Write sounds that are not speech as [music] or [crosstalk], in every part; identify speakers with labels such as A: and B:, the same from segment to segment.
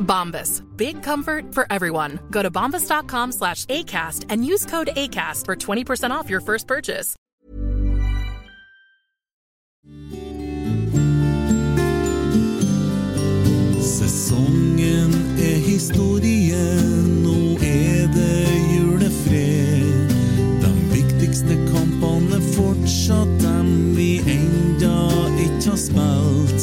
A: Bombas. Big comfort for everyone. Go to bombas.com slash ACAST and use code ACAST for 20% off your first purchase.
B: Sesongen er historien, nå er det julefred. De viktigste kampene er fortsatt dem vi enda ikke har spilt.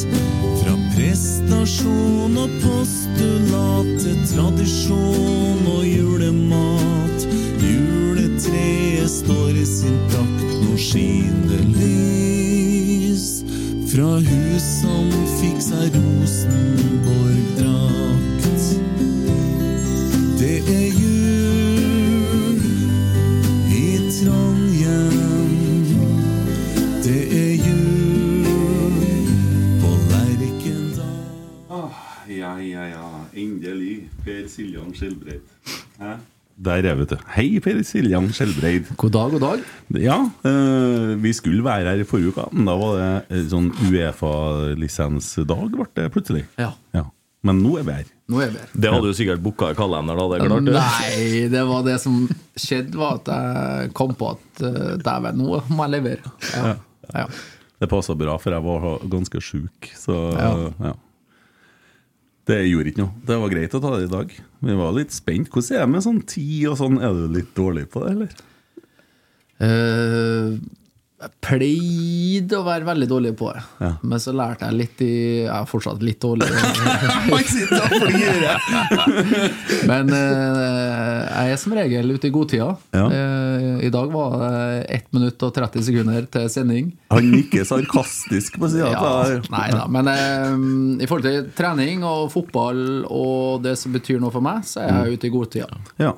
B: Fra prestasjon og postulat til tradisjon og julemat. Juletreet står i sin prakt, nå skinner lys. Fra hus som fikk seg Rosenborg-drakt. Det er jul i Trondheim. Det er jul på Lerkendal.
C: Ah, Ja, ja, ja. Endelig. Per Siljan Skjelbreid. Hæ? Der er vi, vet du. Hei, Per Siljan Skjelbreid.
D: God dag, god dag.
C: Ja, eh, vi skulle være her i forrige uke, men da var det eh, sånn Uefa-lisensdag, ble det plutselig.
D: Ja,
C: Ja. Men nå er vi her.
D: nå er vi her.
E: Det hadde du sikkert booka i kalenderen, da. Det er klart, det.
D: Nei, det var det som skjedde, var at jeg kom på at eh, dæven, nå må jeg levere. Ja. Ja.
C: Det passa bra, for jeg var ganske sjuk, så
D: Ja.
C: eh, ja. Det gjorde ikke noe. Det var greit å ta det i dag. Vi var litt spent. Hvordan er det med sånn tid og sånn? Er du litt dårlig på
D: [laughs]
C: det, eller?
D: Eh, jeg pleide å være veldig dårlig på det, men så lærte jeg litt i Jeg er fortsatt litt [laughs] dårlig. [laughs] men eh, jeg er som regel ute i godtida.
C: Ja.
D: Eh, I dag var det 1 minutt og 30 sekunder til sending.
C: Han nikker sarkastisk på sida.
D: Ja, nei da, men eh, i forhold til trening og fotball og det som betyr noe for meg, så er jeg ute i godtida.
C: Ja.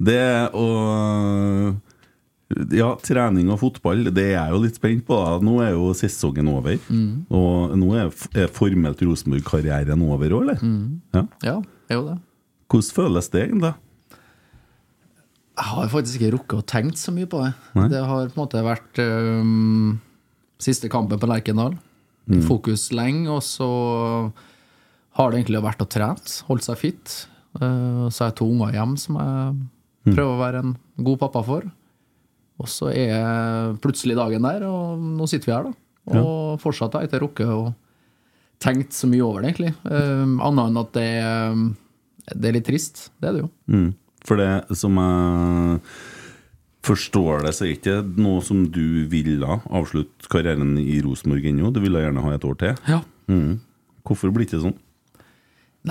C: Det og Ja, trening og fotball, det er jeg jo litt spent på. da Nå er jo sesongen over.
D: Mm.
C: Og nå er, er formelt Rosenborg-karrieren over òg, eller?
D: Mm.
C: Ja.
D: Ja, er jo det.
C: Hvordan føles det egentlig?
D: Jeg har faktisk ikke rukket å tenkt så mye på det. Det har på en måte vært øhm, siste kampen på Lerkendal. I Fokus lenge, og så har det egentlig vært å trene, holdt seg fit. Eh, så har jeg to unger hjemme som jeg prøver å være en god pappa for. Og så er plutselig dagen der, og nå sitter vi her, da. Og fortsatt har jeg ikke rukket å tenkt så mye over det, egentlig. Um, Annet enn at det, er- det er litt trist. Det er det jo.
C: Mm. For det som jeg forstår det, så er ikke det noe som du ville avslutte karrieren i Rosenborg ennå. Du ville gjerne ha et år til.
D: Ja.
C: Mm. Hvorfor blir det ikke sånn?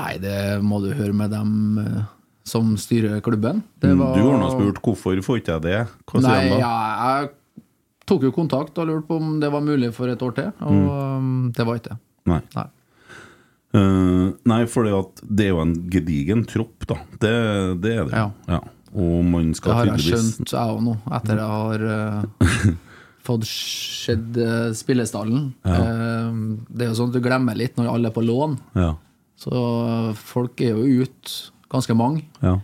D: Nei, det må du høre med dem eh, som styrer klubben. Det
C: Mm,
D: var-
C: Du har nå spurt hvorfor får ikke jeg det? Hva sier
D: Nei,
C: han da?
D: ja, jeg tok jo kontakt og lurte på om det var mulig for et år til, og
C: Mm.
D: um, det var ikke det.
C: Nei.
D: Nei.
C: Eh, nei, for det er jo en gedigen tropp, da. Det, det er det. jo.
D: Ja.
C: Og man
D: Det
C: skal
D: har jeg
C: tydeligvis
D: skjønt, jeg òg nå, etter jeg har eh, fått sett eh, spillestallen. Eh, det er jo sånn at du glemmer litt når alle er på lån,
C: ja,
D: så folk er jo ute, ganske mange.
C: ja.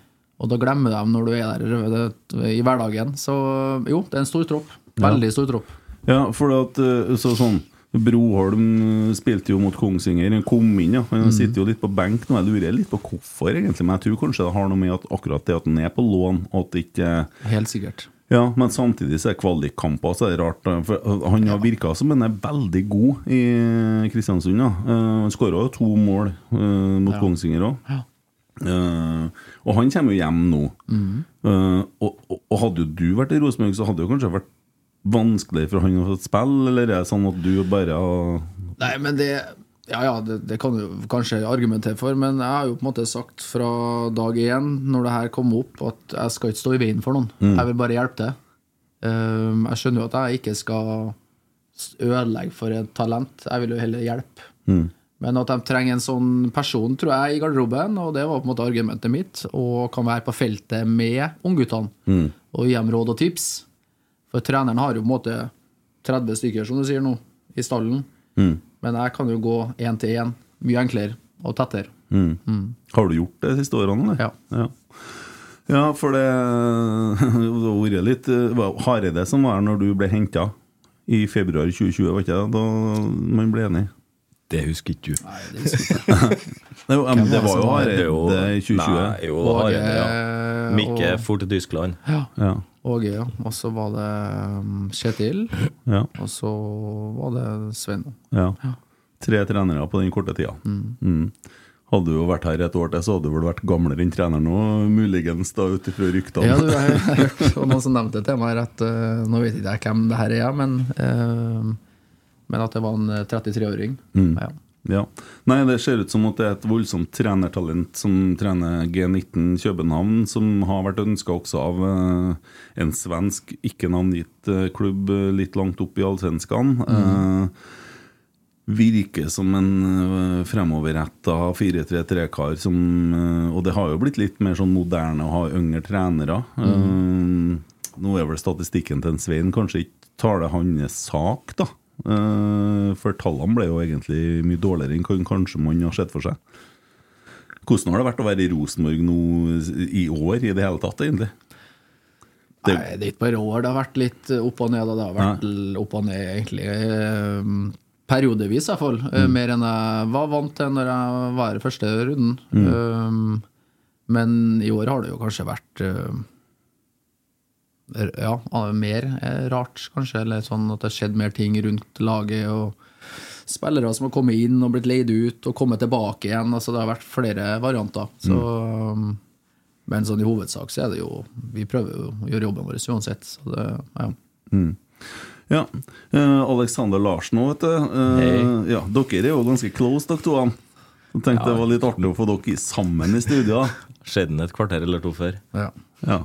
D: Og da glemmer de når du er der i hverdagen. Så jo, det er en stor tropp. Veldig stor tropp.
C: Ja, for at eh, så, sånn Broholm eh, spilte jo mot Kongsvinger. Han kom inn, ja. Han
D: Mm.
C: sitter jo litt på benk nå. Jeg lurer litt på hvorfor, egentlig. Men jeg tror kanskje det har noe med at akkurat det at han er på lån, at det ikke
D: Helt sikkert.
C: ja, men samtidig så er kvalikkamper så er det rart. eh, For han har virka som han er veldig god i Kristiansund. Ja. Eh, Han skåra jo to mål eh, mot
D: Ja.
C: Kongsvinger òg.
D: Ja.
C: Eh, og han kommer jo hjem nå.
D: Mhm.
C: Eh, og, og, og hadde jo du vært i Rosenborg, så hadde det jo kanskje vært vanskelig for han å få et spill, eller er det sånn at du bare har
D: Nei, men det Ja, ja, det, det kan du kanskje argumentere for, men jeg har jo på en måte sagt fra dag én, når det her kom opp, at jeg skal ikke stå i veien for noen.
C: Mm.
D: Jeg vil bare hjelpe til. Um, jeg skjønner jo at jeg ikke skal s- ødelegge for et talent, jeg vil jo heller hjelpe.
C: Mm.
D: Men at de trenger en sånn person, tror jeg, i garderoben, og det var på en måte argumentet mitt, og kan være på feltet med ungguttene
C: Mm.
D: og gi dem råd og tips. For treneren har jo på en måte 30 stykker, som du sier nå, i stallen.
C: Mm.
D: Men jeg kan jo gå én til én, mye enklere og tettere.
C: Mm. [laughs]
D: Mm.
C: Har du gjort det de siste årene, eller? Ja. ja. for det [laughs] det har vært litt det var Hareide som var her når du ble henta i februar 2020, var ikke det? Da man ble enig?
E: Det husker ikke du.
D: Nei, det husker
E: jeg ikke.
C: Nei, jo, men det var jo
E: Det er
C: Hareide
E: jo-
C: i 2020.
E: Nei, jo, det var Hareide, ja.
D: Og-
E: Mikke for til Tyskland.
D: Ja.
C: Ja.
D: Åge, ja. Og så var det um, Kjetil.
C: Ja.
D: Og så var det Svein.
C: Ja. Tre trenere på den korte tida.
D: Mm.
C: Mm. Hadde du jo vært her et år til, så hadde du vel vært gamlere enn trener nå, muligens, da ut ifra ryktene.
D: Ja, du jeg har hørt og noen som nevnte til meg at eh, Nå vet ikke jeg hvem det her er, men, eh, men at det var en eh, 33-åring.
C: Mm.
D: Ja.
C: [laughs] Ja. Nei, det ser ut som at det er et voldsomt trenertalent som trener G19 København, som har vært ønska også av eh, en svensk, ikke navngitt eh, klubb eh, litt langt opp i allsvenskan.
D: Mm.
C: Eh, virker som en eh, fremoverretta 4-3-3-kar som eh, Og det har jo blitt litt mer sånn moderne å ha yngre trenere. Eh, nå er vel statistikken til en Svein kanskje ikke taler hans sak, da. Eh, for tallene ble jo egentlig mye dårligere enn kan- kanskje man har sett for seg. Hvordan har det vært å være i Rosenborg nå i år i det hele tatt, egentlig? Det-
D: Nei, det er ikke bare år. Det har vært litt opp og ned. Og det har vært l- opp og ned, egentlig. eh, Periodevis, i hvert fall. eh, Mer enn jeg var vant til når jeg var her i første runden. Um, men i år har det jo kanskje vært eh, r- Ja, ah, mer eh, rart, kanskje. Eller sånn at det har skjedd mer ting rundt laget. og Spillere som har kommet inn og blitt leid ut og kommet tilbake igjen. altså Det har vært flere varianter. Så um, men sånn i hovedsak så er det jo Vi prøver jo å gjøre jobben vår uansett. Så det, ja.
C: Mm. Ja. eh, Alexander Larsen òg, vet du. Eh, ja, dere er jo ganske close, dere to. han. Jeg tenkte det var litt artig å få dere sammen i studio.
E: Skjedde den et kvarter eller to før?
D: ja.
C: Ja.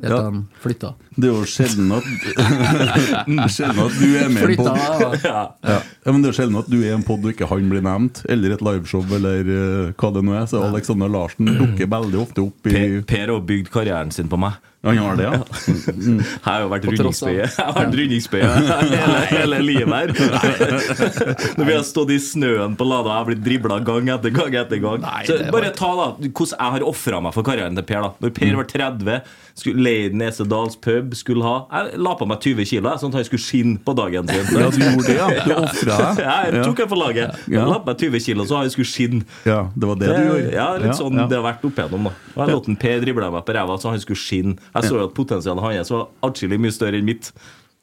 D: Helt til han flytta.
C: Det er jo sjelden at
E: [laughs]
C: Sjelden at du er med i en pod.
D: [laughs] Flytta,
C: Ja. Ja. men det er sjelden at du er i en pod og ikke han blir nevnt, eller et liveshow, eller eh, hva det nå er. Så Alexander Larsen dukker veldig ofte opp i
E: Per, per har bygd karrieren sin på meg.
C: Han har det, ja?
E: Jeg har jo vært
D: På tross av.
E: rundingsbøye Jeg har vært rundingsbøye hele, hele livet her. [laughs] Når vi har stått i snøen på Lada og jeg har blitt dribla gang etter gang. etter gang Så
D: det var
E: Bare ta da hvordan jeg har ofra meg for karrieren til Per. da Når Per var 30, skulle leid Nesedals pub skulle ha Jeg la på meg 20 kilo jeg, sånn at han skulle skinne på dagen sin.
C: Ja, du gjorde det, ja. Du offret deg.
E: Ja, jeg tok
C: Ja.
E: jeg for laget.
C: Ja.
E: La på meg 20 kilo så han skulle skinne.
C: Ja, det var det, du gjorde.
E: Ja, litt sånn
C: ja.
E: det har vært opp igjennom da Og jeg lot en Per drible meg på ræva så han skulle skinne Jeg så jo at potensialet hans var atskillig mye større enn mitt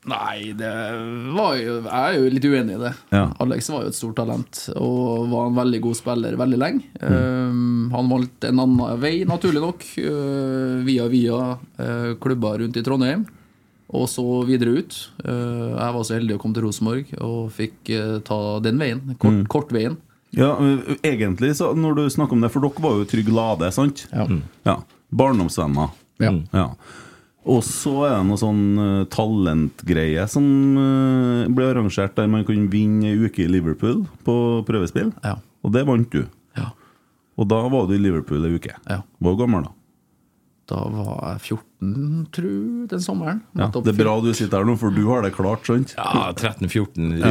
D: Nei, det var jo Jeg er jo litt uenig i det.
C: Ja.
D: Alex var jo et stort talent og var en veldig god spiller veldig lenge. Um, han valgte en annen vei, naturlig nok, uh, via via uh, klubber rundt i Trondheim. Og så videre ut. Uh, jeg var så heldig å komme til Rosenborg og fikk uh, ta den veien. Kort, Kortveien.
C: Ja, ø, egentlig, så når du snakker om det, for dere var jo Trygg Lade, sant?
D: Ja.
E: Mm.
C: Ja. Mm. Barndomsvenner.
D: Ja.
C: Ja. Og så er det noe sånn ø, talentgreie som ø, ble arrangert der man kunne vinne ei uke i Liverpool på prøvespill.
D: Ja.
C: Og det vant du.
D: Ja.
C: Og da var du i Liverpool ei uke.
D: Ja.
C: Var du gammel da?
D: Da var jeg 14, tru, den sommeren.
C: Ja, det er bra du sitter her nå, for du har det klart, skjønt?
E: Ja, 13-14 rundt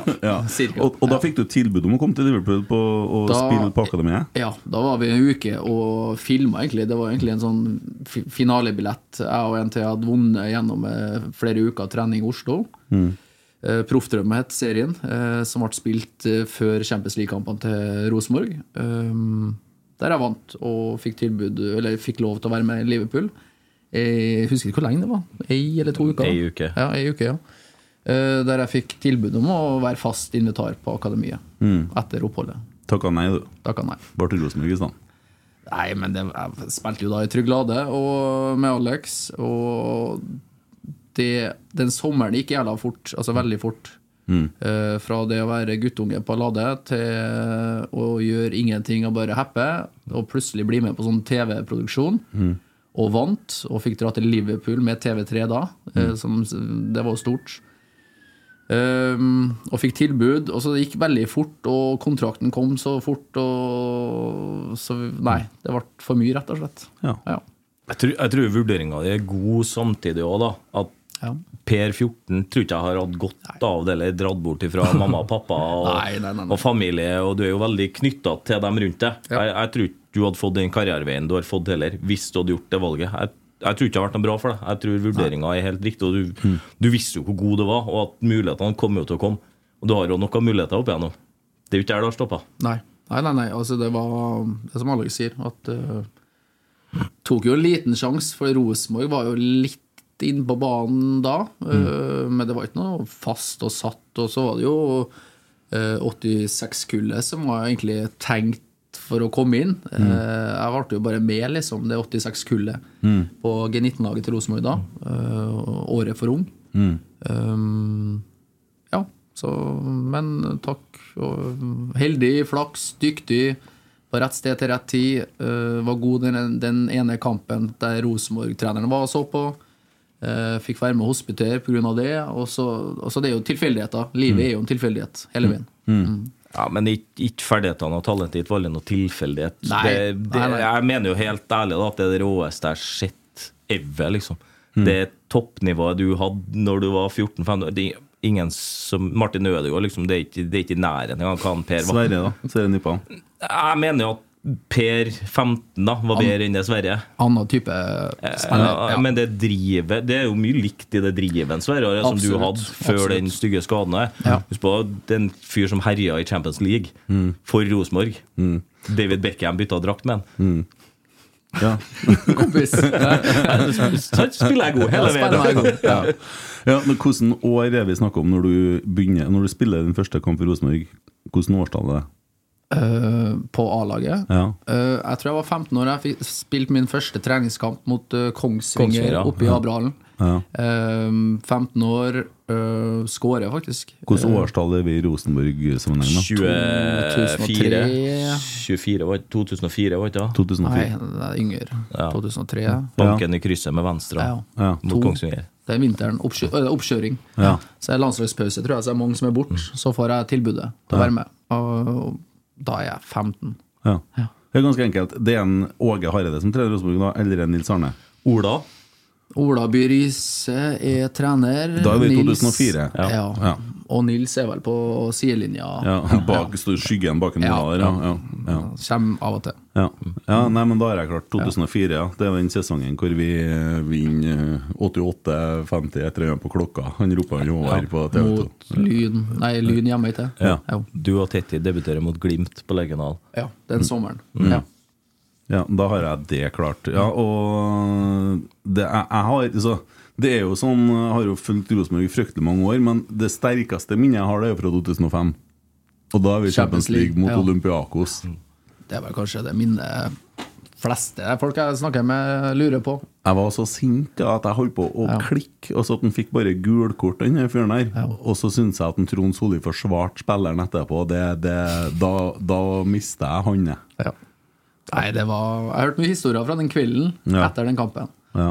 E: der.
C: Ja. Og, og da fikk du tilbud om å komme til Liverpool på, og
D: Da-
C: spille på akademiet?
D: Ja, da var vi en uke og filma, egentlig. Det var egentlig en sånn fi- finalebillett. Jeg og en til hadde vunnet gjennom eh, flere uker trening i Oslo. Eh, Proffdrømme het serien, eh, som ble spilt eh, før Champions League-kampene til Rosenborg. Um, der jeg vant og fikk, tilbud, eller fikk lov til å være med i Liverpool. Jeg husker ikke hvor lenge det var. Ei eller to uker.
E: Ei uke.
D: Ja, ei uke, ja. Eh, Der jeg fikk tilbud om å være fast invitar på akademiet etter oppholdet.
C: Takka nei, du.
D: Takka nei.
C: Bare til Rosenborg i stedet.
D: Nei, men det, jeg spilte jo da i Trygg Lade og med Alex, og det, den sommeren gikk jævla fort, altså veldig fort. Eh, fra det å være guttunge på Lade til å gjøre ingenting og bare happe, og plutselig bli med på sånn TV-produksjon. Og vant, og fikk dra til Liverpool med TV3 da. eh, Som, det var jo stort. Ehm, og fikk tilbud, og så det gikk veldig fort, og kontrakten kom så fort, og så Nei, det ble for mye, rett og slett.
C: Ja.
D: Ja.
E: Jeg tror, jeg tror vurderinga di er god samtidig òg, da. At
D: Ja.
E: Per 14 tror ikke jeg har hatt godt av det, eller dratt bort ifra mamma
D: [laughs]
E: og pappa og,
D: Nei, nei, nei, nei.
E: og familie, og du er jo veldig knytta til dem rundt deg.
D: Ja.
E: Jeg, jeg tror ikke du hadde fått den karriereveien du har fått heller, hvis du hadde gjort det valget. Jeg, jeg tror ikke det har vært noe bra for deg. Jeg tror vurderinga er helt riktig, og du, du visste jo hvor god du var, og at mulighetene kom jo til å komme. Og du har jo noen muligheter opp igjennom. Det er jo ikke der det har stoppa.
D: Nei. nei, nei, nei. Altså, det var det er som Alex sier, at eh, Tok jo en liten sjanse, for Rosenborg var jo litt inn på banen da. eh, men det var ikke noe fast og satt. Og så var det jo eh, 86-kullet som var egentlig tenkt for å komme inn. Eh, jeg ble jo bare med, liksom, det 86-kullet på G19-laget til Rosenborg da. eh, året for ung. Um, ja, så, men takk. Og mm, heldig, flaks, dyktig. På rett sted til rett tid. eh, var god den, den ene kampen der Rosenborg-treneren var og så på. Eh, fikk være med og hospitere pga. det. Og så, og så det er jo tilfeldigheter.
E: Mm.
D: Livet er jo en tilfeldighet hele veien.
E: Ja, Men ikke, ikke ferdighetene og talentet ditt var aldri noe tilfeldighet.
D: Nei.
E: Det, det,
D: Nei, nei.
E: Jeg mener jo helt ærlig da, at det er det råeste jeg har sett ever. liksom. Det toppnivået du hadde når du var 14-15 det er Ingen som Martin Ødegaard, liksom, det er ikke, det er ikke i nærheten engang hva han Per var.
C: Sverre, da. Sverre Nippan.
E: Jeg mener jo at Per 15 da, var bedre enn det Sverre.
D: Annen type
E: Eh, Ja,
D: spiller.
E: Men det drivet Det er jo mye likt i det drivet enn Sverre har, som du
D: Absolutt.
E: hadde før
D: Absolutt.
E: den stygge skaden her.
D: Ja.
E: Husk på det er en fyr som herja i Champions League
C: Mm.
E: for Rosenborg. David Beckham bytta drakt med han.
C: Ja.
D: Ja,
E: [laughs]
D: kompis. Ja,
E: Så spiller jeg god hele
D: spiller meg
E: veien.
D: god.
E: [laughs]
D: Ja.
C: ja, men Hvordan år er vi snakka om når du begynner Når du spiller din første kamp for Rosenborg? Hvordan årstall er det?
D: Eh, på A-laget.
C: Ja.
D: Eh, jeg tror jeg var 15 år da jeg fikk spilt min første treningskamp mot eh, Kongsvinger,
E: Kongsvinger, ja.
D: oppe i Abrahallen.
C: Ja.
D: Eh, 15 år, uh, skårer faktisk. Eh,
C: Hvordan årstall er vi i Rosenborg-sammenheng? da?
E: 24
D: 2003.
E: 24 var- 2004, var ikke det?
C: 2004?
D: Nei, det er yngre. 2003. Ja.
E: Banken i krysset med venstre
D: Ja.
C: Ja.
E: mot Kongsvinger.
D: Det er vinteren. Oppkjø øh, oppkjøring.
C: Ja.
D: Så er det landslagspause, tror jeg. Så er det mange som er borte. Så får jeg tilbudet til å være med. Og, og da er jeg 15.
C: Ja. Det er ganske enkelt. Det er en Åge Hareide som trener Rosenborg da, eller en Nils Arne.
E: Ola.
D: Ola By Riise er trener.
C: Da er vi i
D: Nils-
C: 2004.
D: Ja.
C: Ja.
D: Og Nils er vel på sidelinja.
C: Ja, bak, står Skyggen bak en
D: Ja.
C: Ola der, [laughs] ja. ja, ja.
D: Kommer av og til.
C: Ja. ja, nei, men da har jeg klart 2004, ja. Det er den sesongen hvor vi eh, vinner 88-50 etter øynene på klokka. Han roper han over på TV 2.
D: Mot Lyn Nei, Lyn hjemme, ikke
C: Ja.
D: Jo.
E: Du og Tetti debuterer mot Glimt på Legional.
D: ja. Den sommeren.
C: Mm.
D: Ja.
C: Ja, da har jeg det klart. Ja, og det, jeg, jeg har, så, det er jo sånn Jeg har jo fulgt Rosenborg i fryktelig mange år, men det sterkeste minnet jeg har, det er jo fra 2005. Og da er vi i Champions
D: Champions
C: League mot
D: League, ja.
C: Olympiakos.
D: Det er vel kanskje det minnet fleste folk jeg snakker med, lurer på.
C: Jeg var så sint ja, at jeg holdt på å
D: Ja.
C: klikke, og så at han fikk bare gulkort, den her fyren her. Og så syns jeg at han Trond Solli forsvarte spilleren etterpå. Det, det, da da mista jeg han, jeg.
D: Ja. Nei, det var Jeg har hørt mye historier fra den kvelden
C: Ja.
D: etter den kampen
C: Ja.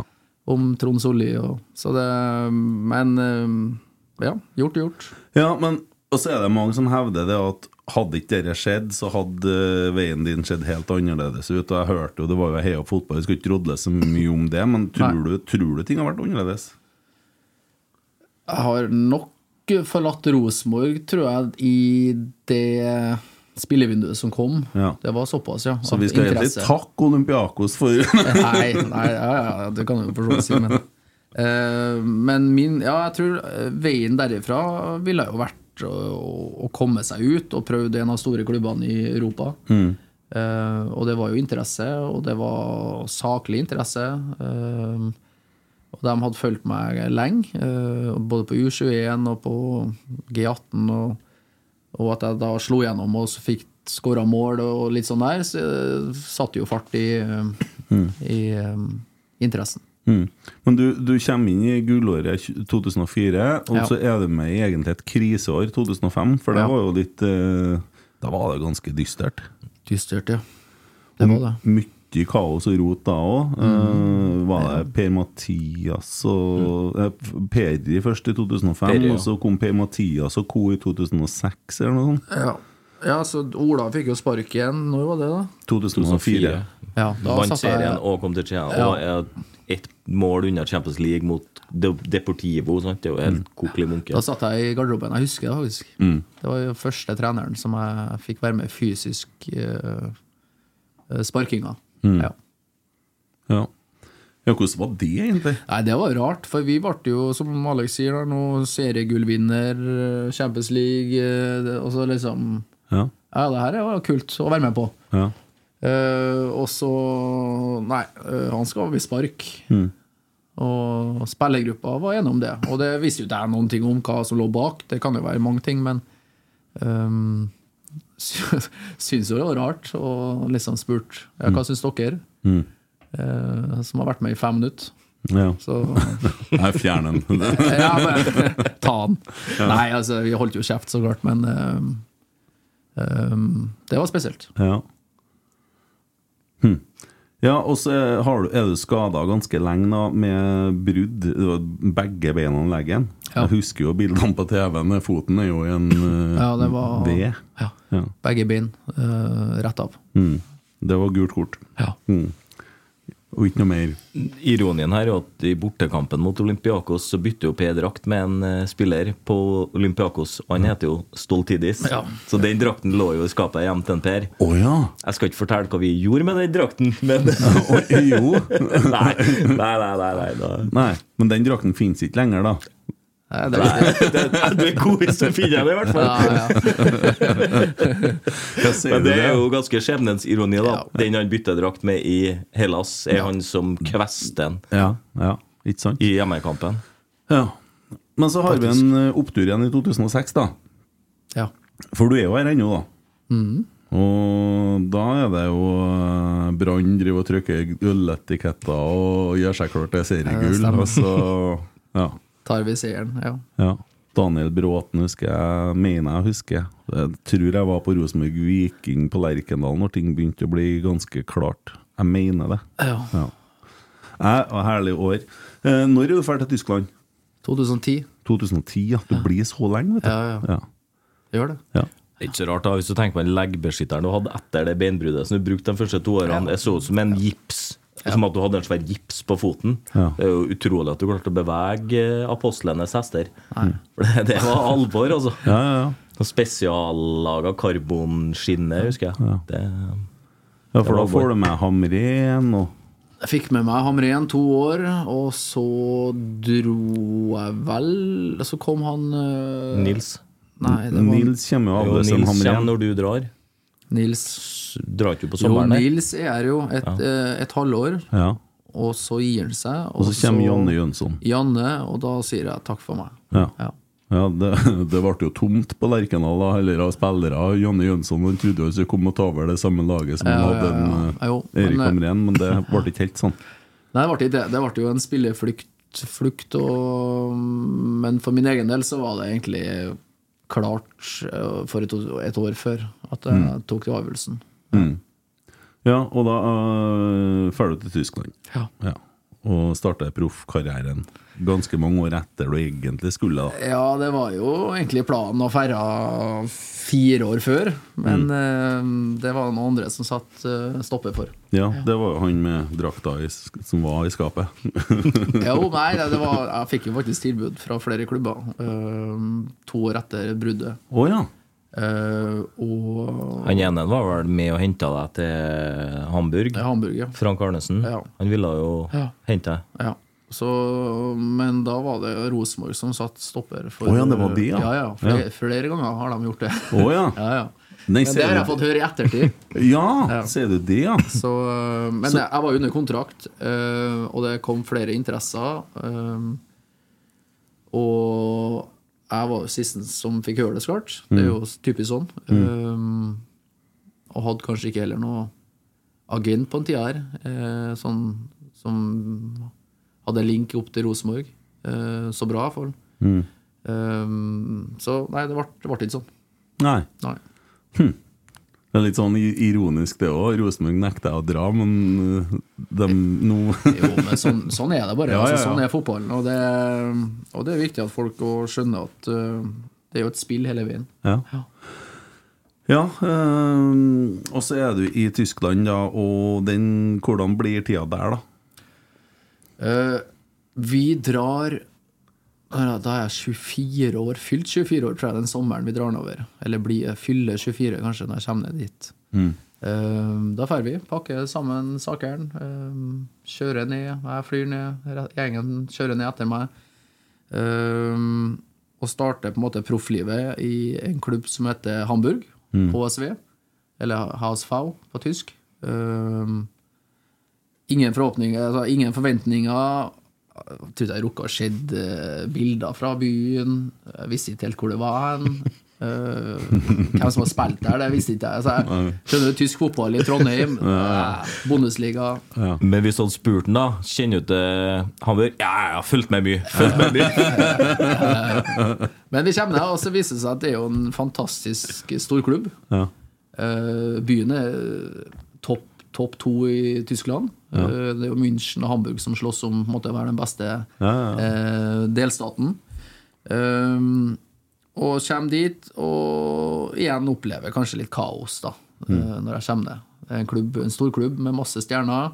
D: om Trond Solli og Så det Men eh, ja, gjort er gjort.
C: Ja, men Og så er det mange som hevder det at hadde ikke dette skjedd, så hadde eh, veien din sett helt annerledes ut. Og jeg hørte jo, det var jo heia fotball, jeg skulle ikke rodle så mye om det, men tror du, tror du ting har vært annerledes?
D: Jeg har nok forlatt Rosenborg, tror jeg, i det spillevinduet som kom.
C: Ja.
D: Det var såpass, ja.
C: Så
D: at
C: vi skal egentlig
D: interesse-
C: takke Olympiakos for [laughs]
D: nei, nei, ja, ja, ja, det kan du jo for så vidt si, men Eh, Men min Ja, jeg tror eh, veien derifra ville jo vært å, å- å komme seg ut og prøvde en av store klubbene i Europa. Eh, og det var jo interesse, og det var saklig interesse. Eh, og de hadde fulgt meg lenge, eh, både på U21 og på G18. Og, og at jeg da slo gjennom og så fikk skåra mål og litt sånn der, så eh, satte jo fart i, eh, i eh, interessen.
C: Mm. Men du, du kommer inn i gullåret 2004, og
D: Ja.
C: så er du med i egentlig et kriseår, 2005. For det
D: Ja.
C: var jo litt eh, Da var det ganske dystert.
D: Dystert, ja. Det var det. Mm.
C: Mye kaos og rot da òg. var det Per-Mathias og
D: Mm.
C: eh, F- Peri først i 2005,
E: Peri, ja.
C: og så kom Per-Mathias og co. i 2006, eller noe sånt?
D: Ja. så Ola fikk jo spark igjen. Når var det, da?
C: 2004.
D: Ja, da
E: Vant
D: satt jeg-
E: serien og kom til China. Og er ett mål unna Champions League mot De- Deportivo. Sant? Det er jo helt kokelig munke.
D: Mm. Da satt jeg i garderoben. Jeg husker det faktisk. Det var jo første treneren som jeg fikk være med fysisk eh, eh, sparkinga. Ja.
C: Ja. ja, hvordan var det, egentlig?
D: Nei, det var rart, for vi ble jo, som Alex sier, da, nå seriegullvinner, eh, Champions League eh, det- Og så liksom
C: Ja.
D: Ja, det her var jo kult å være med på.
C: ja.
D: Eh, og så Nei, eh, han skal over i spark. Og spillergruppa var enig om det. Og det visste jo ikke jeg noen ting om hva som lå bak. Det kan jo være mange ting, men um, [laughs] syns jo det var rart. Og liksom spurt ja, hva syns dere, Eh, som har vært med i fem minutter.
C: ja.
D: Så [laughs]
C: Nei, fjern [laughs] den.
D: ja, bare [laughs] ta den. Nei, altså, vi holdt jo kjeft, så klart, men eh, eh, det var spesielt.
C: Ja. Hm. Ja, og så er- har du- er du skada ganske lenge da, med brudd. Det var Begge beina i leggen.
D: Ja.
C: Jeg husker jo bildene på TV med foten er jo i en eh,
D: Ja, det var-
C: V.
D: Ja.
C: Ja.
D: Begge bein eh, rett av.
C: Mm. Det var gult kort.
D: Ja.
C: Mm. Og ikke noe mer.
E: Ironien her er jo at i bortekampen mot Olympiakos så bytter jo P drakt med en eh, spiller på Olympiakos. Og han heter jo Stoltidis.
D: Ja.
E: Så den drakten lå jo i skapet hjemme til en Per.
C: Å ja!
E: Jeg skal ikke fortelle hva vi gjorde med den drakten, men
C: Å, jo!
E: [laughs] Nei, nei, nei. nei, nei da.
C: Nei, men den drakten finnes ikke lenger, da.
D: Nei, det var det.
E: [laughs] Det, det er god hvis du finner den, i hvert fall.
C: [laughs]
D: Ja, ja.
C: Hva sier
E: Men
C: du
E: det er jo ganske skjebnens ironi, da.
D: Ja.
E: Den han bytta drakt med i Hellas, er
D: Ja.
E: han som kvester den
C: Ja, ja. Ikke sant?
E: i hjemmekampen.
C: Ja. Men så har vi en eh, opptur igjen i 2006, da.
D: ja.
C: For du er jo her ennå, da. Og da er det jo eh, Brann driver og trykker øletiketter og gjør seg klar til seriegull.
D: Ja, det stemmer.
C: og så ja,
D: Tar vi seieren, ja.
C: ja. Daniel Bråten husker jeg, mener jeg husker. Jeg tror jeg var på Rosenborg Viking på Lerkendal når ting begynte å bli ganske klart. Jeg mener det.
D: Ja.
C: Ja. Jeg, og herlig år. Eh, Når er du ferdig til Tyskland?
D: 2010.
C: 2010, ja. Du blir så lenge, vet du.
D: Ja, ja. Gjør det.
C: Ja.
E: Det er ikke så rart da, hvis du tenker på den leggbeskytteren du hadde etter det beinbruddet som du brukte de første to årene. Det så ut som en gips. Som at du hadde en svær gips på foten.
C: Ja.
E: Det er jo utrolig at du klarte å bevege eh, apostlenes hester. For det, det var alvor, altså.
C: [laughs] Ja, ja, ja.
E: Noe Spesiallaga karbonskinne, husker jeg. Det,
C: ja for
E: var
C: da
E: vår.
C: får du med Hamren og
D: Jeg fikk med meg Hamren to år, og så dro jeg vel Så kom han eh,
E: Nils.
D: Nei, det var Nils.
C: Nils kommer jo av
E: Jo,
C: det som
E: Nils kommer
C: Hamren.
E: når du drar.
D: Nils.
E: Drar ikke du på
D: Jo,
E: sommeren? nei?
D: Nils er her jo et, eh, et halvår,
C: Ja.
D: og så gir han seg.
C: Og så kommer Janne Jønsson.
D: Janne, og da sier jeg takk for meg.
C: Ja.
D: Ja.
C: Ja, det, [laughs] det ble jo tomt på Lerkendal, da, heller av spillere. Janne Jønsson han trodde jo skulle komme og ta over det samme laget som han
D: Ja, ja,
C: hadde en,
D: ja.
C: eh,
D: Jo,
C: Erik
D: men, eh,
C: Hamren, men det ble ikke helt
D: [laughs]
C: sånn.
D: Nei, det ble ikke det. Det ble jo en spilleflukt, flukt og Men for min egen del så var det egentlig klart eh, for et, et år før at jeg
C: Mm.
D: tok den avgjørelsen.
C: Ja, og da øh, eh, drar du til Tyskland.
D: Ja.
C: Ja. og starta proffkarrieren ganske mange år etter du egentlig skulle. da
D: Ja, det var jo egentlig planen å feire fire år før, men
C: Mm.
D: eh, det var noen andre som satt eh, stopper for.
C: Ja, Det var jo han med drakta i, sk- som var i skapet.
D: Jo, nei, det det var, jeg fikk jo faktisk tilbud fra flere klubber eh, to år etter bruddet.
C: Å ja.
D: Eh, og
E: Han ene var vel med og henta deg til Hamburg.
D: ja, Hamburger.
E: Frank Arnesen.
D: Ja.
E: Han ville jo
D: Ja.
E: hente deg.
D: Ja. Så, men da var det Rosenborg som satt stopper. For,
C: Å ja, det var de, ja.
D: Ja, ja, flere, flere ganger har de gjort det.
C: [laughs] Å ja.
D: [laughs] ja, ja.
C: Nei,
D: Men det har
C: du-
D: jeg fått høre i ettertid.
C: Ja,
D: Ja.
C: ser du det, ja.
D: Så, øh, men jeg- jeg var under kontrakt, øh, og det kom flere interesser. øh, Og jeg var jo sisten som fikk høre det, så klart. Det er jo typisk sånn. øh, Og hadde kanskje ikke heller noe agent på en tida her, øh, sånn, som hadde link opp til Rosenborg. øh, Så bra, iallfall. Mm. Så nei, det ble, det ble ikke sånn.
C: Nei.
D: Nei.
C: Det er litt sånn i- ironisk, det òg. Rosenborg nekta å dra, men øh, de nå
D: [laughs]
C: [laughs]
D: Jo, men sånn, sånn er det bare.
C: Ja, ja,
D: Altså,
C: ja.
D: sånn er fotballen. Og det, og det er viktig at folk også skjønner at øh, det er jo et spill hele veien.
C: Ja.
D: Ja.
C: ja øhm, og så er du i Tyskland, da, og den, hvordan blir tida der, da?
D: Eh, vi drar da da er jeg 24 år, fylt 24 år, tror jeg, den sommeren vi drar nedover. Eller blir, jeg fyller 24, kanskje, når jeg kommer ned dit. Eh, da drar vi, pakker sammen sakene, eh, kjører ned, jeg flyr ned, re- gjengen kjører ned etter meg. Eh, og starter på en måte profflivet i en klubb som heter Hamburg, HSV, eller HSV på tysk. Eh, ingen forhåpninger, altså ingen forventninger. Jeg trodde jeg rukka å sett eh, bilder fra byen. Jeg visste ikke helt hvor det var hen. Eh, hvem som har spilt der, det visste ikke jeg. Altså, jeg skjønner jo tysk fotball i Trondheim. eh, Bundesliga.
E: Men hvis du hadde spurt han, da Kjenner du til Hamburg? Ja, jeg har fulgt med mye. Fulgt med mye.
D: Men vi kommer ned, og så viser det seg at det er jo en fantastisk stor klubb.
C: Ja.
D: Eh, Byen er topp topp to i Tyskland. Eh, Det er jo München og Hamburg som slåss om på en måte, å være den beste eh, delstaten. Um, og kommer dit og igjen opplever kanskje litt kaos da, eh, når jeg kommer ned. Det er en, klubb, en stor klubb med masse stjerner.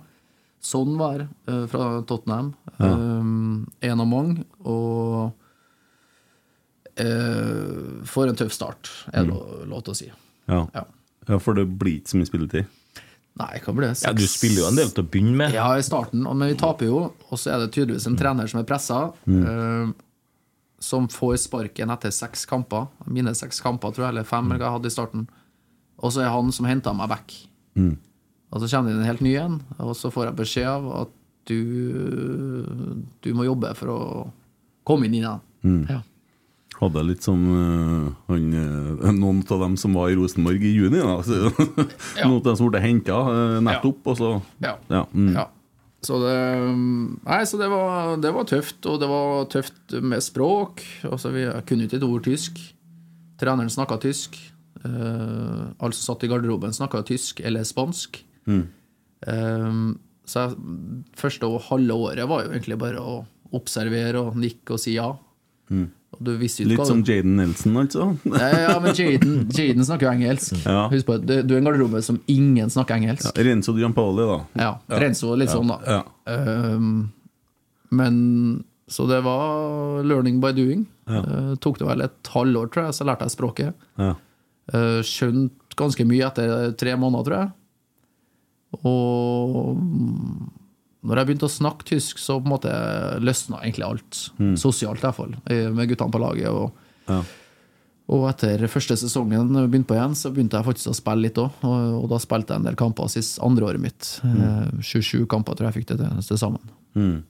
D: Sånn var jeg, eh, fra Tottenham. Um, en av mange. Og eh, for en tøff start, er det lo- lov til å si.
C: Ja.
D: Ja.
C: [laughs] ja, for det blir ikke så mye spilletid.
D: Nei, hva blir det?
E: Ja, du spiller jo en del til å begynne med.
D: Ja, i starten, og- men vi taper jo. Og så er det tydeligvis en trener som er pressa,
E: Mm.
D: eh, som får sparken etter seks kamper. Mine seks kamper, tror jeg, eller fem,
E: Mm.
D: eller hva jeg hadde i starten. Og så er han som henter meg back.
E: Mm.
D: Og så kommer det inn en helt ny en, og så får jeg beskjed av at du, du må jobbe for å komme inn i den.
E: Mm.
D: Ja.
C: Hadde jeg litt som øh, han, øh, noen av dem som var i Rosenborg i juni. Da. [laughs] Så,
D: Ja.
C: Noen av dem som ble henta nettopp, og så
D: Ja.
C: Ja, mm.
D: Ja. Så det, mm, nei, så det, var, det var tøft, og det var tøft med språk. Altså, vi jeg kunne ikke et ord tysk. Treneren snakka tysk. Eh, alle som satt i garderoben, snakka tysk eller spansk.
C: Mm.
D: Eh, så jeg, første og halve året var jo egentlig bare å observere og nikke og si ja. Og du visste
C: Mm.
D: jo ikke
C: Litt
D: hva-
C: som Jaden Nelson, altså.
D: Ja, ja, men Jaden, Jaden snakker jo engelsk.
C: [laughs] Ja.
D: Husk på, at du, du er i en garderobe som ingen snakker engelsk.
C: Renzo Giampoli, da.
D: Ja, rense og litt sånn, da.
C: Ja.
D: Ehm, men Så det var learning by doing. Eh, tok det vel et halvår, tror jeg, så lærte jeg språket.
C: Ja.
D: Eh, skjønt ganske mye etter tre måneder, tror jeg. Og mm, når jeg begynte å snakke tysk, så på en måte løsna egentlig alt.
C: Mm.
D: Sosialt, i hvert fall. eh, Med guttene på laget. og
C: Ja.
D: og etter første sesongen begynte på igjen, så begynte jeg faktisk å spille litt òg. Og, og da spilte jeg en del kamper sist andre året mitt. Eh, 27 kamper tror jeg jeg fikk det til til sammen.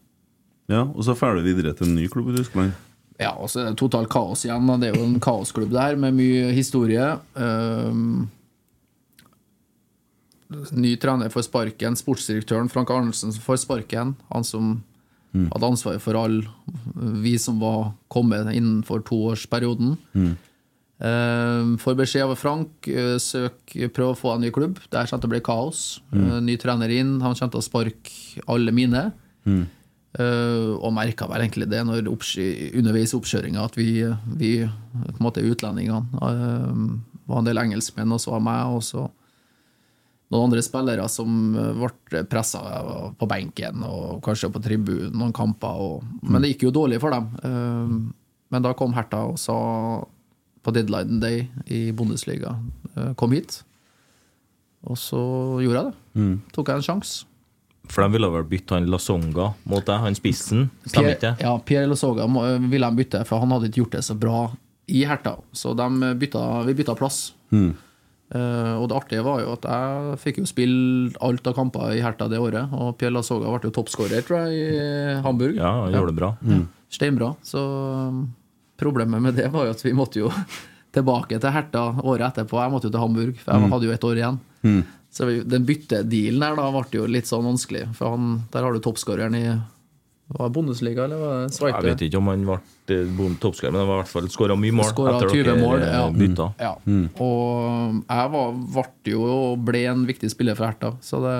C: ja, Og så drar du videre til en ny klubb i Tyskland.
D: Ja, og så er det totalt kaos igjen. da. Det er jo en kaosklubb der, med mye historie. Ehm, ny trener får sparken. Sportsdirektøren Frank Arnesen får sparken. Han som hadde ansvaret for alle vi som var kommet innenfor toårsperioden. Ehm, får beskjed av Frank, eh, søk, prøv å få en ny klubb. Der kommer det til å bli kaos. Eh, ny trener inn, han kommer til å sparke alle mine. Eh, og merka vel egentlig det når oppsky, underveis i oppkjøringa at vi, vi på en måte utlendingene eh, var en del engelskmenn, og så var meg, og så noen andre spillere som eh, ble pressa på benken og kanskje på tribunen noen kamper. Og, men det gikk jo dårlig for dem. Eh, Men da kom Herta og sa på deadline day i Bundesliga eh, Kom hit. Og så gjorde jeg det. Tok jeg en sjanse.
E: For de ville vel bytte han Lasonga mot deg, han spissen. Stemmer
D: Pierre,
E: ikke det?
D: ja, Pierre Losoga må- ville de bytte, for han hadde ikke gjort det så bra i Herta. Så de bytta, vi bytta plass.
E: Hmm.
D: Eh, og det artige var jo at jeg fikk jo spille alt av kamper i Herta det året. Og Pierre Lasoga ble jo toppskårer, tror jeg, i Hamburg.
E: Ja, han gjorde det bra. Hmm.
D: Steinbra. Så um, problemet med det var jo at vi måtte jo [laughs] tilbake til Herta året etterpå. Jeg måtte jo til Hamburg, for
E: Hmm.
D: jeg hadde jo et år igjen. Så vi- den byttedealen her da ble jo litt sånn vanskelig, for han, der har du toppskåreren i var det Bundesliga eller var det Sveite?
E: Jeg vet ikke om han ble eh, toppskårer, men han var i hvert fall skåra mye mål.
D: Skåret
E: etter
D: 20
E: dere
D: mål,
E: eh,
D: ja.
E: bytta.
D: Ja. Og jeg var, ble jo og ble en viktig spiller for Herta, så det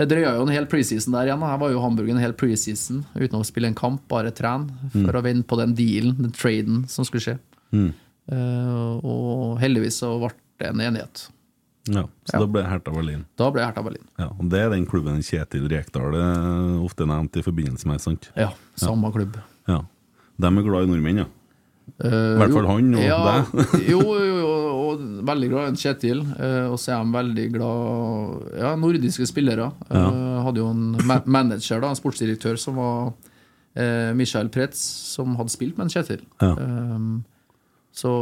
D: Det drøya jo en hel preseason der igjen. da. Jeg var jo i Hamburg en hel preseason uten å spille en kamp, bare trene, for å vente på den dealen, den traden, som skulle skje. Eh, og heldigvis så ble det en enighet.
C: Ja, så da ble det Hertha Berlin.
D: Da ble Herta Berlin.
C: Ja, og Det er den klubben Kjetil Rekdal er ofte nevnt i forbindelse med, sant?
D: Ja, samme klubb.
C: Ja. De er glad i nordmenn, ja.
D: I
C: hvert fall han og
D: deg. Eh, [laughs] jo, jo, jo, og veldig glad i Kjetil. eh, Og så er han veldig glad Ja, nordiske spillere. Eh, Hadde jo en ma manager, da, en sportsdirektør, som var eh, Michael Pretz, som hadde spilt med en Kjetil.
C: Ja.
D: Eh, så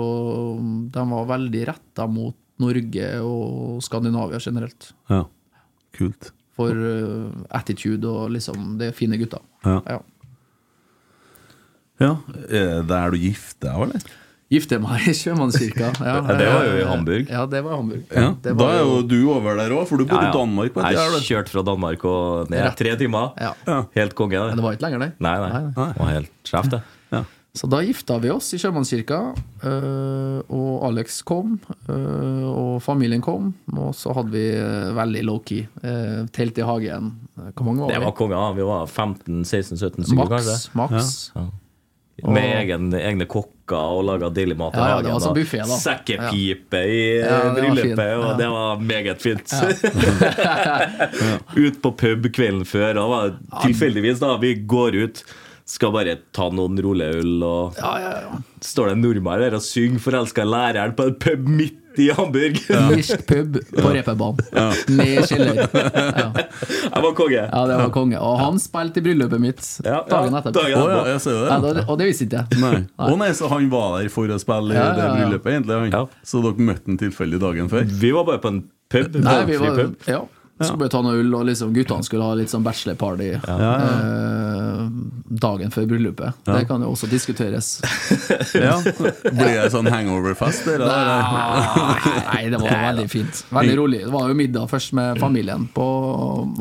D: de var veldig retta mot Norge og Skandinavia generelt.
C: ja. Kult.
D: For eh, attitude og liksom Det er fine gutter.
C: Ja.
D: Ja.
C: Ja, er det er du gift deg, eller?
D: Gifte meg i sjømannskirka.
C: [laughs]
D: Ja,
E: Ja, det var jo i Hamburg.
D: Ja, det var i Hamburg.
C: Ja.
D: Det
C: Da
D: var
C: er jo du over der òg, for du bor i Danmark. vet
E: Jeg
C: du, er
E: har
C: det?
E: kjørt fra Danmark og ned
D: Rett.
E: tre timer.
D: Ja.
E: Helt konge. det.
D: Men det var ikke lenger, nei.
E: Nei, nei.
D: Nei,
E: Det var helt sjef, det.
D: Så da gifta vi oss i sjømannskirka, øh, og Alex kom, øh, og familien kom. Og så hadde vi øh, veldig low-key. øh, Telt i hagen. Hvor mange var vi?
E: Det var konge. da. Vi var 15-16-17 stykker, kanskje.
D: Maks. maks.
E: Med egen, egne kokker og laga deilig mat. i
D: Ja, ja,
E: hagen,
D: det var
E: da.
D: sånn buffet, da.
E: Sekkepipe i
D: Ja, det var
E: bryllupet,
D: fint.
E: og det var meget fint. [laughs] ut på pub kvelden før. Da var det tilfeldigvis, da. Vi går ut. Skal bare ta noen rolige øl, og
D: Ja, ja, ja.
E: står det en nordmann der og synger 'Forelska læreren' på en pub midt i Hamburg.
D: Irsk pub på reperbanen. Med kjeller. Ja.
E: Jeg var konge.
D: ja, det var konge. Og han spilte i bryllupet mitt
E: Ja, ja,
D: dagen etterpå.
E: dagen
C: Å ja, jeg ser det.
D: Ja, da- og det visste ikke jeg.
C: Nei. Å nei, så han var der for å spille i
D: Ja,
C: det
D: ja, ja.
C: bryllupet, egentlig? han
E: Ja.
C: Så dere møtte han tilfeldig dagen før?
E: Vi var bare på en pub.
D: Nei, vi
E: valgfri
D: var,
E: pub.
D: ja. Skulle bare ta noe ull, og liksom, guttene skulle ha litt sånn bachelorparty eh, dagen før bryllupet. Det kan jo også diskuteres.
C: Ja. Ble det sånn hangover-fest? eller?
D: Ah, Nei, det var veldig fint. Veldig rolig. Det var jo middag først med familien på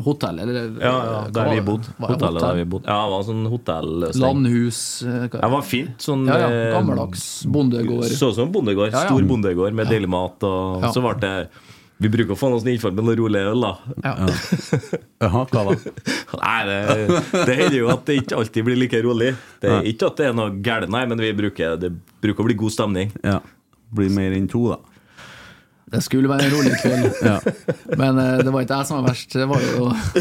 D: hotellet. Eller,
E: Ja, ja,
D: hva
E: der
D: var
E: vi
D: det?
E: bodde.
D: Var det
E: Hotellet der
D: hotell?
E: vi bodde. Ja, det var sånn hotelløsning.
D: Landhus eh, hva-
E: Det var fint. Sånn
D: ja, ja.
E: eh,
D: Gammeldags bondegård.
E: Så ut som en bondegård.
D: Ja, ja.
E: Stor bondegård med deilig mat. Og
D: Ja.
E: så ble det Vi bruker å få oss innenfor med noe rolig øl, da.
D: Ja.
C: Jaha, hva da?
E: Nei, [laughs] det, det hender jo at det ikke alltid blir like rolig. Det er ikke at det er noe gærent, nei, men vi bruker, det bruker å bli god stemning.
C: Ja. Blir mer enn to, da.
D: Det skulle være en rolig kveld, men eh, det var ikke jeg som var verst. Det var jo [laughs]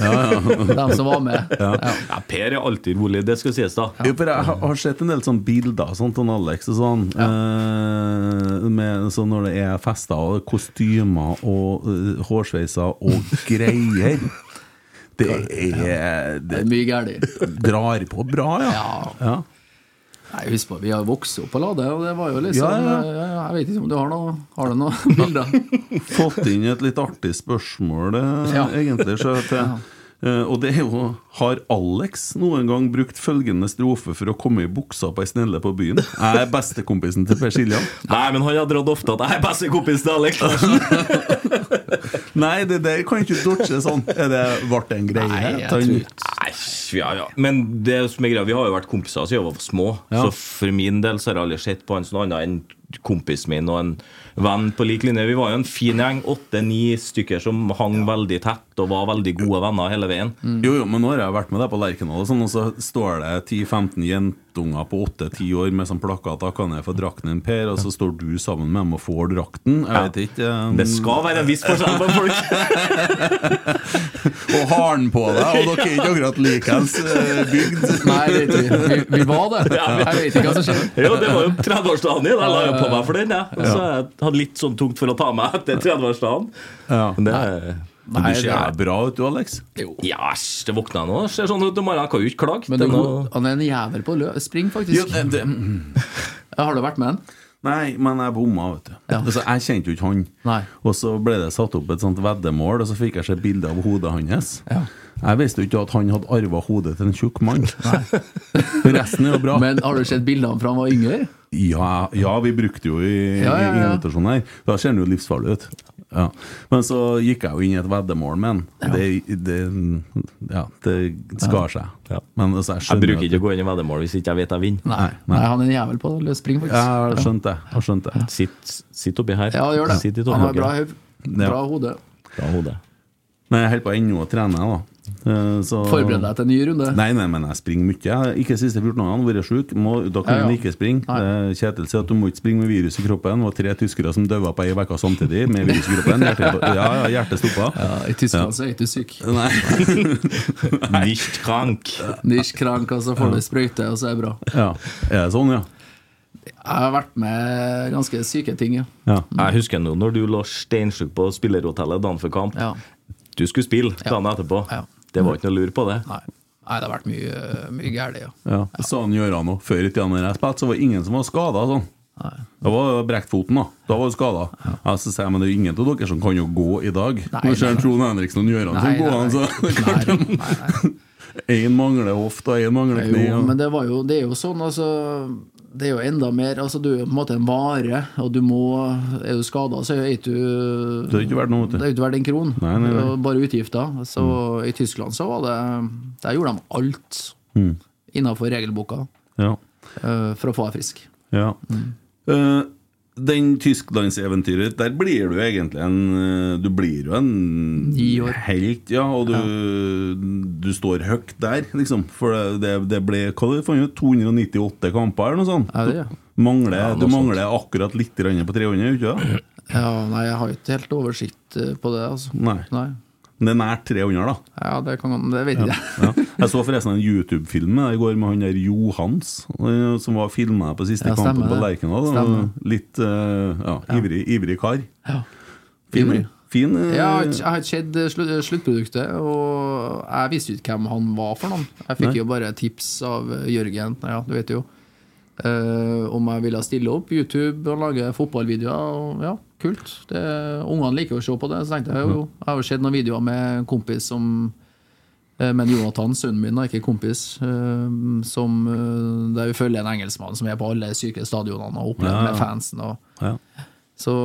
D: dem som var med. Ja.
E: Ja, per er alltid rolig, det skal sies, da.
C: Jo, for jeg har- har sett en del sånne bilder sånn, til Alex og sånn, eh, med, sånn når det er fester og kostymer og eh, hårsveiser
D: [laughs]
C: og greier. Det er
D: Det
C: Det
D: er mye galt.
C: drar på bra, ja.
D: Ja.
C: ja.
D: Nei, husk på, vi har vokst opp på Lade, og det var jo liksom
C: Ja, ja,
D: eh, ja, Jeg vet ikke om du har noe [laughs] Har du noen bilder?
C: Fått inn et litt artig spørsmål, eh,
D: Ja.
C: egentlig. Så
D: [laughs]
C: at, eh, eh, og det er jo Har Alex noen gang brukt følgende strofe for å komme i buksa på ei snelle på byen? Jeg er bestekompisen til Per Siljan.
E: Nei, men han har dratt ofte at jeg er bestekompis til Alex Larsen.
C: Nei, det der kan ikke dodge sånn. Er det ble det en greie?
D: Nei, jeg
C: Ta en-
D: tror-
E: Æsj, ja, ja. Men det som er greia, vi har jo vært kompiser siden vi var små. Så for min del så har jeg aldri sett på han som noe annet enn kompisen min og en venn på lik linje. Vi var jo en fin gjeng, åtte-ni stykker som hang veldig tett og var veldig gode venner hele veien.
C: Jo, jo, men nå har jeg vært med deg på Lerkendal, og, sånn, og så står det 10-15 jentunger på 8-10 år med sånn plakat 'Da kan jeg få drakten din, Per', og så står du sammen med dem og får drakten. Jeg vet ikke eh,
E: Det skal være en viss forskjell på folk.
C: [laughs] Og har den på deg, og dere er ikke akkurat likens eh, bygd.
D: Nei, det vet vi. vi. Vi var det. Jeg vet ikke hva som skjedde.
E: [laughs] Jo, det var jo 30-årsdagen din. Jeg la jo på meg for den. Jeg. Og så jeg hadde litt sånn tungt for å ta meg etter 30-årsdagen. Men det er-
C: Men
D: Nei,
C: du
D: det
C: ser
D: er-
C: bra ut, du, Alex.
E: Ja, æsj, det våkna jeg nå. Ser sånn ut om morgenen. Jeg kan jo ikke klage.
D: Men det,
E: Det er noe-
D: han er en jævel på lø spring,
C: Jo,
D: faktisk.
C: det, det,
D: Har du vært med han?
C: Nei, men jeg bomma, vet du.
D: Ja.
C: Altså, jeg kjente jo ikke han.
D: Nei.
C: Og så ble det satt opp et sånt veddemål, og så fikk jeg se bilde av hodet hans.
D: Ja.
C: Jeg visste jo ikke at han hadde arva hodet til en tjukk mann. [laughs] Resten er jo bra.
D: Men har du sett bildene fra han var yngre?
C: Ja, ja, vi brukte jo i,
D: Ja, ja,
C: i
D: ja.
C: invitasjonen her. Da ser han jo livsfarlig ut. Ja. Men så gikk jeg jo inn i et veddemål med han. Det, det, ja, det skar seg.
E: Ja.
C: Men altså, jeg
E: Jeg
C: skjønner
E: bruker ikke å gå inn i veddemål hvis ikke jeg vet jeg vinner.
C: Nei,
D: Nei,
C: nei.
D: han er en jævel på løs spring,
C: Jeg
D: faktisk.
C: har skjønt det. Jeg har skjønt det.
E: Sitt, sitt oppi her.
D: Ja, gjør
E: Sitt
D: det.
E: i
D: Han har bra,
E: tårnhøyre.
D: høv- bra hode.
E: Bra hode.
C: Men jeg holder på ennå å trene, jeg, da. Eh, så-
D: Forbered deg til en ny runde.
C: Nei, nei, men jeg springer mye. Jeg har Ikke de siste 14 årene, vært sjuk. Må- Da kan
D: Ja,
C: man
D: ja.
C: ikke springe.
D: Nei.
C: Eh, Kjetil sier at du må ikke springe med virus i kroppen. Det var tre tyskere som døde på ei uke samtidig med
D: [laughs]
C: virus i kroppen. Hjertet, ja, ja, hjertet stoppa.
D: Ja, I Tyskland så er ikke du syk.
C: Nei.
E: Nicht krank.
D: Nisch krank, og så får du sprøyte, og så er det bra.
C: Ja. Er det sånn, ja?
D: Jeg har vært med ganske syke ting, ja.
C: ja.
E: Jeg husker nå når du lå steinsjuk på spillerhotellet dagen før kamp.
D: ja.
E: Du skulle spille dagen etterpå.
D: Ja.
E: Det var ikke noe lur på det.
D: Nei. Nei, det har vært mye, mye gærent, ja.
C: ja. Sånn gjør han òg. Før i tida når jeg spilte, så var det ingen som var skada sånn. Da var brekt foten, da. Da var du skada. Ja, så sier jeg, men det er jo ingen av dere som kan jo gå i dag.
D: Nei,
C: Nå ser
D: nei.
C: Trond Henriksen og Gjøran som går an, så
D: nei, nei, nei, nei.
C: Én mangler hofta, én mangler kne.
D: Jo,
C: ja.
D: men det, var jo, det er jo sånn, altså. Det er jo enda mer altså Du er jo på en måte en vare, og du må Er du skada, så er ikke du
C: Det har ikke vært noe, vet du.
D: Det er jo ikke verdt en kron.
C: Nei, Mm. nei, nei.
D: Det var Bare utgifter. Så i Tyskland så var det Der gjorde de alt
C: Mm.
D: innenfor regelboka
C: Ja.
D: eh, for å få deg frisk.
C: Ja.
D: Mm.
C: Eh, den tysklandseventyret, der blir du egentlig en eh, Du blir jo en
D: Ni år.
C: helt, ja. Og du, du står høyt der, liksom. For det, det ble hva det fant ut, 298 kamper eller noe sånt.
D: Er det, ja.
C: Du Mangler, du mangler akkurat litt grann på 300, gjør du ikke
D: [clears throat]
C: det?
D: ja, nei, jeg har jo ikke helt oversikt eh, på det, altså.
C: Nei.
D: Nei.
C: Men det er nært 300, da.
D: Ja, det kan Det vet jeg.
C: Ja. Jeg så forresten en YouTube-film med deg i går med han der Johans, eh, som var filma på siste
D: Ja,
C: kampen
D: stemmer
C: på
D: det.
C: Lerkendal.
D: Stemmer.
C: Litt eh, ja, Ivrig, ivrig kar.
D: Ja.
C: Fin, fin eh,
D: Jeg har ikke- jeg har ikke sett eh, slu- eh, sluttproduktet, og jeg visste jo ikke hvem han var for noen. Jeg fikk
C: Nei.
D: jo bare tips av eh, Jørgen, ja, du vet jo, eh, om jeg ville stille opp YouTube og lage fotballvideoer. Og, ja, kult. Det, ungene liker jo å se på det, så tenkte jeg jo, jo. Jeg har jo sett noen videoer med en kompis som eh, men Jonathan, sønnen min, da, ikke kompis, eh, som, eh, der vi følger en engelskmann som er på alle syke stadionene og opplever
C: Ja, ja.
D: med fansen. Og,
C: ja.
D: så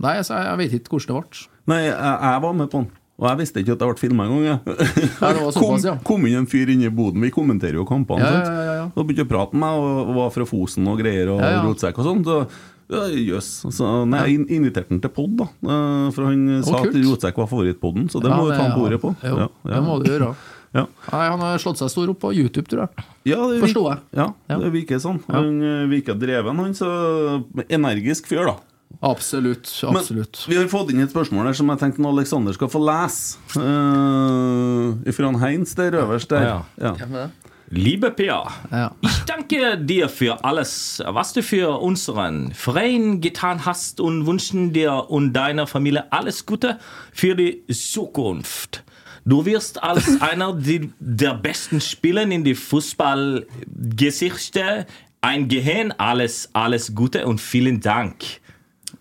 D: Nei, altså, jeg, jeg vet ikke hvordan det ble.
C: Nei, jeg, jeg var med på den. Og jeg visste ikke at det ble filma engang. jeg.
D: [laughs] Ja, det var
C: Kom,
D: såpass, ja.
C: kom inn en fyr inne i boden. Vi kommenterer jo kampene.
D: Ja, ja,
C: sant?
D: ja, ja, ja.
C: Og begynte å prate med meg, og var fra Fosen og greier, og
D: Ja, ja.
C: rotsekk og sånn. Så ja, jøss. Så nei, jeg in- inviterte han til pod, da. Eh, For han sa
D: kult.
C: at rotsekk var favorittpodden, så det må
D: Ja,
C: vi ta han på ordet på.
D: Jo,
C: Ja,
D: det må du
C: ja.
D: gjøre.
C: Ja.
D: Nei, han har slått seg stor opp på YouTube, tror jeg.
C: Ja, det
D: Forstår
C: virker-
D: jeg.
C: Ja,
D: Ja.
C: det virker sånn. Han eh, virker dreven, han. Så energisk fyr, da.
D: Absolutt. absolutt.
C: Men vi har fått inn et spørsmål her som jeg tenkte når Alexander skal få lese. Uh, fra han Heinz der øverst der.
E: Ah,
C: ja.
E: Liebe Pia,
D: Ja.
E: ich danke dir für alles, was du für unseren Verein getan hast und wünschen dir und deiner Familie alles Gute für die Zukunft. Du wirst
C: [laughs]
E: als einer die, der besten Spieler in die Fußballgeschichte ein Gehirn. Alles, alles Gute und vielen Dank.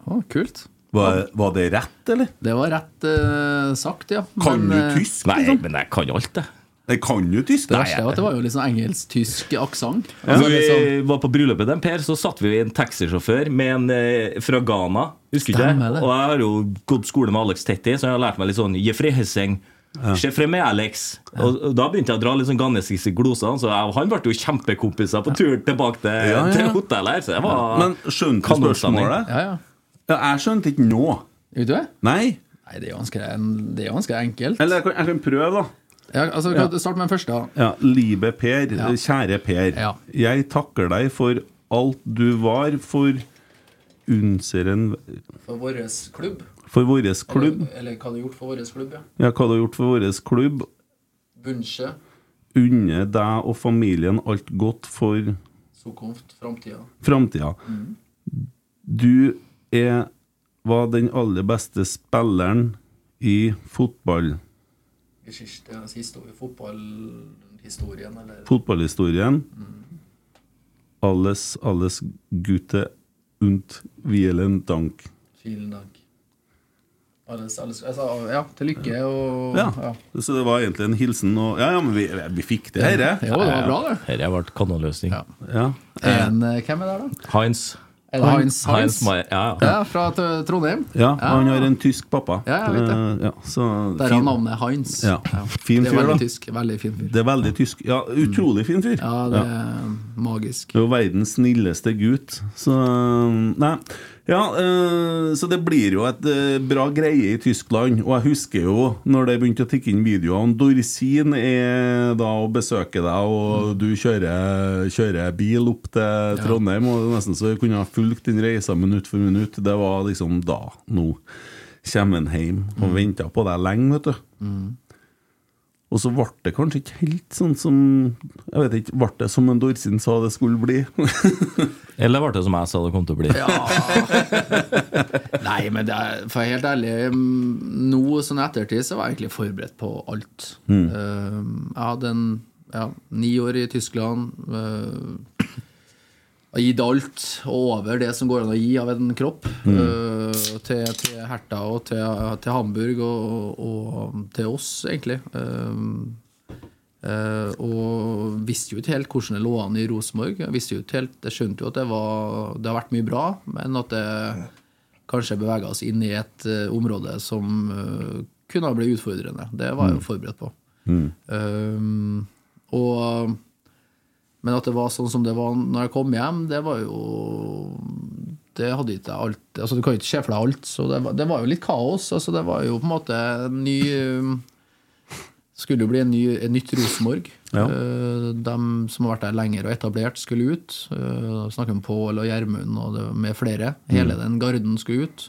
D: Å, kult.
C: Var, var det rett, eller?
D: Det var rett eh, sagt, ja.
C: Kan
D: Men, eh,
C: du tysk?
E: Nei,
C: liksom?
E: men jeg kan jo alt, jeg.
C: Jeg kan jo tysk!
D: Det verste var at det var jo litt sånn engelsk-tysk aksent.
E: Når
D: Altså, litt sånn-
E: vi Eh, var på bryllupet til Per, så satt vi i en taxisjåfør med en eh, fra Ghana. Husker ikke
D: Stemmer
E: jeg?
D: det.
E: Og jeg har jo gått skole med Alex Tetti, så jeg har lært meg litt sånn Jefri Hesseng. Ja. Se frem med Alex. Og og da begynte jeg å dra litt sånn ganesiske gloser. Så jeg, han ble jo kjempekompiser på tur tilbake til,
C: Ja, ja,
E: til
C: ja.
E: hotellet. her, Så det var
C: Men skjønte du
E: kanonstemning.
C: spørsmålet?
D: Ja, ja.
C: Ja, jeg skjønte ikke nå.
D: Vet du det?
C: Nei.
D: Nei, det er jo ganske, det er jo ganske enkelt.
C: Eller jeg kan, jeg kan prøve, da.
D: Ja, altså, Start med den første. da.
C: Ja, Livet Per,
D: Ja.
C: kjære Per.
D: Ja.
C: Jeg takker deg for alt du var for Unseren
D: For vår klubb.
C: For vår klubb.
D: Eller, eller hva du har gjort for vår klubb, ja.
C: Ja, hva du har gjort for vår klubb.
D: Bunche,
C: Unne deg og familien alt godt for
D: Sokomft, framtida.
C: framtida.
D: Mm.
C: Du er var den aller beste spilleren i fotball.
D: Geschichte, altså historie, fotballhistorien, eller
C: Fotballhistorien.
D: Mm.
C: Alles, alles Gute und vielen Dank.
D: Vielen Dank. Alles, alles, altså, ja, til lykke og
C: Ja. Så det var egentlig en hilsen og Ja, ja, men vi, vi fikk det her,
D: Jo, det var bra, det.
E: Dette ble kanonløsning.
D: Ja.
C: Ja.
D: En, eh, hvem er det, da?
E: Heinz.
D: Er det Heinz?
E: Heinz Meier. Ja, ja.
D: Ja, fra T- Trondheim.
C: ja, og han har en tysk pappa.
D: Ja, jeg vet det.
C: Eh, Ja, så
D: Der er
C: fin.
D: navnet Heinz.
C: Ja. Fin
D: det er
C: fyr,
D: veldig
C: da.
D: tysk. Veldig fin fyr.
C: Det er veldig tysk. Ja, utrolig fin fyr.
D: Ja, det er magisk.
C: Det er jo verdens snilleste gutt. Så um, Nei. Ja, eh, så det blir jo et eh, bra greie i Tyskland. Og jeg husker jo når det begynte å tikke inn videoer om Dorsin er da og besøker deg, og du kjører, kjører bil opp til Trondheim, og det er nesten så jeg kunne ha fulgt den reisa minutt for minutt. Det var liksom da. Nå kommer han hjem og venta på deg lenge, vet du. Og så ble det kanskje ikke helt sånn som Jeg vet ikke, ble det som en Dorsin sa det skulle bli?
E: Eller ble det som jeg sa det kom til å
D: [laughs]
E: bli?
D: Nei, men det er, for å være helt ærlig, mm, nå sånn i ettertid så var jeg egentlig forberedt på alt. Eh, jeg hadde en ja, ni år i Tyskland. eh, har gitt alt og over det som går an å gi av en kropp. eh, til, til Herta og til, til Hamburg og, og til oss, egentlig. Eh, Eh, og visste jo ikke helt hvordan det lå an i Rosenborg. Jeg visste jo ikke helt, jeg skjønte jo at det, var, det har vært mye bra, men at det kanskje bevega oss inn i et eh, område som eh, kunne ha blitt utfordrende. Det var jeg jo forberedt på. Eh, og, men at det var sånn som det var når jeg kom hjem, det var jo det hadde ikke jeg alt altså Du kan jo ikke se for deg alt, så det var, det var jo litt kaos. altså Det var jo på en måte en ny eh, skulle jo bli en ny, et nytt Rosenborg.
C: Ja.
D: Eh, De som har vært der lenger og etablert, skulle ut. Eh, Snakker om Pål og Gjermund og det, med flere. Hele den garden skulle ut.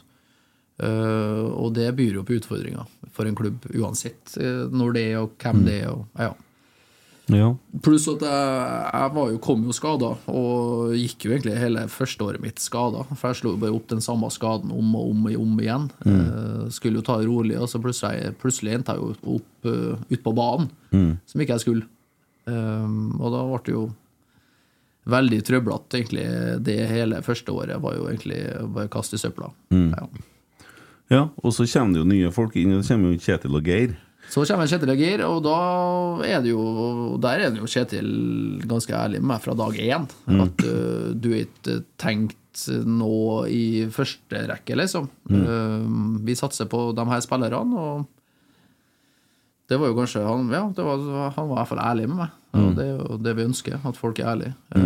D: Eh, Og det byr jo på utfordringer for en klubb, uansett eh, når det er og hvem det er. Og, ja.
C: ja.
D: Pluss at jeg, jeg var jo, kom jo skada, og gikk jo egentlig hele første året mitt skada. For jeg slo jo bare opp den samme skaden om og om, og om igjen. Eh, skulle jo ta det rolig, og så plutselig, plutselig endte jeg jo opp eh, ut på banen, som ikke jeg skulle. Eh, og da ble det jo veldig trøblete, egentlig. Det hele første året var jo egentlig bare kast i søpla. Ja.
C: ja. Og så kommer det jo nye folk inn. og Det kommer jo Kjetil og Geir.
D: Så kommer Kjetil Agir, og da er det jo Der er det jo Kjetil ganske ærlig med meg fra dag én. At ø, du er ikke tenkt nå i første rekke, liksom. Ø, vi satser på de her spillerne, og det var jo kanskje Han, ja, det var, han var i hvert fall ærlig med meg.
C: Mm.
D: Og det er jo det vi ønsker, at folk er ærlige. Ø,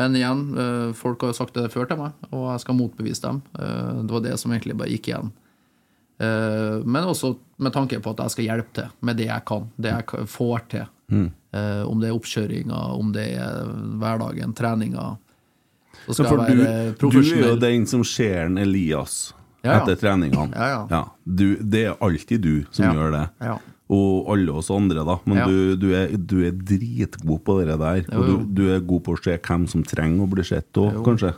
D: men igjen, ø, folk har jo sagt det før til meg, og jeg skal motbevise dem. Ø, det var det som egentlig bare gikk igjen. Eh, Men også med tanke på at jeg skal hjelpe til med det jeg kan, det jeg k- får til.
C: Mm.
D: Eh, om det er oppkjøringa, om det er hverdagen, treninga.
C: Ja,
D: Så skal
C: for
D: jeg
C: du, du
D: være
C: er jo
D: profesjonell.
C: den som ser en Elias
D: Ja, ja.
C: etter treningene.
D: Ja, ja.
C: Du, det er alltid du som
D: Ja.
C: gjør det.
D: Ja.
C: Og alle oss andre, da. Men
D: Ja.
C: du, du, er, du er dritgod på det der.
D: Jo,
C: Og
D: jo.
C: du, du er god på å se hvem som trenger å bli sett òg, kanskje.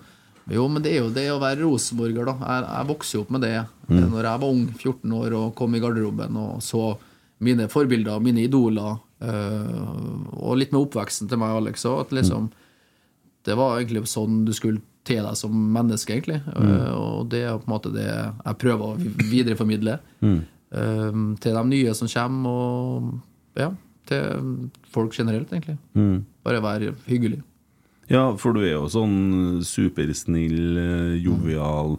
D: Jo, men det er jo det å være rosenborger, da. Jeg, jeg vokste jo opp med det mm. Når jeg var ung, 14 år, og kom i garderoben og så mine forbilder, mine idoler, eh, og litt med oppveksten til meg og Alex òg, at liksom Det var egentlig sånn du skulle te deg som menneske, egentlig. Eh, og det er på en måte det jeg prøver å vi- videreformidle eh, til de nye som kommer, og ja, til folk generelt, egentlig. Bare være hyggelig.
C: Ja, for du er jo sånn supersnill, eh, jovial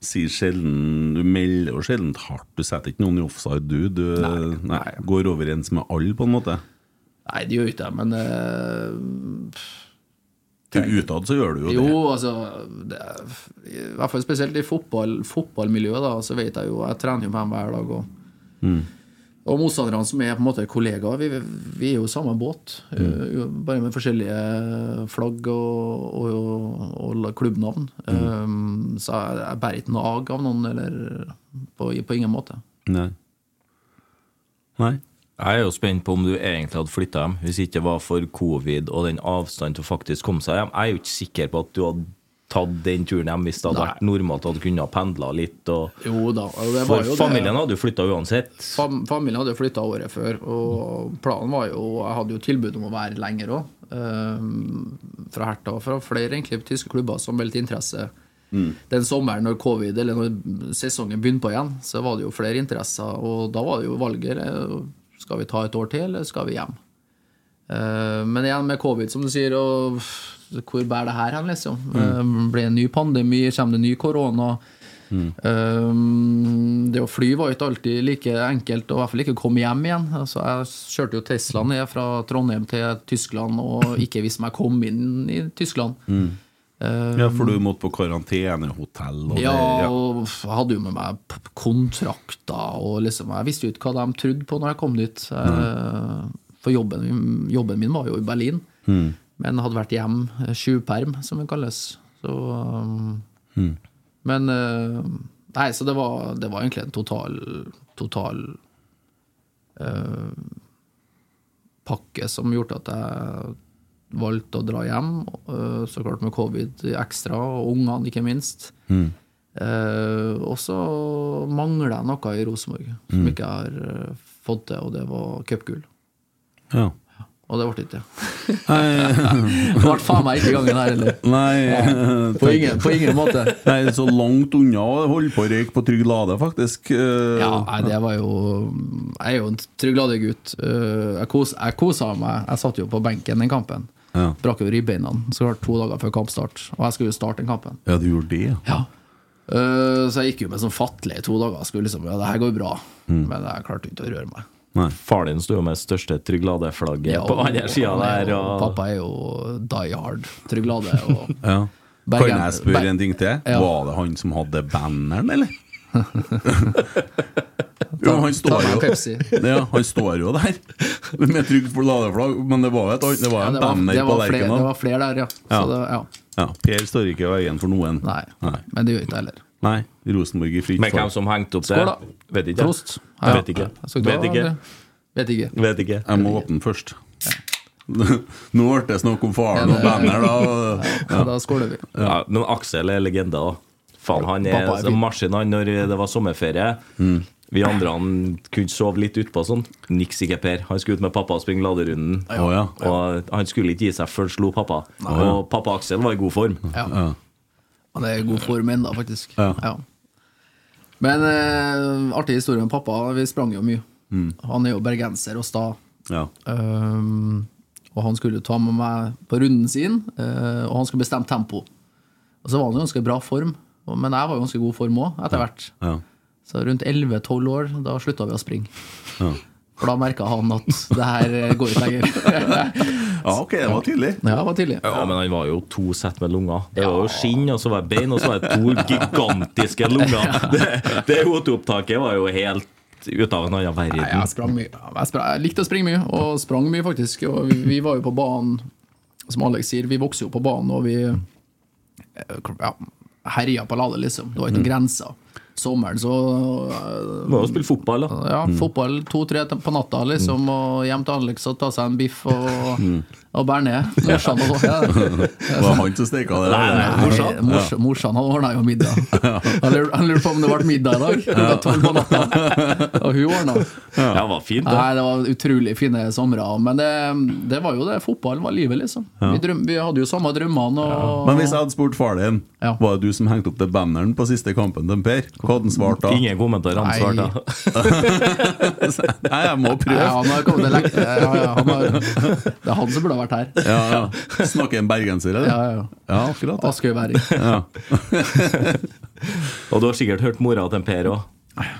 C: sier sjelden Du melder jo sjelden hardt. Du setter ikke noen i offside, du. Du nei, går overens med alle, på en måte.
D: Nei, det gjør ikke jeg, men eh,
C: Til utad så gjør du jo,
D: Jo,
C: det.
D: altså det, er- I hvert fall spesielt i fotball, fotballmiljøet, da, så vet jeg jo Jeg trener jo med dem hver dag. Og,
C: Mm.
D: og motstanderne som er på en måte kollegaer, vi, vi er jo i samme båt. eh, jo, Bare med forskjellige flagg og, og, og, og klubbnavn. Eh, så jeg, jeg bærer ikke nag av noen, eller på, på ingen måte.
C: Nei. Nei.
E: Jeg er jo spent på om du egentlig hadde flytta hjem hvis ikke det var for covid og den avstanden til å faktisk komme seg hjem. Jeg er jo ikke sikker på at du hadde tatt den turen hjem hvis det hadde vært normalt at du kunne ha pendla litt. Og
D: Jo da. og det var
E: for
D: jo det-
E: familien hadde jo flytta uansett.
D: Fam familien hadde flytta året før, og planen var jo Jeg hadde jo tilbud om å være lenger òg. fra Herta og fra flere egentlig tyske klubber som meldte interesse. Den sommeren når covid, eller når sesongen begynte på igjen, så var det jo flere interesser. Og da var det jo valget. eh, Skal vi ta et år til, eller skal vi hjem? Eh, men igjen med covid, som du sier, og hvor bærer det her hen, liksom? Eh, blir det en ny pandemi? Kommer det ny korona? Um, det å fly var jo ikke alltid like enkelt, og i hvert fall ikke å komme hjem igjen. Altså, jeg kjørte jo Tesla ned fra Trondheim til Tyskland og ikke visste om jeg kom inn i Tyskland. Um,
C: Ja, for du måtte på karantenehotell og
D: ja,
C: det.
D: og jeg hadde jo med meg p- p- kontrakter, og liksom, jeg visste jo ikke hva de trodde på når jeg kom dit. Eh, For jobben, min- jobben min var jo i Berlin,
C: Mm.
D: men hadde vært hjem, eh, tjuvperm, som det kalles. Så, um,
C: Mm.
D: Men eh, Nei, så det var, det var egentlig en total, total eh, pakke som gjorde at jeg valgte å dra hjem. eh, Så klart med covid ekstra, og ungene ikke minst. Eh, og så mangler jeg noe i Rosenborg som ikke jeg har eh, fått til, og det var cupgull.
C: Ja.
D: Og det ble ikke det. [laughs] Det ble faen meg ikke gangen her heller. [laughs]
C: Nei
D: På ingen, på ingen måte.
C: Nei, så langt unna å holde på å røyke på trygg lade, faktisk. Eh,
D: Ja, nei, det var jo Jeg er jo en trygg gutt. Eh, Jeg, kos, jeg kosa meg. Jeg satt jo på benken den kampen.
C: Ja.
D: Brakk jo ribbeina så klart to dager før kampstart, og jeg skulle jo starte den kampen.
C: ja, du gjorde det, ja.
D: Ja. Eh, så jeg gikk jo med sånn fattelig i to dager. Jeg Skulle liksom, ja, det her går bra. Men jeg klarte ikke å røre meg.
C: Nei.
E: Far din sto jo med største Tryglade-flagget
D: Ja,
E: på andre
D: og-
E: sida
D: han er
E: der.
D: jo-
E: Og...
D: Pappa er jo die hard. Tryglade. Og
C: Ja. Kan
D: Bergen-
C: jeg spørre
D: Ber-
C: en ting til?
D: Ja.
C: Var det han som hadde banneren,
D: [laughs]
C: eller? jo, han
D: ta
C: står
D: meg en
C: jo
D: Pepsi.
C: ja, Han står jo der med trygg ladeflagg, men det var jo et annet Det var
D: Ja,
C: en
D: det, var, det,
C: banner på
D: var flere, det var
C: Lerkendal.
D: flere der, ja.
C: Ja.
D: Så det, ja.
C: Ja, per står ikke i veien for noen.
D: Nei.
C: Nei.
D: Men det gjør ikke jeg heller.
C: Nei. Rosenborg i fritt
E: Men hvem
C: fall.
E: som hengte opp det?
D: Skål, da.
E: Vet ikke.
D: Prost.
E: Ja. Vet ikke.
D: Jeg skal
E: Vet
D: ta-
E: ikke.
D: Vet ikke.
E: Vet ikke.
C: Jeg må åpne først. [laughs] Nå ble det snakk om faren og banner, da.
D: Ja, da skåler vi.
E: Ja, men Aksel er legende, da. Faen, han er,
D: Pappa er
E: en
D: fin.
E: maskin han når det var sommerferie. Vi andre han kunne sove litt utpå sånn. Niks ikke Per. Han skulle ut med pappa og springe laderunden.
C: Å ja.
E: Og han skulle ikke gi seg før slo pappa. Og pappa Aksel var i god form.
D: Ja. Han er i god form ennå, faktisk. Ja. Men eh, artig historie om pappa. Vi sprang jo mye. Han er jo bergenser og sta.
C: ja.
D: Um, og han skulle ta med meg på runden sin, eh, og han skulle bestemme tempo. Og så var han i ganske bra form, og- men jeg var i ganske god form òg, etter hvert.
C: ja.
D: Så rundt 11-12 år, da slutta vi å springe. For da merka han at det her eh, går ikke
C: [laughs]
D: lenger.
C: Ja, ok, det var tydelig. [laughs]
D: ja, det var tidlig.
E: Ja, men han var jo to sett med lunger. Det var jo skinn, og så var det bein, og så var det to gigantiske [laughs] lunger. Det, det hodeopptaket var jo helt ut av en annen
D: Nei, jeg
E: verden.
D: sprang mye. Jeg, sprang, jeg likte å springe mye, og sprang mye, faktisk. Og vi, vi var jo på banen, som Alex sier, vi vokste jo på banen, og vi eh, ja, herja på Lade, liksom. Det var ikke noen grenser. Sommeren så eh,
E: Mm. Må jo spille fotball, da. Mm.
D: ja, fotball to-tre på natta, liksom, og hjem til Alex og ta seg en biff og,
E: Mm.
D: og bære ned. Morsan og ja.
C: Det var han som steka det.
E: [laughs] Nei, nei, morsan.
D: Mors, morsan han ordna jo middag.
E: [laughs]
D: Han lur- han lurte på om det ble middag i dag, klokka tolv på natta. Og hun ordna.
E: Ja, det var fint, da.
D: Nei, det var utrolig fine somre. Men det, det var jo det. Fotballen var livet, liksom. Vi, drøm, vi hadde jo samme drømmene. Og,
C: Men hvis jeg hadde spurt far din,
D: Ja.
C: var det du som hengte opp det banneren på siste kampen til Per? Hva hadde han svart da?
E: Ingen kommentarer
D: Nei.
E: ansvart, da.
C: [laughs] Nei, jeg må
D: Nei,
C: prøve.
D: han har kommet til lek- ja, ja, han har, Det er han som burde ha vært her.
C: Ja, ja. Snakker en bergenser, eller?
D: Ja, ja, ja.
C: Ja, akkurat. det.
D: Askøy Væring.
C: Ja.
E: Og du har sikkert hørt mora til Per òg.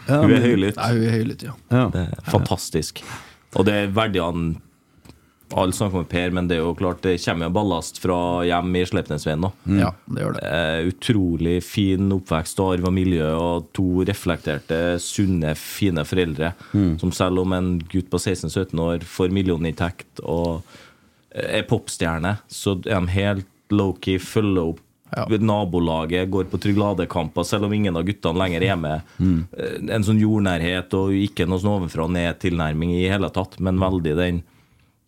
E: Hun er høylytt.
D: Nei, hun er høylytt, ja.
E: Det er fantastisk. Og det er verdiene Alle snakker om Per, men det er jo klart det kommer jo ballast fra hjem i Slepnesveien nå.
D: Ja, det gjør det.
E: Eh, utrolig fin oppvekst og arv av miljø og to reflekterte, sunne, fine foreldre. Som selv om en gutt på 16-17 år får millioninntekt og er popstjerne, så er de helt low-key, følger opp
D: Ja.
E: nabolaget, går på Trygladekamper, selv om ingen av guttene lenger er hjemme. Eh, En sånn jordnærhet og ikke noe sånn ovenfra og ned-tilnærming i hele tatt, men veldig den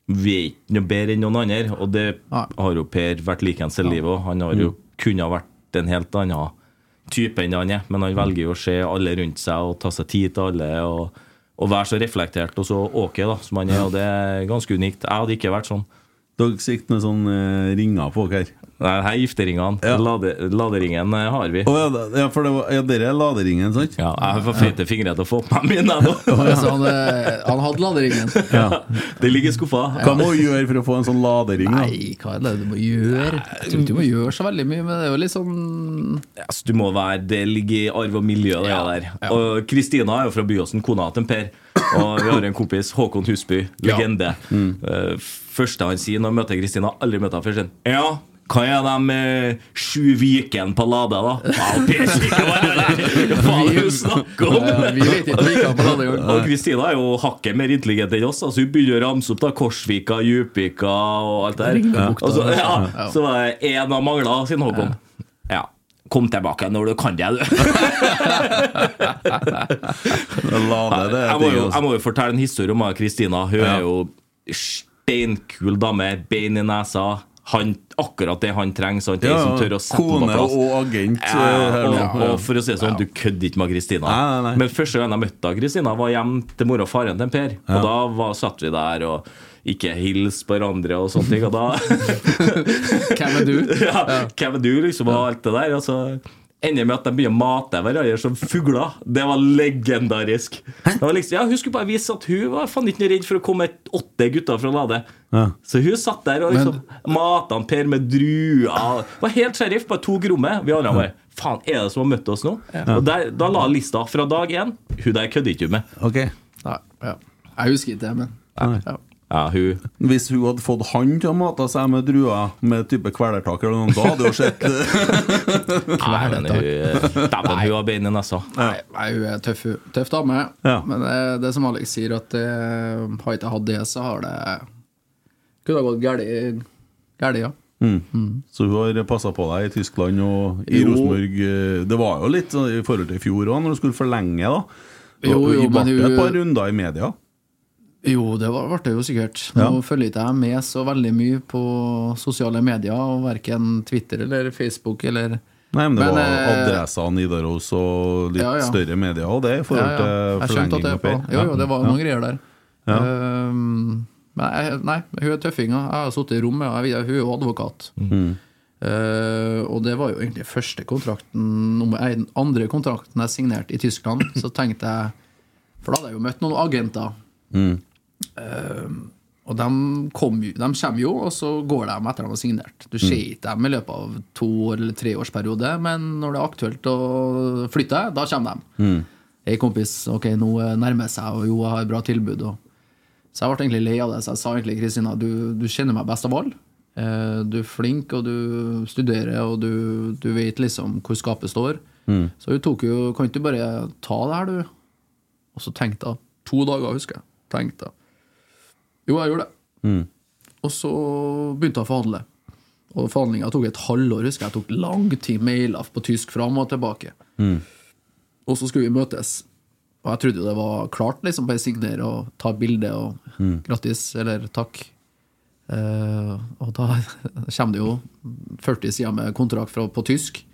E: vi er ikke noe bedre enn noen andre, og det
D: Nei.
E: har jo Per vært likens i livet òg. Han har jo kunnet ha vært en helt annen type enn han er, men han velger jo å se alle rundt seg og ta seg tid til alle. og og være så reflektert og så ok da, som han er, og det er ganske unikt. Jeg hadde ikke vært sånn.
C: Dere sitter med sånn eh, ringer på dere.
E: Nei, her er gifteringene.
C: Ja.
E: Lade, laderingen eh, har vi.
C: Å ja, det- ja, for det var, ja, dere er laderingen, sant?
E: Ja, jeg har for fete fingre til å få på meg mine. nå.
D: Altså, han, eh, han hadde laderingen.
E: Det ligger i skuffa.
C: Hva må vi gjøre for å få en sånn ladering? da?
D: Nei, hva er det du må gjøre? Jeg tror ikke du må gjøre så veldig mye, men det er jo litt sånn
E: Yes, altså, du må være, Det ligger i arv og miljø. Det der. Og Kristina er jo fra Byåsen, kona til Per. Og vi har en kompis, Håkon Husby. Legende.
D: Mm.
E: Eh, første han sier når han møter Kristina, aldri møter han før, sier han, Ja, hva er de eh, sju vikene på
D: [laughs]
E: Lade, da? Ja, Per skal ikke være der! Hva faen er det du snakker om?
D: Ja, ja, vi vet ikke hva han på Lade gjør.
E: Og Kristina er jo hakket mer intelligent enn oss. Altså Hun begynner å ramse opp da Korsvika, Djupvika og alt det der. Ja.
D: Ringebukta.
E: Og så, ja,
D: Ja.
E: så var det én av mangla, sier Håkon. Ja. Kom tilbake når du kan det, du. [laughs]
C: Lade, det er
E: Jeg må
C: ting,
E: jo,
C: altså.
E: jeg må jo fortelle en historie om meg og Kristina. Hun er jo steinkul dame. Bein i nesa. Han, akkurat det han trenger. Sant? En som tør å sette den på
C: Kone
E: plass.
C: og agent. eh, her
E: Ja,
C: nå.
E: og, og for å si det sånn, du kødder ikke med Kristina.
C: Nei, nei, nei.
E: Men første gang jeg møtte deg, Kristina, var hjemme til mor og faren til Per. Og da var, satt vi der og ikke hilse på hverandre og sånne ting. Og da
C: [laughs]
D: Hvem er du?
E: [laughs] ja, Hvem er du, liksom, og alt det der. Og så ender med at de begynner å mate hverandre som fugler. Det var legendarisk. Det var liksom, ja, hun skulle bare vise at hun var faen ikke redd for å komme et åtte gutter fra Lade. Så hun satt der og liksom mata han Per med druer. Var helt sheriff, bare tok rommet. Vi andre bare Faen, er det som har møtt oss nå? Og der, Da la jeg lista fra dag én. Hun der kødder ikke hun med.
C: Ok.
D: Nei, ja. Jeg husker ikke det, men ja.
E: Ja, hun
C: Hvis hun hadde fått han til å mate seg med druer med type kvelertak, eller noe, da hadde hun sett eh,
E: [laughs] Nei, men hun Dæven, hun har bein i nesa.
D: Nei, nei, hun er tøff, hun. tøff dame.
C: Ja.
D: Men det, det som Alex sier, at det, har ikke jeg hatt det, så har det Kunne ha gått galt, galt, ja.
C: Så hun har passa på deg i Tyskland og i
D: Jo.
C: Rosenborg. eh, Det var jo litt sånn i forhold til i fjor òg, når du skulle forlenge, da.
D: Jo,
C: Og- og
D: jo,
C: i
D: men
C: ble
D: hun-
C: et par runder i media.
D: Jo, det var- ble det jo sikkert.
C: Ja.
D: Nå følger ikke jeg med så veldig mye på sosiale medier, og verken Twitter eller Facebook eller
C: Nei, men det
D: Men,
C: var
D: eh,
C: adressa Nidaros og litt
D: ja, ja.
C: større media og det i forhold
D: Ja, ja.
C: til
D: Jeg skjønte
C: forlenging
D: at det
C: og
D: var
C: Per.
D: Jo, jo, det var
C: Ja.
D: noen greier der. Ehm, men jeg, nei, hun er tøffinga. Jeg har sittet i rommet, og jeg, vet- hun er jo advokat. Eh, og det var jo egentlig første kontrakten nummer- nei, den andre kontrakten jeg signerte i Tyskland. Så tenkte jeg For da hadde jeg jo møtt noen agenter. Ehm, og de, kom, jo- de kommer jo, og så går de etter de har signert. Du ser ikke dem i løpet av to år eller tre års periode, men når det er aktuelt å flytte, da kommer de. Hei, kompis, ok, nå eh, nærmer jeg seg, og jo, jeg har et bra tilbud. Og... Så jeg ble egentlig lei av det. Så jeg sa egentlig Kristina, du, du kjenner meg best av alle. Eh, Du er flink, og du studerer, og du, du vet liksom hvor skapet står. Så hun tok jo Kan ikke du bare ta det her, du? Og så tenkte hun. To dager, husker jeg. Tenkte hun. Jo, jeg gjorde det. Og så begynte jeg å forhandle. Og forhandlinga tok et halvår, husker jeg. Jeg tok lang tid mailer på tysk fram og tilbake. Og så skulle vi møtes. Og jeg trodde jo det var klart, liksom. Bare signere og ta bilde og grattis, eller takk. Eh, og da [laughs] kommer det jo 40 sider med kontrakt fra, på tysk.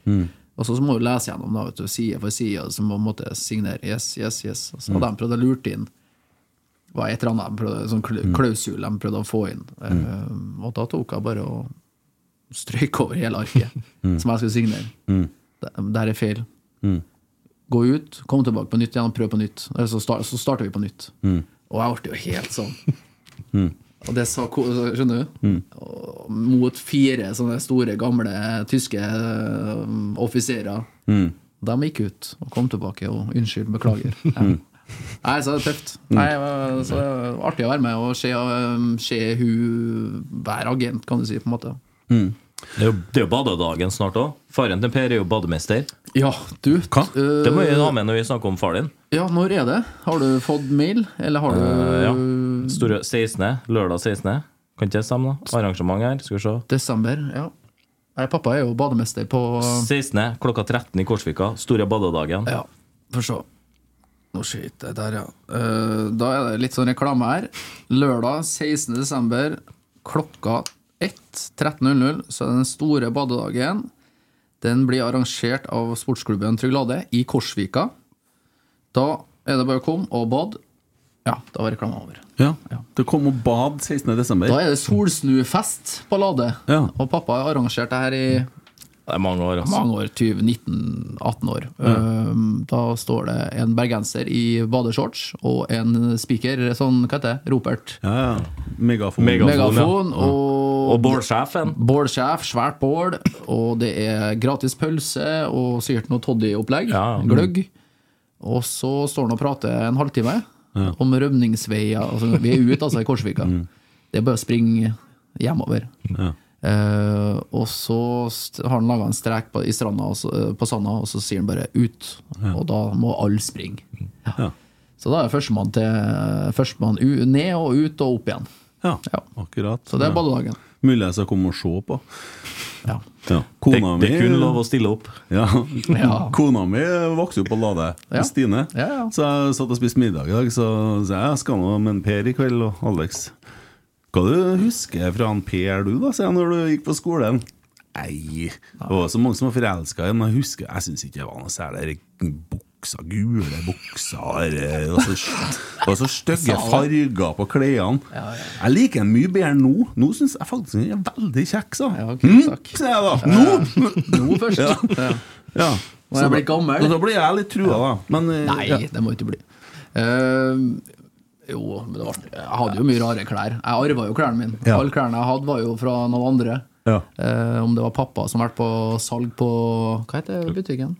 D: Og så må du lese gjennom da, vet du, side for side, og så må du måtte signere yes, yes, yes. Og så hadde de prøvd å lure inn var et eller annet de prøvde, sånn kl- klausul de prøvde å få inn. Eh, og da tok jeg bare og strøyk over hele arket som jeg skulle signere. Det her er feil. Gå ut, kom tilbake på nytt igjen og prøv på nytt. Eller så, start, så starter vi på nytt. Og jeg ble jo helt sånn. Og det sa ko- Skjønner du? Og Mot fire sånne store, gamle tyske øh, offiserer. De gikk ut og kom tilbake og unnskyld, beklager. Ja. Nei, så det er tøft. Nei, så det er artig å være med og se, um, se hun være agent, kan du si. på en måte
E: Det er jo, det er jo badedagen snart òg. Faren til Per er jo bademester.
D: Ja, du Hva?
E: Det må vi ha med når vi snakker om far din.
D: Ja, når er det? Har du fått mail, eller har du
E: Eh, ja. Store 16. Lørdag 16. Kan ikke det stemme, da? Arrangement her. Skal vi se.
D: Desember? Ja. Nei, pappa er jo bademester på
E: 16. klokka 13 i Korsvika. Store badedagen.
D: Ja, få se. Nå skyter jeg der, ja. Eh, da er det litt sånn reklame her. Lørdag 16. desember klokka 1.13.00 så er det den store badedagen. Den blir arrangert av sportsklubben Tryglade i Korsvika. Da er det bare å komme og bade. Ja, da var reklama over.
C: Ja. Det kom og bad 16. desember.
D: Da er det solsnufest på Lade.
C: Ja.
D: Og pappa har arrangert det her i
E: Det er mange år, altså.
D: mange år, 20, 19, 18 år. Um, Da står det en bergenser i badeshorts og en spiker, sånn, hva heter det, Ropert.
C: Ja, ja. Megafon.
E: Megafon.
D: Megafon og,
E: Og bålsjefen.
D: bålsjef, svært bål, og det er gratis pølse og sikkert noe toddyopplegg,
E: Ja.
D: gløgg. Og så står han og prater en halvtime om rømningsveier. Altså, vi er ute altså, i Korsvika. Det er bare å springe hjemover. Eh, og så st- har han laga en strek på, i stranda, og så- eh, på sanda, og så sier han bare 'ut'. Og da må alle springe. Ja. Så da er førstemann til- førstemann u- ned og ut og opp igjen.
C: Ja,
D: Ja.
C: akkurat.
D: Så det
C: Ja.
D: er badedagen.
C: Mulig jeg skal komme og se på.
D: Ja.
C: Ja.
E: Det,
C: Kona
E: det er kun
C: mi-
E: lov å stille opp.
C: Ja. [laughs]
D: Ja.
C: Kona mi vokste jo på Lade,
D: Ja.
C: Stine.
D: Ja, ja.
C: Så jeg satt og spiste middag i dag, så sa jeg jeg skal nå med en Per i kveld og Alex. Hva du husker fra han Per du, da, sier jeg, når du gikk på skolen? Nei, det var så mange som var forelska i ham. Jeg husker, jeg syns ikke det var noe særlig de buksa, gule bukser og så, og så stygge farger på klærne. Jeg liker ham mye bedre nå. Nå syns jeg faktisk han er veldig kjekk, så.
D: Ja, ok,
C: Hm,
D: takk.
C: sier jeg da. Nå!
D: [laughs] Nå først.
C: Ja.
D: Ja.
C: Ja.
D: Når jeg blir gammel.
C: Så Da blir jeg litt trua, da. Men eh,
D: Nei,
C: ja.
D: det må ikke bli. Eh, jo, men det var, jeg hadde jo mye rare klær. Jeg arva jo klærne mine.
C: Ja.
D: Alle klærne jeg hadde, var jo fra noen andre.
C: Ja.
D: Eh, om det var pappa som vært på salg på Hva heter butikken?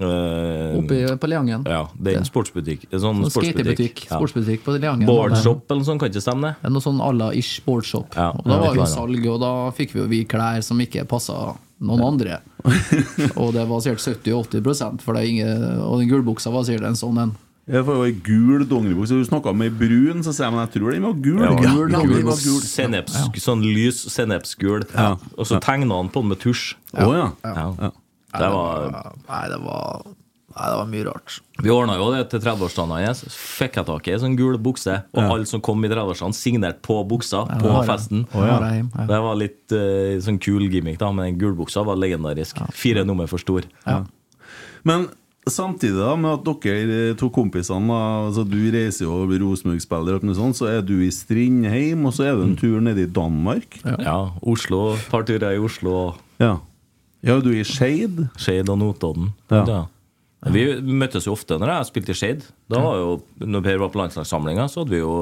E: Eh,
D: Oppe i- på Leangen.
E: ja, det er en sportsbutikk. En sånn
D: Sånn
E: sportsbutikk.
D: Skatebutikk. Sportsbutikk på Leangen.
E: Boardshop eller noe sånt, kan ikke stemme det?
D: Ja, Noe sånn à la ish boardshop.
E: Ja,
D: og da
E: ja,
D: var jo
E: klart, ja.
D: salg, og da fikk vi jo vi klær som ikke passa noen andre.
E: [laughs]
D: og det var sikkert 70-80 for det er ingen, og den gulbuksa var sikkert en sånn en.
C: Jeg får jo ei gul dongeribukse. Du snakka med ei brun, så sier jeg men jeg tror den var gul.
E: Ja,
C: Ja,
D: gul,
C: ja,
D: gul.
C: den var gul.
E: Senneps, Sånn lys sennepsgul.
C: Ja.
E: Og så tegna han på den med tusj.
C: Å ja.
E: Ja. Det var
D: Nei, det var, nei, det var mye rart.
E: Vi ordna jo det til 30-årsdagen hans. Fikk jeg tak i ei sånn gul bukse. Og alle som kom i 30-årsdagen, signerte på buksa på
D: har jeg.
E: festen.
D: Å, ja. Har jeg hjemme, ja.
E: Det var litt eh, sånn kul gimmick, da, men gulbuksa var legendarisk. Fire nummer for stor.
C: Men samtidig da med at dere eh, to kompisene da, altså Du reiser jo og blir Rosenborg-spiller, og alt mulig sånt, så er du i Strindheim, og så er det
D: Mm.
C: en tur nede i Danmark.
E: Ja. Oslo. Et par turer i Oslo og
C: Ja. Ja, du er i Skeid.
E: Skeid og Notodden.
C: Ja.
E: Ja. Vi møttes jo ofte når jeg spilte i Skeid. Da var jo, når Per var på landslagssamlinga, så hadde vi jo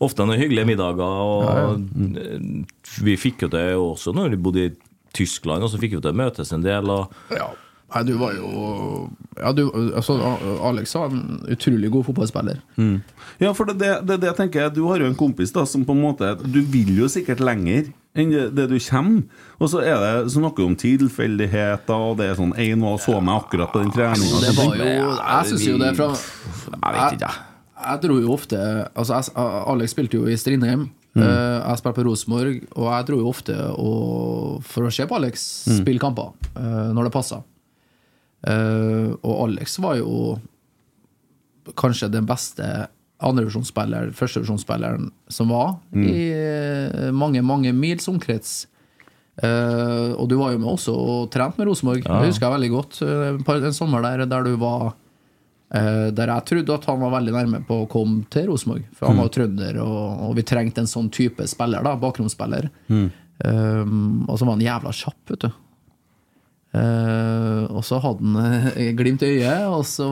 E: ofte noen hyggelige middager. Og eh, vi fikk jo til også når vi bodde i Tyskland, og så fikk vi til å møtes en del. Og
D: Ja. Nei, du var jo ja, du, altså, A- Alex var en utrolig god fotballspiller.
C: Ja, for det er det, det, jeg tenker Du har jo en kompis da som på en måte Du vil jo sikkert lenger enn det, det du kommer. Og så er det så snakker du om tilfeldigheter, og det er sånn En var og så meg akkurat på den treninga.
D: Det var jo
E: Ja,
D: Jeg syns jo det fra
E: Jeg vet ikke, jeg.
D: Jeg dro jo ofte Altså, jeg, Alex spilte jo i Strindheim. eh, Jeg spilte på Rosenborg, og jeg dro jo ofte og, for å se på Alex spille kamper eh, når det passa. Eh, og Alex var jo kanskje den beste andrevisjonsspilleren, førstevisjonsspilleren som var i eh, mange, mange mils omkrets. Eh, og du var jo med også og trent med Rosenborg. Det husker jeg veldig godt. Eh, en par- En sommer der, der du var eh, Der jeg trodde at han var veldig nærme på å komme til Rosenborg. For han var jo trønder, og, og vi trengte en sånn type spiller. da Bakgrunnsspiller. Eh, og så var han jævla kjapp, vet du. Eh, og så hadde han eh, glimt i øyet, og så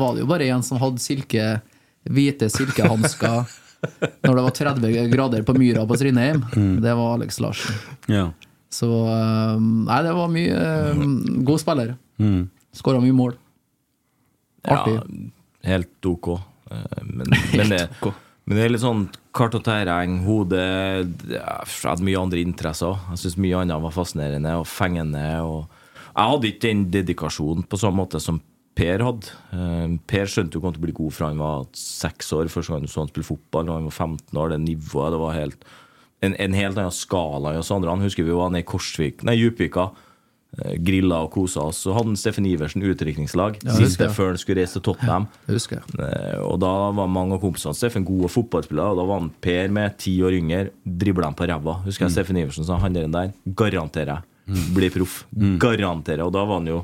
D: var det jo bare en som hadde silke, hvite silkehansker når det var 30 grader på myra på Strindheim. Det var Alex Larsen.
C: Ja.
D: um, Så eh, Nei, det var mye eh, god spiller. Skåra mye mål. Artig.
E: Ja, helt ok. Eh, Men, men, det, men det er litt sånn kart og terreng, hode Jeg hadde mye andre interesser. også. Jeg syns mye annet var fascinerende og fengende. Og jeg hadde ikke den dedikasjonen på samme måte som Per hadde. Eh, Per skjønte jo kom til å bli god fra han var seks år, første gang du så han spille fotball. Da han var 15 år, det nivået det var helt, en, en helt annen skala enn oss andre. Han husker vi var nede i Korsvik, nei, Djupvika. eh, Grilla og kosa oss. Så hadde Steffen Iversen utdrikningslag
D: Ja, det husker
E: siste
D: jeg.
E: før han skulle reise til Tottenham.
D: Det husker jeg.
E: Eh, Og da var mange av kompisene Steffen gode fotballspillere, og da var han Per med ti år yngre, dribla han på ræva. Husker
C: Mm.
E: jeg Steffen Iversen sa han der, der garanterer jeg blir proff.
C: Mm.
E: Garanterer. Og da var han jo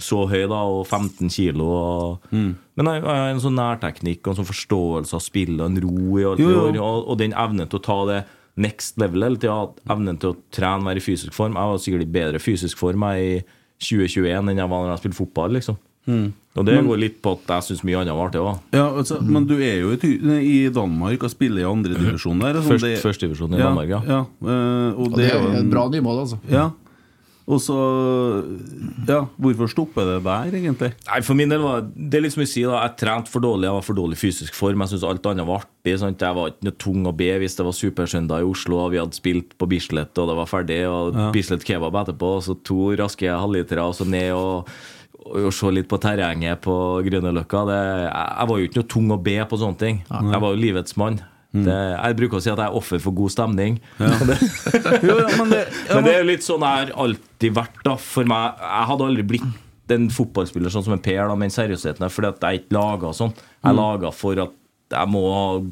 E: så høy, da, og 15 kilo. Og...
C: Mm.
E: Men han han har en sånn nærteknikk og en sånn forståelse av spillet, en ro i alt det
C: Jo, jo.
E: gjør, og, og den evnen til å ta det next level hele tida, evnen til å trene, være i fysisk form. Jeg var sikkert i bedre fysisk form jeg, i 2021 enn jeg var når jeg spilte fotball, liksom.
C: Mm.
E: Og det går litt på at jeg syns mye annet var artig òg.
C: Ja, altså, Men du er jo i, Ty- i Danmark og spiller i andredivisjon der. og sånn,
E: Først-
C: det-
E: førstedivisjon i Danmark, ja.
C: ja eh, og,
D: Og
C: det, er jo
D: et
C: en,
D: bra nymål, altså.
C: Ja. Og så Ja, hvorfor stopper det der, egentlig?
E: Nei, for min del var det er litt som jeg sier, da. Jeg trente for dårlig, jeg var for dårlig i fysisk form. Jeg syntes alt annet var artig. Sant? Jeg var ikke noe tung å be hvis det var Supersøndag i Oslo, og vi hadde spilt på Bislett, og det var ferdig, og Bislett kebab etterpå, og så to raske halvlitere, og så ned og, og, og se litt på terrenget på Grünerløkka. Det- Jeg jeg var jo ikke noe tung å be på sånne ting. Jeg var jo livets mann.
C: Mm.
E: Det, jeg bruker å si at jeg er offer for god stemning. [laughs]
C: [laughs] Jo, ja, men det, ja,
E: Men det er jo litt sånn jeg har alltid vært da For meg, jeg hadde aldri blitt en fotballspiller Sånn som en Per da, med den seriøsheten her Fordi at jeg ikke laget sånn
C: Mm.
E: Jeg laget for at jeg må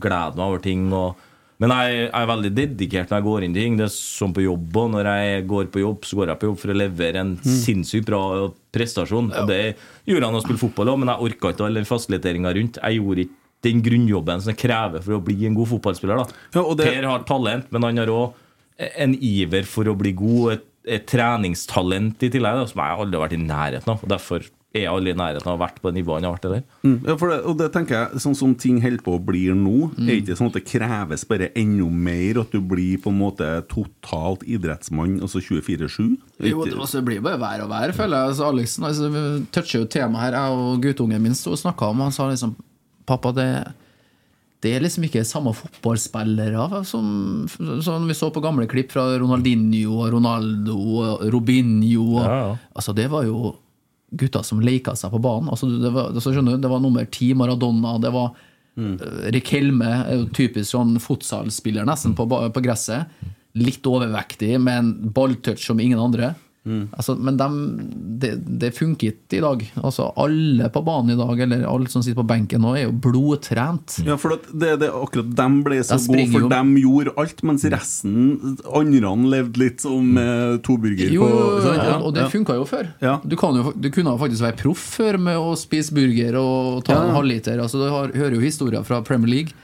E: glede meg over ting og, Men jeg, jeg er veldig dedikert når jeg går inn i ting Det er sånn på jobb Og når jeg går på jobb, så går jeg på jobb for å levere
C: Mm.
E: en sinnssykt bra prestasjon Og det gjorde jeg når jeg spilte fotball også Men jeg orket ikke all den fasiliteringen rundt Jeg gjorde ikke den grunnjobben som jeg krever for å bli en god fotballspiller da
C: Ja, og det-
E: Per har talent, men han har òg en iver for å bli god, og et, et treningstalent i tillegg, da, som jeg aldri har vært i nærheten av. Og Derfor er jeg aldri i nærheten av å ha vært på det nivået han har vært der.
C: Mm, Ja, for det, og det tenker jeg, sånn som ting holder på å bli nå,
D: Mm.
C: er ikke sånn at det kreves bare enda mer at du blir på en måte totalt idrettsmann, altså 24-7?
D: Jo, det altså- også blir bare vær og vær, føler jeg. Altså, Aleksen altså, vi toucher jo temaet her. Jeg og guttungen min sto og snakka om og Han sa liksom Pappa, det, det er liksom ikke samme fotballspillere som, som vi så på gamle klipp fra Ronaldinho og Ronaldo og Robinho. Og,
E: Ja, ja.
D: Altså, det var jo gutter som leka seg på banen. Altså, det, var, altså, skjønner du, det var nummer ti Maradona, det var eh, Riquelme, er jo typisk sånn futsalspiller nesten på, ba- på gresset. Litt overvektig, med en balltouch som ingen andre. Altså, men dem, det, det funker ikke i dag. Altså, alle på banen i dag, eller alle som sitter på benken nå, er jo blodtrent.
C: Ja, for at det, det, akkurat dem ble så
D: De
C: gode,
D: springer
C: for
D: jo.
C: dem gjorde alt, mens resten, andre, levde litt som eh, toburger
D: Mm. Jo,
C: på sant?
D: og, og det
C: ja.
D: funka jo før.
C: Ja.
D: Du, kan jo, du kunne jo faktisk være proff før med å spise burger og ta en halvliter. Altså, du har, hører jo historier fra Premier League.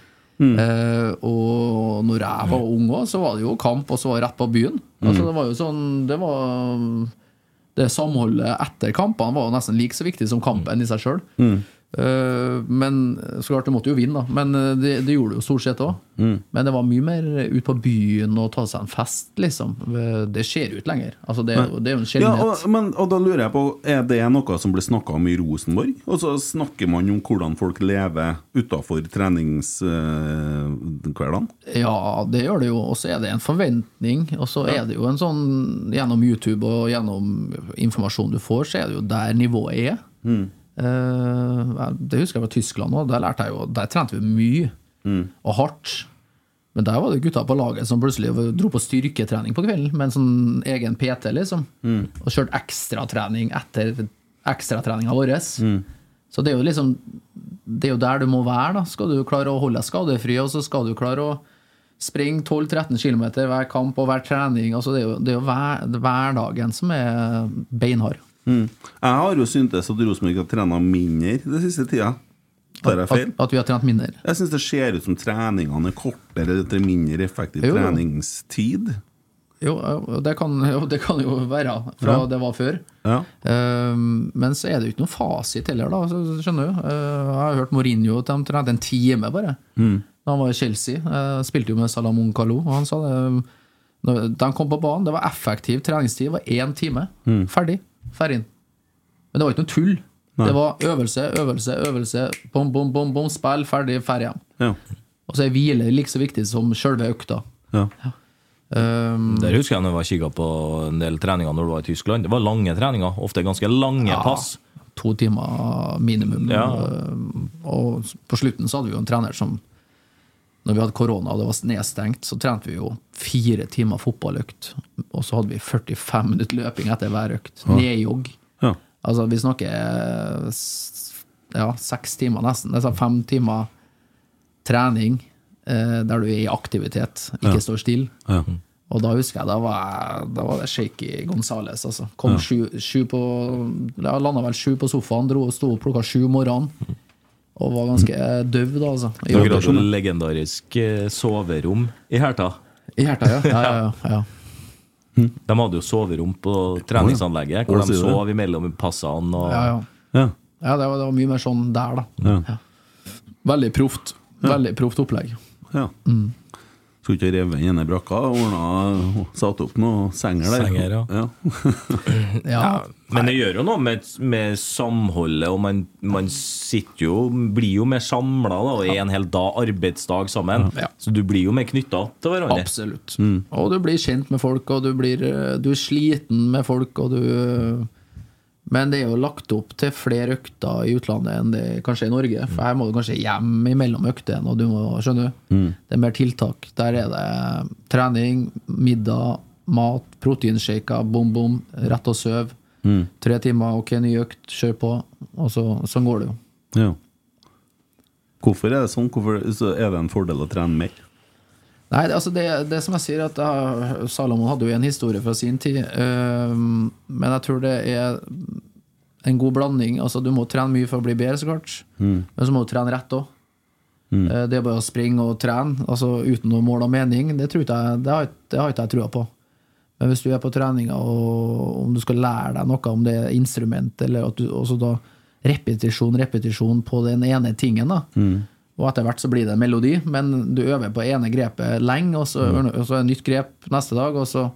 D: Eh, og når jeg var ung òg, så var det jo kamp, og så var det rett på byen. Altså, det var jo sånn Det var Det samholdet etter kampene var jo nesten like så viktig som kampen i seg Eh, sjøl. Øh, men så klart, du måtte jo vinne, da. Men eh, det, det gjorde du jo stort sett òg. Men det var mye mer ut på byen og ta seg en fest, liksom. Det skjer jo ikke lenger. Altså, det, er jo- det er jo en
C: Ja,
D: sjeldenhet.
C: og, men, og da lurer jeg på, er det noe som blir snakka om i Rosenborg? Og så snakker man om hvordan folk lever eh, utafor treningskveldene?
D: Ja, det gjør det jo. Og så er det en forventning. Og så er det jo en sånn Gjennom YouTube og gjennom informasjon du får, så er det jo der nivået er. Eh, det husker jeg fra Tyskland òg. Der lærte jeg jo Der trente vi mye og hardt. Men der var det gutta på laget som plutselig dro på styrketrening på kvelden med en sånn egen PT, liksom. Og kjørte ekstratrening etter ekstratreninga vår. Så det er jo liksom Det er jo der du må være. da Skal du klare å holde deg skadefri, og så skal du klare å springe 12-13 km hver kamp og hver trening. Altså, det er jo, det er jo hver, hverdagen som er beinhard.
C: Mm. Jeg har jo syntes at Rosenborg har trena mindre den siste tida. Tar jeg feil?
D: At, at vi har trent mindre.
C: Jeg syns det ser ut som treningene er kortere etter mindre effektiv
D: Jo, jo.
C: treningstid.
D: Jo, jo, det kan jo, det kan jo være fra
C: Ja.
D: det var før.
C: Ja.
D: Eh, men så er det jo ikke noen fasit heller, da. så- så Skjønner du? Eh, jeg har hørt Mourinho at de trente en time bare. Da han var i Chelsea. eh, spilte jo med Salamon Kalou, og han sa det når De kom på banen, det var effektiv treningstid, det var én time. Ferdig. Ferdig inn. Men det var ikke noe tull.
C: Nei.
D: Det var øvelse, øvelse, øvelse. Bom, bom, bom, bom, spill, ferdig, ferdig hjem.
C: Ja.
D: Og så er hvile like så viktig som sjølve økta.
C: Ja.
D: Um,
E: Der husker jeg når jeg var kikket på en del treninger når du var i Tyskland. Det var lange treninger, ofte ganske lange pass.
D: to timer minimum.
E: Ja.
D: Um, Og på slutten så hadde vi jo en trener som Når vi hadde korona og det var nedstengt, så trente vi jo fire timer fotballøkt. Og så hadde vi 45 minutter løping etter hver økt. Nedjogg.
C: Ja.
D: Altså, vi snakker s- ja, seks timer nesten. Det er sånn fem timer trening eh, der du er i aktivitet, ikke står stille.
C: Ja.
D: Og da husker jeg, da var, jeg, da var det shaky Gonzales, altså. Kom sju, sju på Jeg landa vel sju på sofaen, dro og sto opp klokka sju om morgenen. Og var ganske døv da, altså. I,
E: Mm. Dere hadde et legendarisk eh, soverom i Herta.
D: i hjertet, ja. Ja, ja, ja,
E: [laughs]
D: ja.
C: Mm.
E: De hadde jo soverom på treningsanlegget, hvor
C: Å, sier
E: de
C: du
E: sov imellom passene. Og...
D: ja, ja.
C: Ja.
D: ja det, var, det var mye mer sånn der, da.
C: Ja.
D: Veldig proft. Veldig proft opplegg.
C: ja.
D: Mm.
C: Skulle ikke revet inn i brakka og ordna Satt opp noen senger der.
E: Senger, ja.
D: Ja,
E: Men det gjør jo noe med, med samholdet, og man, man sitter jo Blir jo mer samla og er en hel dag, arbeidsdag sammen.
D: Ja.
E: Så du blir jo mer knytta til hverandre.
D: Absolutt. Og du blir kjent med folk, og du, blir, eh, du er sliten med folk, og du Men det er jo lagt opp til flere økter i utlandet enn det kanskje er i Norge. For her må du kanskje hjem imellom øktene, og du må skjønne.
E: Mm.
D: Det er mer tiltak. Der er det trening, middag, mat, proteinshaker, bom, bom, rett og søv. Tre timer, ok, ny økt, kjør på. Og så, sånn går det jo.
C: Ja. Hvorfor er det sånn? Hvorfor så er det en fordel å trene mer?
D: Nei, det, altså det, det som jeg sier at jeg, Salomon hadde jo en historie fra sin tid, øhm, men jeg tror det er en god blanding. Altså Du må trene mye for å bli bedre, så klart, men så må du trene rett òg. Det er bare å springe og trene Altså uten noe mål og mening. Det, tror ikke jeg, det, har, ikke- det har ikke jeg trua på. Men hvis du er på treninga, og om du skal lære deg noe, om det er instrument eller at du, også da Repetisjon, repetisjon på den ene tingen. da Og etter hvert så blir det en melodi, men du øver på ene grepet lenge, og så, og så er det nytt grep neste dag, og så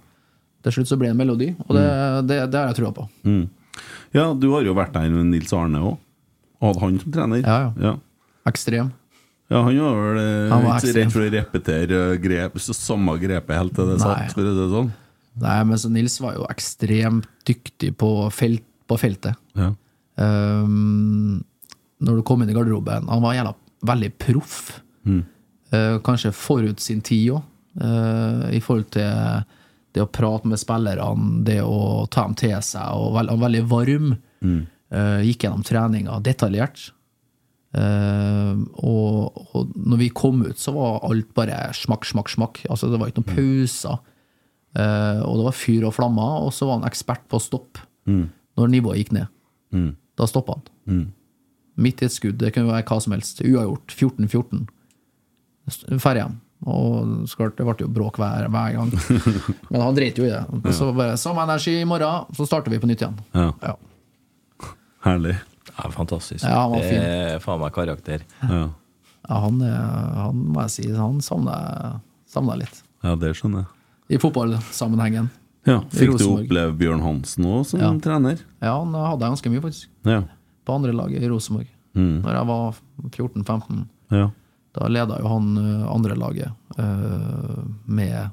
D: til slutt så blir det en melodi. Og det, det, det har jeg trua på.
C: Mm. Ja, du har jo vært der med Nils Arne òg. Hadde han som trener?
D: Ja, ja.
C: ja.
D: Ekstrem.
C: Ja, han var vel eh,
D: Han var
C: ikke så
D: ekstrem.
C: redd for å repetere eh, grep, så samme grepet helt til det
D: Nei.
C: satt, for å si det sånn.
D: Nei, men så Nils var jo ekstremt dyktig på, felt, på feltet.
C: Ja.
D: Ehm, når du kom inn i garderoben Han var jævla veldig proff. Eh, kanskje forut sin tid òg, i forhold til det å prate med spillerne, det å ta dem til seg. Og vel- han var veldig varm. Eh, gikk gjennom treninga detaljert. Eh, og, og når vi kom ut, så var alt bare smakk, smakk, smakk. Altså, det var ikke noen pauser. Eh, og det var fyr og flammer, og så var han ekspert på å stoppe når nivået gikk ned. Da stoppa han. Midt i et skudd. Det kunne være hva som helst. Uavgjort. 14-14. Ferdig hjem. Og så klart, det ble jo bråk hver, hver
E: [laughs]
D: gang. Men han dreit jo i det. Og Så bare samme energi i morgen, så starter vi på nytt igjen.
C: Ja.
D: Ja.
C: Herlig.
E: Ja, fantastisk.
D: Ja, han var
E: det er faen meg karakter.
C: Ja.
D: Ja, han, er- han må jeg si, han savner savner jeg litt.
C: ja, det skjønner jeg.
D: I fotballsammenhengen.
C: Ja, Fikk du
D: Rosenborg.
C: oppleve Bjørn Hansen òg som
D: Ja.
C: trener?
D: Ja, han hadde jeg ganske mye, faktisk.
C: Ja.
D: På andre laget i Rosenborg.
E: Mm.
D: Når jeg var 14-15.
C: ja.
D: Da leda jo han eh, andre laget eh, med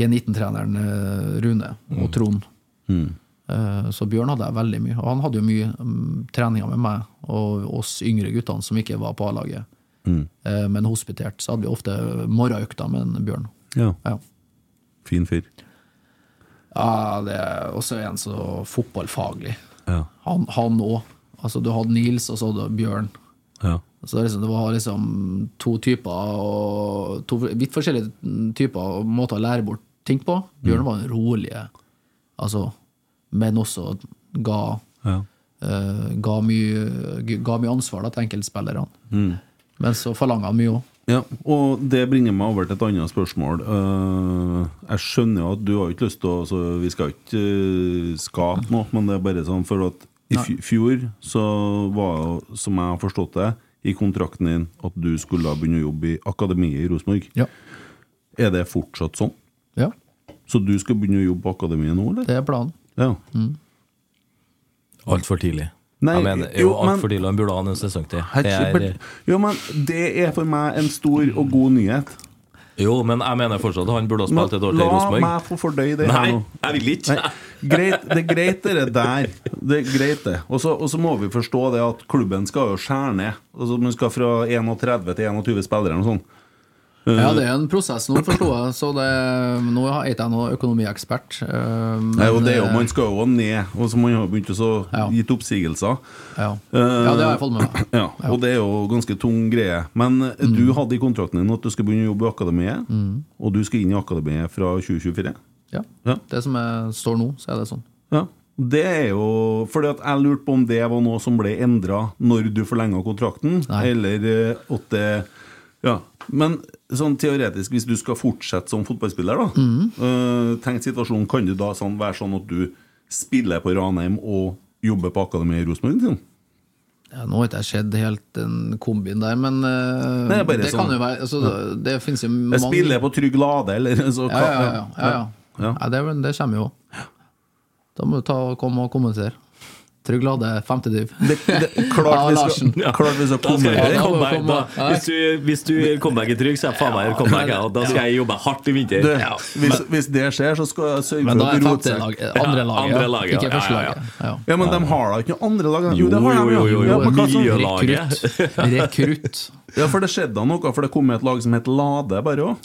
D: G19-treneren eh, Rune og Trond. Eh, så Bjørn hadde jeg veldig mye. Og han hadde jo mye mm, treninger med meg og oss yngre guttene som ikke var på A-laget, Eh, men hospitert. Så hadde vi ofte morgenøkter med en Bjørn.
C: ja.
D: Ja.
C: Fin fyr.
D: Ja, det er også en så fotballfaglig.
C: Ja.
D: Han òg. Altså, du hadde Nils, og så hadde du Bjørn.
C: Ja.
D: Så det, er liksom, det var liksom to typer og to vidt forskjellige typer og måter å lære bort ting på.
C: Mm.
D: Bjørn var en rolig, altså, men også ga,
C: Ja.
D: eh, ga, mye, ga mye ansvar da, til enkeltspillerne.
C: Mm.
D: Men så forlanga han mye òg.
C: Ja, og det bringer meg over til et annet spørsmål. Eh, jeg skjønner jo at du har jo ikke lyst til å altså, Vi skal ikke eh, skape noe, men det er bare sånn for at i fj- fjor så var jo, som jeg har forstått det, i kontrakten din at du skulle da begynne å jobbe i akademiet i Rosenborg.
D: Ja.
C: Er det fortsatt sånn?
D: ja,
C: Så du skal begynne å jobbe på akademiet nå, eller?
D: det er planen.
C: Ja.
E: Altfor tidlig.
C: Nei,
E: jeg mener, jo,
C: jo, men-
E: altfor tidlig. Han burde ha en sesong til. Det er,
C: Herregud. Jo, men det er for meg en stor og god nyhet.
E: jo, men jeg mener fortsatt han burde
C: Nå,
E: ha spilt et år til i
C: la
E: Rosenborg.
C: meg få fordøye det
E: Nei,
C: her nå.
E: jeg vil ikke!
C: Nei, greit, det er greit, det der. Det er greit det Og så og så må vi forstå det at klubben skal jo skjære ned. Altså, man skal fra 31 til 21 spillere. sånn. eller Noe sånt. Eh.
D: Ja, det er en prosess nå, forsto jeg. Så det, nå er ikke jeg noen økonomiekspert. eh, men-
C: Nei, og det er jo, Man skal jo ned. Og så Man har begynt å så
D: Ja.
C: gitt oppsigelser.
D: Ja.
C: Eh.
D: ja, det har jeg fått med meg.
C: Ja, og det er jo ganske tung greie. Men eh, du hadde i kontrakten din at du skal begynne å jobbe i akademiet. Og du skal inn i akademiet fra 2024.
D: Ja.
C: Ja.
D: Det som er, står nå, så er det sånn.
C: Ja. Det er jo fordi at jeg lurte på om det var noe som ble endra når du forlenga kontrakten,
D: Nei.
C: eller eh, at det Ja. Men sånn teoretisk, hvis du skal fortsette som fotballspiller, da
D: Mhm.
C: eh, Tenk situasjonen, kan du da sånn, være sånn at du spiller på Ranheim og jobber på akademiet i Rosenborg? Liksom?
D: Ja, nå har ikke jeg sett helt den kombin der, men eh,
C: Nei, bare
D: det
C: sånn.
D: kan jo være altså, det, det finnes jo mange
C: Jeg spiller på Trygg Lade, eller så
D: Ja, ja, ja. ja, ja.
C: Ja.
D: Nei, det, er vel- det kommer jo. Da må du ta, komme og kommentere. Trygg Lade, femte div.
C: Det, det, klart,
D: Ja,
C: vi
D: Larsen.
C: skal, klart vi skal
E: Da skal
C: kommentere.
E: jeg
D: Ja, da må
E: komme meg,
D: jeg
E: da,
D: komme. Nei.
E: hvis, du, hvis du kommer deg ikke trygg, så er jeg faen meg i comeback, jeg, og da skal jeg jobbe hardt i vinter.
C: Du,
E: Ja.
C: hvis, hvis det skjer, så skal jeg sørge for
D: Men da
C: at
D: er
C: rotsekk-
D: femte lag, eh, andre
E: Ja,
D: laget.
E: andre
D: ja.
E: laget,
D: Ikke
E: ja,
D: første
E: ja, ja.
D: laget. Ja.
C: Ja, men de har da ikke noe andre lag? da?
E: Jo,
C: det har de,
E: jo, jo, jo.
C: Ja, men hva som-
E: Mielaget.
D: Rekrutt. Rekrutt.
C: ja, for det skjedde da noe, for det kom et lag som het Lade bare òg.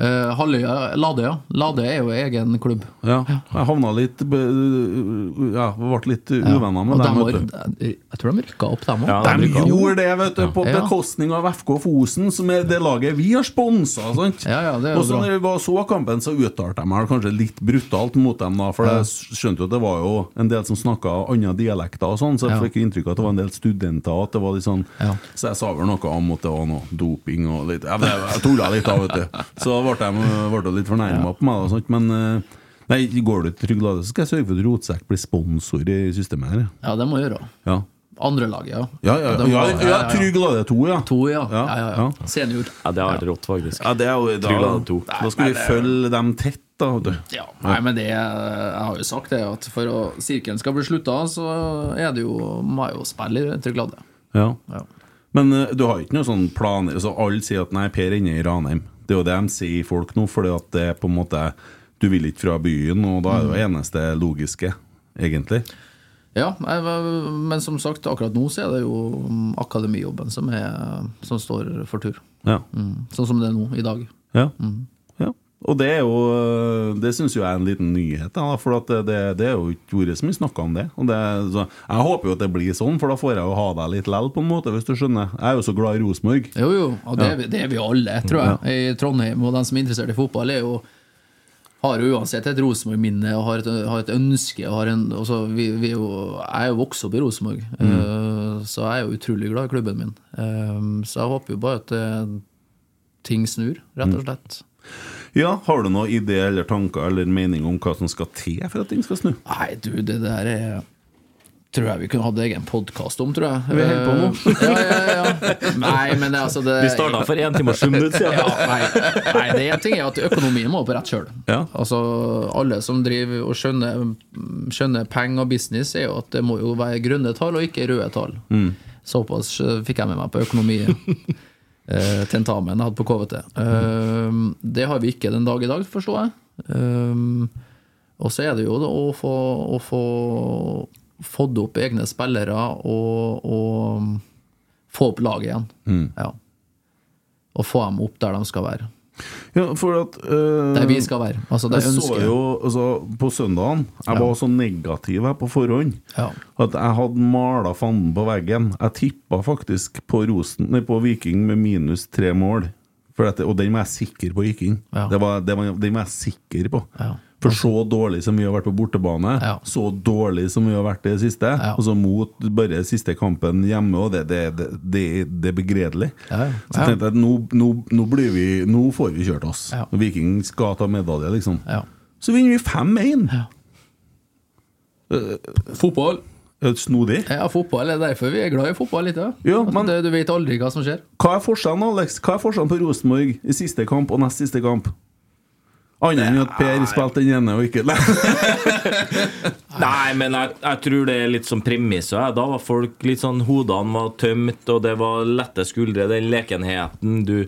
D: Eh, Halløya, Lade, ja. Lade er jo egen klubb.
C: Ja. Jeg havna litt be- Ja, ble litt uvenner med
D: Og
C: dem.
D: dem
C: vet du.
D: var- Jeg tror de rykka opp, dem òg.
E: Ja,
C: De
E: de rykka opp.
C: gjorde det, vet du, på
D: Ja.
C: bekostning av FK Fosen, som er det laget vi har sponsa. sant?
D: Ja, ja, det er jo
C: og så
D: bra.
C: når vi var og så kampen, så uttalte jeg meg kanskje litt brutalt mot dem, da, for jeg skjønte jo at det var jo en del som snakka andre dialekter og sånn, så jeg
D: Ja.
C: fikk inntrykk av at det var en del studenter, og at det var litt sånn
D: Ja.
C: Så jeg sa vel noe om at det var noe doping og litt Jeg, jeg, jeg tulla litt da, vet du. Så da ble de ble de litt fornærma på meg og sånt, men eh, Nei, går du til Trygg Lade, så skal jeg sørge for at Rotsekk blir sponsor i systemet her.
D: Ja, det må jeg gjøre.
C: Ja.
D: Andre laget, ja.
C: Ja, ja, ja,
D: De
C: ja,
D: var-
C: ja, Trygg Lade 2, ja.
D: To, ja.
C: Ja,
D: ja, ja, ja.
C: ja.
D: Senior.
E: Ja, det har vært rått, faktisk.
C: Ja, det er jo
E: Trygg Lade 2.
C: Da skal vi følge dem tett, da. vet du.
D: Ja, nei, men det Jeg har jo sagt det, at for å sirkelen skal bli slutta, så er det jo må jeg jo spille i Trygg Lade.
C: Ja.
D: Ja.
C: Men eh, du har ikke noen sånne planer altså, Alle sier at nei, Per er inne i Ranheim. Det er jo det de sier folk nå, fordi at det er på en måte Du vil ikke fra byen, og da er det jo eneste logiske, egentlig.
D: Ja, nei, men- men som sagt, akkurat nå så er det jo akademijobben som, er, som står for tur.
C: Ja.
D: Mm. Sånn som det er nå, i dag.
C: Ja.
D: Mm.
C: ja. Og det er jo eh, Det syns jo jeg er en liten nyhet, da, for at det, det, det er jo ikke vært så mye snakka om det. Og det er så, jeg håper jo at det blir sånn, for da får jeg jo ha deg litt lell, på en måte, hvis du skjønner. Jeg er jo så glad i Rosenborg.
D: Jo, jo, og det, er vi- det er vi alle, tror jeg, i Trondheim. Og den som er interessert i fotball, er jo har jo uansett et Rosenborg-minne og har et, har et ønske. Og har en, altså, vi, vi er jo, jeg er jo vokst opp i Rosenborg,
C: Mm.
D: eh, så jeg er jo utrolig glad i klubben min. Eh, så jeg håper jo bare at eh, ting snur, rett
C: Mm.
D: og slett.
C: Ja, Har du noen idé eller tanker eller mening om hva som skal til for at ting skal snu?
D: Nei, du, det der er Tror jeg vi kunne hatt egen podkast om, tror jeg.
C: Vi holder på
D: Eh, ja, ja, ja. Nei, men det, er
C: [laughs]
D: altså det
E: Vi starta for 1 time og 7 minutter siden.
D: ja, nei, nei, det ene ting er at økonomien må på rett kjøl.
C: Ja.
D: Altså, alle som driver og skjønner, skjønner penger og business, er jo at det må jo være grønne tall og ikke røde tall. Såpass eh, fikk jeg med meg på økonomi. eh, Tentamen jeg hadde på KVT. Eh, Det har vi ikke den dag i dag, forstår jeg. Eh, Og så er det jo da å få, å få fått opp egne spillere og, og få opp laget igjen. Ja og få dem opp der de skal være.
C: Ja, for at øh,
D: Der vi skal være. Altså, der
C: Jeg så
D: ønsker
C: jo altså, på søndagen Jeg var så negativ her på forhånd
D: Ja.
C: at jeg hadde mala fanden på veggen. Jeg tippa faktisk på, Rosen, nei, på Viking med minus tre mål. For at, og den var jeg sikker på gikk inn.
D: Ja.
C: Det var, det var, den var jeg sikker på.
D: Ja.
C: For så dårlig som vi har vært på bortebane,
D: Ja.
C: så dårlig som vi har vært det siste,
D: Ja.
C: og så mot bare siste kampen hjemme, og det, det, det, det, det er begredelig.
D: Ja, ja.
C: Så tenkte jeg at nå, nå, nå, blir vi, nå får vi kjørt oss.
D: Ja.
C: Viking skal ta medalje, liksom.
D: Ja.
C: Så vinner vi 5-1!
D: Ja.
C: Eh,
D: Fotball.
C: Det er Snodig.
D: Ja, fotball er derfor vi er glad i fotball. Litt, ja.
C: Ja,
D: At
C: men-
D: det, du vet aldri hva som skjer.
C: Hva er forskjellen Alex? Hva er forskjellen på Rosenborg i siste kamp og nest siste kamp? Annet enn at Per spilte den ene og ikke Nei,
E: Nei, men jeg, jeg tror det er litt som premiss. og jeg- Da var folk litt sånn Hodene var tømt, og det var lette skuldre. Den lekenheten. Du,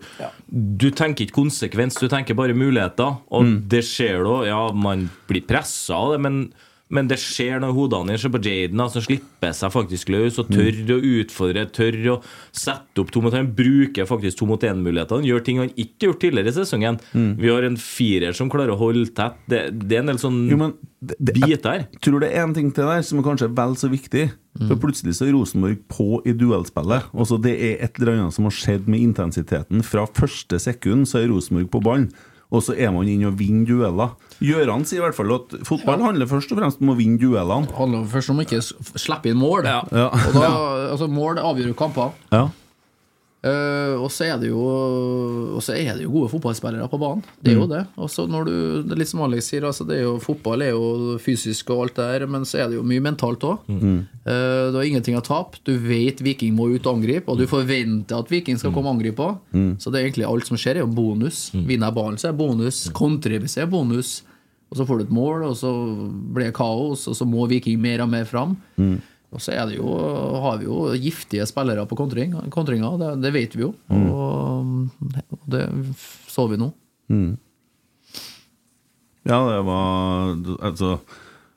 E: du tenker ikke konsekvens, du tenker bare muligheter. Og det skjer da. Ja, man blir pressa av det, men, men det skjer når hodene dine ser på Jaden, da, som slipper seg faktisk løs og tør å utfordre, tør å sette opp to mot én. Bruker faktisk to mot én-mulighetene. Gjør ting han ikke gjort tidligere i sesongen. Vi har en firer som klarer å holde tett. Det, det er en del sånn
C: Jo, men det- det- jeg-
E: bit der. Mm.
C: tror det er en ting til der som er kanskje vel så viktig. For plutselig så er Rosenborg på i duellspillet. Altså Det er et eller annet som har skjedd med intensiteten. Fra første sekund så er Rosenborg på ballen, og så er man inne og vinner dueller. Gjøran sier i hvert fall at fotball handler først og fremst om å vinne duellene.
D: Det handler jo først om ikke å s- slippe inn mål.
E: Ja.
C: Ja.
D: Og da, altså, mål avgjør jo kamper.
C: Ja.
D: Eh, og så er det jo Og så er det jo gode fotballspillere på banen. Det er jo det. Og så når du, det er litt som Alex sier, altså det er jo, fotball er jo fysisk og alt det der, men så er det jo mye mentalt òg. du har ingenting å tape. Du vet Viking må ut og angripe, og du forventer at Viking skal komme og angripe òg. Så det er egentlig alt som skjer, er jo bonus. Vinner jeg ballen, så er det bonus. Kontrer hvis jeg er bonus. Og så får du et mål, og så blir det kaos, og så må Viking mer og mer fram. Og så er det jo, har vi jo giftige spillere på kontring, kontringa, det, det vet vi jo. Og, og det så vi nå.
C: Ja, det var Altså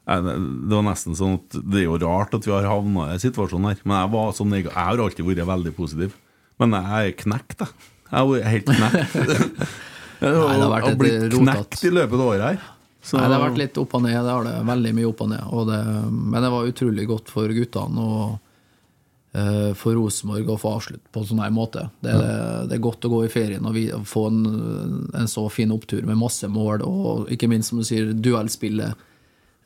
C: jeg- det var nesten sånn at Det er jo rart at vi har havna i den situasjonen her. Men jeg var sånn neg- Jeg har alltid vært veldig positiv. Men jeg er knekt, jeg. Jeg har vært helt
D: [laughs]
C: knekt. Jeg har,
D: Nei, det har
C: jeg
D: vært
C: har
D: et
C: blitt
D: rotat.
C: knekt i løpet av året her. Så-
D: Nei, det har vært litt opp og ned, det har det. Veldig mye opp og ned. Og det, men det var utrolig godt for guttene og eh, for Rosenborg å få avslutt på sånn her måte. Det er, det er godt å gå i ferien og vi, og få en, en så fin opptur med masse mål, og ikke minst, som du sier, duellspillet.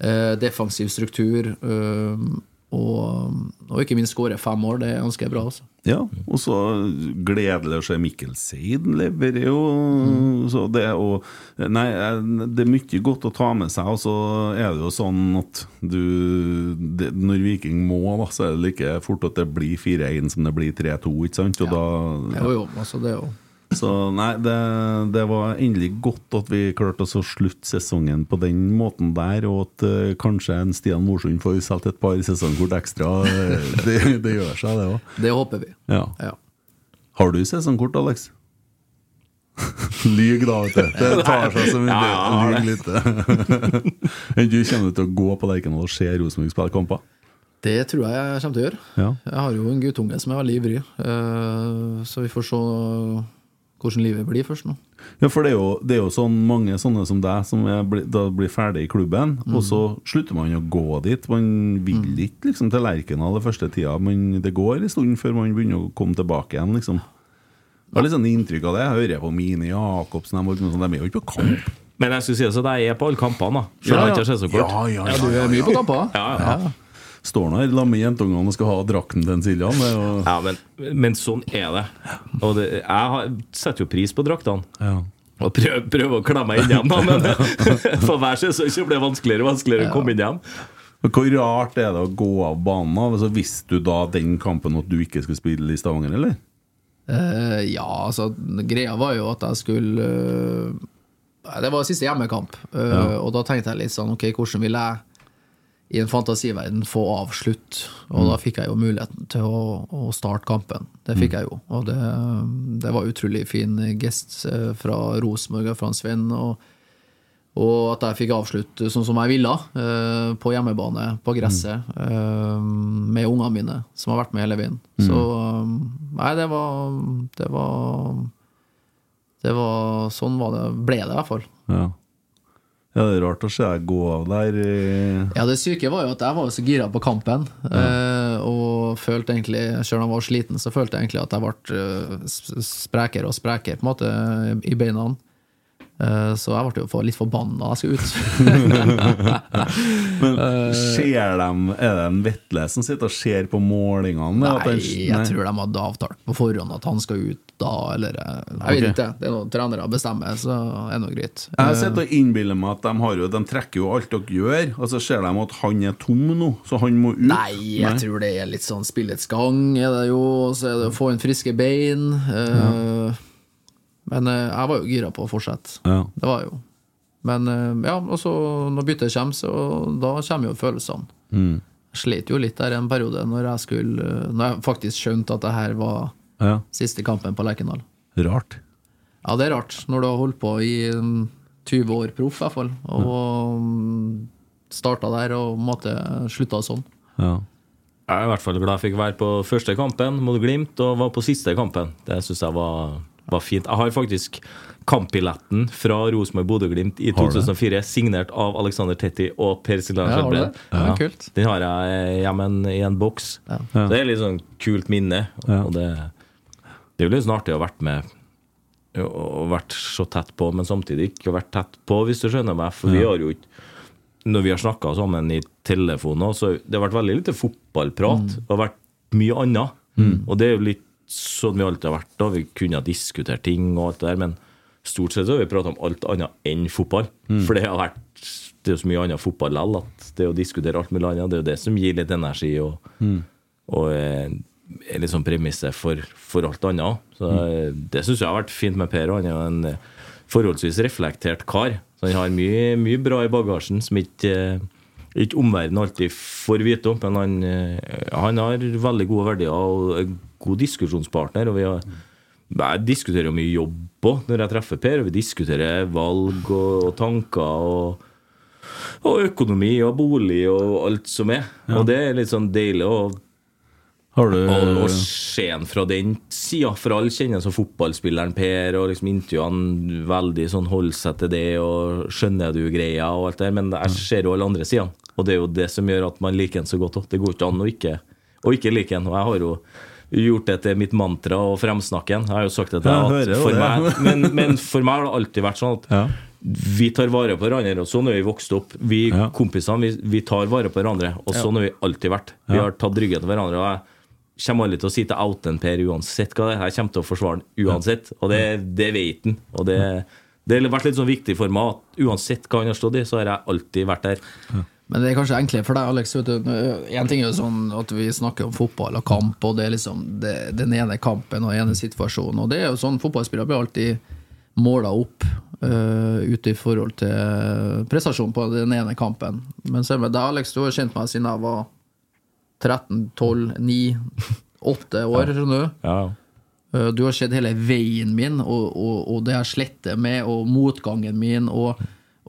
D: eh, defensiv struktur. eh, og, og ikke minst skåre fem mål. Det er ganske bra. altså. Også.
C: Ja, og så gledelig å se Mikkel Seiden leverer jo så det, og, Nei, eh, det er mye godt å ta med seg, og så er det jo sånn at du det, Når Viking må, da, så er det like fort at det blir 4-1 som det blir 3-2, ikke sant? Og da,
D: Jo, jo, altså det er jo
C: så nei, det, det var endelig godt at vi klarte oss å slutte sesongen på den måten der, og at eh, kanskje en Stian Morsund får solgt et par sesongkort ekstra. eh, Det, det gjør seg, det òg.
D: Det håper vi.
C: Ja.
D: Ja.
C: Har du sesongkort, Alex? [laughs] Lyg, da, vet du.
E: [laughs]
C: Det tar seg som en
E: Ja, ja,
C: del.
E: jeg
C: Lyg litt. [laughs] Men du kommer til å gå på Lerkendal og se Rosenborg spille kamper?
D: Det tror jeg jeg kommer til å gjøre.
C: Ja.
D: Jeg har jo en guttunge som er veldig ivrig, eh, så vi får se hvordan livet blir først nå.
C: Ja, for det er jo, det er jo sånn mange sånne som deg som er, bli- da blir ferdig i klubben,
E: Mm.
C: og så slutter man å gå dit. Man vil ikke liksom, til Lerkendal den første tida, men det går en stund før man begynner å komme tilbake igjen, liksom. Jeg har litt sånn inntrykk av det. Jeg hører på Mine Jacobsen de, holder på med sånn, de er jo ikke på kamp.
E: Men jeg skulle si også at jeg er på alle kampene, da. Selv om jeg ikke har sesongkort.
C: Ja, ja, ja,
D: Du er mye på kamper?
E: Ja, ja.
C: Står nå her sammen med jentungene og skal ha drakten til en Siljan. Det er jo
E: ja, men, men sånn er det. Og det, jeg har, setter jo pris på draktene. Og prøver, prøver å klemme meg inn igjen, [laughs] da, men for hver sesong så blir det vanskeligere og vanskeligere å komme inn igjen.
C: Men Hvor rart er det å gå av banen? av? Altså, visste du da den kampen at du ikke skulle spille i Stavanger, eller?
D: Eh, ja, altså greia var jo at jeg skulle eh, nei, Det var siste hjemmekamp, eh, og da tenkte jeg litt sånn Ok, hvordan vil jeg i en fantasiverden få avslutt? Og
E: Mm.
D: da fikk jeg jo muligheten til å, å starte kampen. Det
E: Mm.
D: fikk jeg jo, og det, det var utrolig fin gest eh, fra Rosenborg og fra Svein. Og, og at jeg fikk avslutte sånn som jeg ville, eh, på hjemmebane, på gresset, eh, med ungene mine, som har vært med hele veien. Så eh, Nei, det var Det var, det var Sånn var det, ble det i hvert fall.
C: Ja. ja, det er rart å se deg gå av der. eh.
D: Ja, det syke var jo at jeg var jo så gira på kampen. eh, Og følte egentlig, selv om jeg var sliten, så følte jeg egentlig at jeg ble eh, s- s- sprekere og sprekere på en måte i beina. Eh, Så jeg ble jo for- litt forbanna da jeg skulle ut.
C: Men
D: Eh.
C: ser dem, er det en Vetle som sitter og ser på målingene? At
D: Nei,
C: den-
D: jeg tror de hadde avtalt på forhånd at han skal ut da, eller eh, Jeg vet
C: Ok.
D: ikke, det er noe trenere bestemmer, så er det noe greit. Eh,
C: Jeg sitter og innbiller meg at de, har jo, de trekker jo alt dere gjør, og så ser de at han er tom nå, så han må ut.
D: Nei, jeg tror det er litt sånn spillets gang, er det jo, og så er det å få inn friske bein. eh, Men eh, jeg var jo gira på å fortsette.
C: Ja.
D: Det var jeg jo. Men eh, ja, og så når byttet kommer, så da kommer jo følelsene.
C: Mm.
D: Jeg slet jo litt der en periode når jeg skulle eh, Når jeg faktisk skjønte at det her var
C: Ja.
D: siste kampen på Lerkendal.
C: Rart.
D: Ja, det er rart, når du har holdt på i mm, 20 år proff, i hvert fall, og mm, starta der og på en måte slutta sånn.
C: Ja.
E: Jeg er i hvert fall glad jeg fikk være på første kampen mot Glimt, og var på siste kampen. Det syns jeg var, var fint. Jeg har faktisk kampbilletten fra Rosenborg-Bodø-Glimt i
C: Har du det?
E: 2004, signert av Alexander Tetti og Per Siljan
D: Ja, har du
E: Skjelbred.
D: det? Ja, men kult.
E: Den har jeg hjemme en- i en boks.
D: Ja.
E: Det er litt sånn kult minne.
C: Ja.
E: Og det, det er jo litt sånn artig å ha vært med og vært så tett på, men samtidig ikke vært tett på, hvis du skjønner meg. For vi har jo ikke når vi har snakka sammen i telefoner, så det har vært veldig lite fotballprat.
D: Mm.
E: Det har vært mye annet. Og det er jo litt sånn vi alltid har vært. da Vi kunne ha diskutert ting og alt det der, men stort sett så har vi prata om alt annet enn fotball. For det har vært det er jo så mye annet fotball likevel at det å diskutere alt mulig annet, det er jo det som gir litt energi og, og eh, er litt sånn premisset for, for alt annet også. Så eh, det syns jeg har vært fint med Per. og Han er jo en eh, forholdsvis reflektert kar. Så han har mye, mye bra i bagasjen som ikke, eh, ikke omverdenen alltid får vite om. Men han, eh, han har veldig gode verdier og er en god diskusjonspartner. og vi har jeg diskuterer jo mye jobb òg når jeg treffer Per. og Vi diskuterer valg og, og tanker og, og økonomi og bolig og alt som er. Og det er litt sånn deilig å
C: Har du
E: og, og se han fra den sida, for alle kjenner han som fotballspilleren Per, og liksom intervjuer han veldig sånn holder seg til det, og skjønner du greia og alt det der, men jeg ser jo alle andre sidene, og det er jo det som gjør at man liker han så godt òg. Det går ikke an å ikke, å ikke like han, og jeg har jo gjort det til mitt mantra å fremsnakke han. Jeg har jo sagt det til
C: Jeg
E: deg
C: hører
E: at
C: jo
E: for meg,
C: det. [laughs]
E: men, men for meg har det alltid vært sånn at
C: Ja.
E: vi tar vare på hverandre, og sånn har vi vokst opp. Vi
C: Ja.
E: kompisene, vi, vi tar vare på hverandre, og sånn har vi alltid vært. Vi har tatt ryggen til hverandre. og jeg kommer aldri til å si til outen Per uansett hva det er. Jeg kommer til å forsvare den uansett, og det, det vet han. Og det, det har vært litt sånn viktig for meg at uansett hva han har stått i, så har jeg alltid vært der.
D: Men det er kanskje enklere for deg, Alex. Vet du. En ting er jo sånn at vi snakker om fotball og kamp, og det er liksom det, den ene kampen og den ene situasjonen. Og det er jo sånn fotballspillere blir alltid måla opp eh, ute i forhold til prestasjon på den ene kampen. Men så er det med deg, Alex, du har kjent meg siden jeg var 13, 12, 9, 8 år, skjønner du.
E: Ja.
D: Eh, Du har sett hele veien min, og, og, og det jeg sletter med, og motgangen min. Og,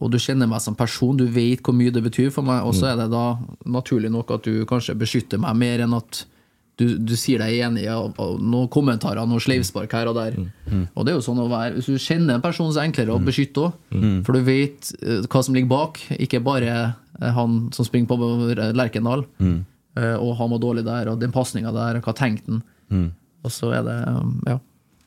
D: og du kjenner meg som person, du vet hvor mye det betyr for meg. Og så er det da naturlig nok at du kanskje beskytter meg mer enn at du, du sier deg enig i av- av noen kommentarer, noen sleivspark her og der. Og det er jo sånn å være Hvis du kjenner en person, så er det enklere å beskytte òg. For du vet eh, hva som ligger bak, ikke bare eh, han som springer på Lerkendal. eh, Og han var dårlig der, og den pasninga der, hva tenkte han? Og så er det um, Ja.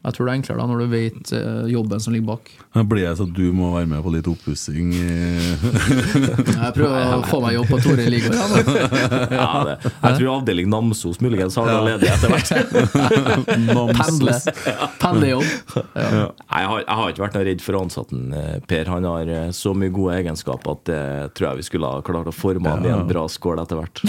D: Jeg tror det er enklere da når du vet eh, jobben som ligger bak.
C: Da blir jeg sånn at du må være med på litt oppussing. eh. i-
D: Jeg prøver å få meg jobb på Tore Ligård. Ja,
E: Ja, det. Jeg tror avdeling Namsos muligens har noe ledig etter hvert.
C: [laughs]
D: Pendle. Pendlejobb. Ja.
E: Nei, Jeg har, jeg har ikke vært noe redd for ansatten eh, Per. Han har eh, så mye gode egenskaper at det tror jeg vi skulle ha klart å forme han i en bra skål etter hvert.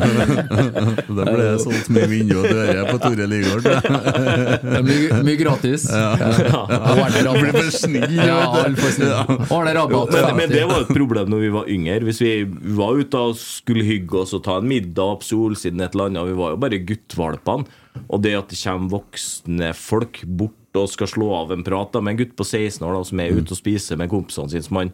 C: Da ble det solgt mye vindu og dører på Tore Ligård.
D: Det er Mye, mye gratis. Ja. Arne
C: Du blir
D: Rabat.
C: for snill.
D: Ja, altfor snill. Arne
E: Jo,
D: Rabat.
E: men, men det var jo et problem når vi var yngre. Hvis vi var ute og skulle hygge oss og ta en middag opp Solsiden et eller annet, vi var jo bare guttvalpene. Og det at det kommer voksne folk bort og skal slå av en prat da, med en gutt på 16 år da, som
D: Mm.
E: er ute og spiser med kompisene sine, som han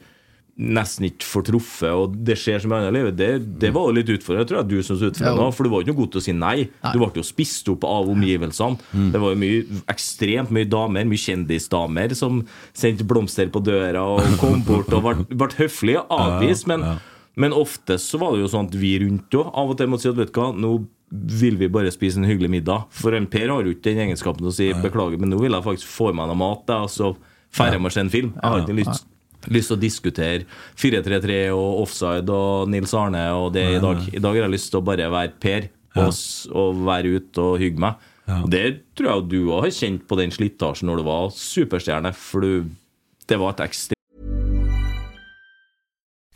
E: nesten ikke får truffet, og det skjer som i andre livet, det, det var jo litt utfordrende. tror jeg du synes utfordrende,
D: Ja.
E: for du var jo ikke noe god til å si nei. Du ble jo spist opp av omgivelsene. Det var jo mye, ekstremt mye damer, mye kjendisdamer, som sendte blomster på døra og kom bort og ble, ble høflig avvist. Men, men ofte så var det jo sånn at vi rundt òg av og til måtte si at vet du hva, nå vil vi bare spise en hyggelig middag. For en Per har jo ikke den egenskapen til å si beklager, men nå vil jeg faktisk få i meg noe mat, jeg, og så drar jeg og ser en film. Jeg har ikke lyst lyst til å diskutere 4-3-3 og offside og Nils Arne og det i dag. I dag har jeg lyst til å bare være Per og, s- og være ute og hygge meg. Og Det tror jeg jo du òg har kjent på den slitasjen når du var superstjerne, for du, det var et ekstremt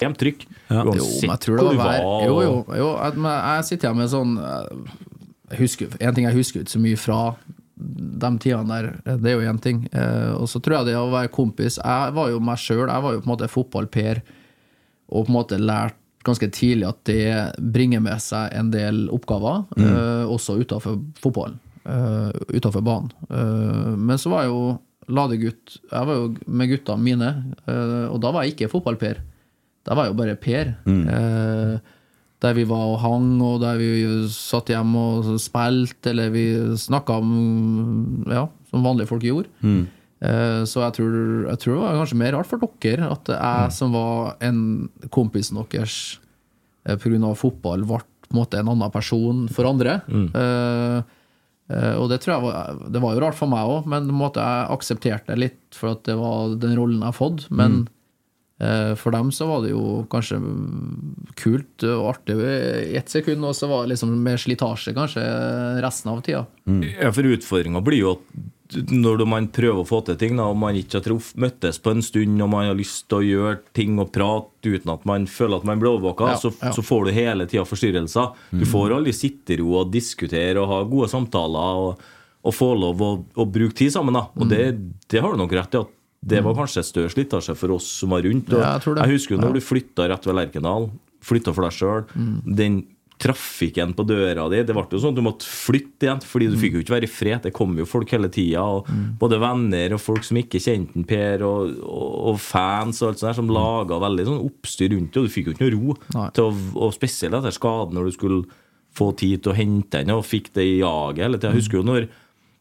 E: Ekstremt trykk.
D: Jo, men jeg tror det var vær. Jo, jo. jo jeg, men jeg sitter her med sånn eh, jeg husker, En ting jeg husker ikke så mye fra de tidene der, eh, det er jo én ting. Eh, Og så tror jeg det å være kompis Jeg var jo meg sjøl. Jeg var jo på en måte fotball-Per og på en måte lært ganske tidlig at det bringer med seg en del oppgaver, eh, også utafor fotballen. Uh, utafor banen. Eh, men så var jeg jo ladegutt. Jeg var jo med gutta mine, eh, og da var jeg ikke fotball-Per. Da var jeg jo bare Per. Eh, der vi var og hang, og der vi satt hjemme og spilte, eller vi snakka om Ja, som vanlige folk gjorde. Eh, Så jeg tror, jeg tror det var kanskje mer rart for dere at jeg som var en kompisen deres eh, pga. fotball, ble på en måte en annen person for andre. Eh, eh, og det tror jeg var, det var jo rart for meg òg, men på en måte jeg aksepterte det litt for at det var den rollen jeg har fått. Men eh, for dem så var det jo kanskje kult og artig i ett sekund, og så var det liksom mer slitasje kanskje resten av tida.
E: Ja, for utfordringa blir jo at når man prøver å få til ting, da, og man ikke har truff, møttes på en stund, og man har lyst til å gjøre ting og prate uten at man føler at man blir overvåka,
D: Ja,
E: så,
D: ja.
E: så får du hele tida forstyrrelser. Du får aldri sittero og diskutere og ha gode samtaler og, og få lov å, å bruke tid sammen. da. Og det, det har du nok rett i. at det var kanskje større slitasje for oss som var rundt. Og
D: Ja, jeg tror det.
E: husker jo når du flytta rett ved Lerkendal, flytta for deg sjøl. Den trafikken på døra di Det ble jo sånn at du måtte flytte igjen, fordi du fikk jo ikke være i fred. Det kom jo folk hele tida. og Både venner og folk som ikke kjente en Per, og, og, og fans og alt sånt der, som laga veldig sånn oppstyr rundt det. Og du fikk jo ikke noe ro.
D: Nei.
E: Til å, og spesielt etter skaden, når du skulle få tid til å hente henne, og fikk det jaget hele tida. Jeg husker jo når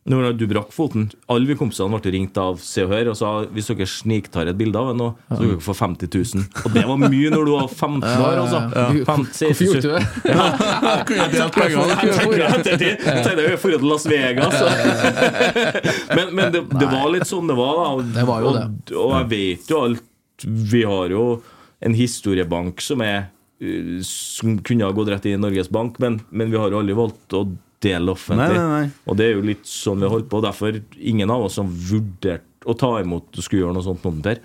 E: når du brakk foten Alle vi kompisene ble ringt av Se og Hør og sa hvis dere sniktar et bilde av henne, så skal dere få 50 000. Og det var mye når du var 15
D: Eh,
E: år, altså. Fem-
D: Hvorfor gjorde du det?
E: Jeg tenkte jeg tenkte jeg dro til Las Vegas.
D: [laughs]
E: Men, men det, det var litt sånn det var, da. Og,
D: Det var jo
E: og, og jeg vet jo alt Vi har jo en historiebank som er uh, Som kunne ha gått rett i Norges Bank, men, men vi har jo aldri valgt å dele offentlig.
C: Nei, nei, nei.
E: Og det er jo litt sånn vi har holdt på. og Derfor ingen av oss som vurderte å ta imot og skulle gjøre noe sånt, noen per.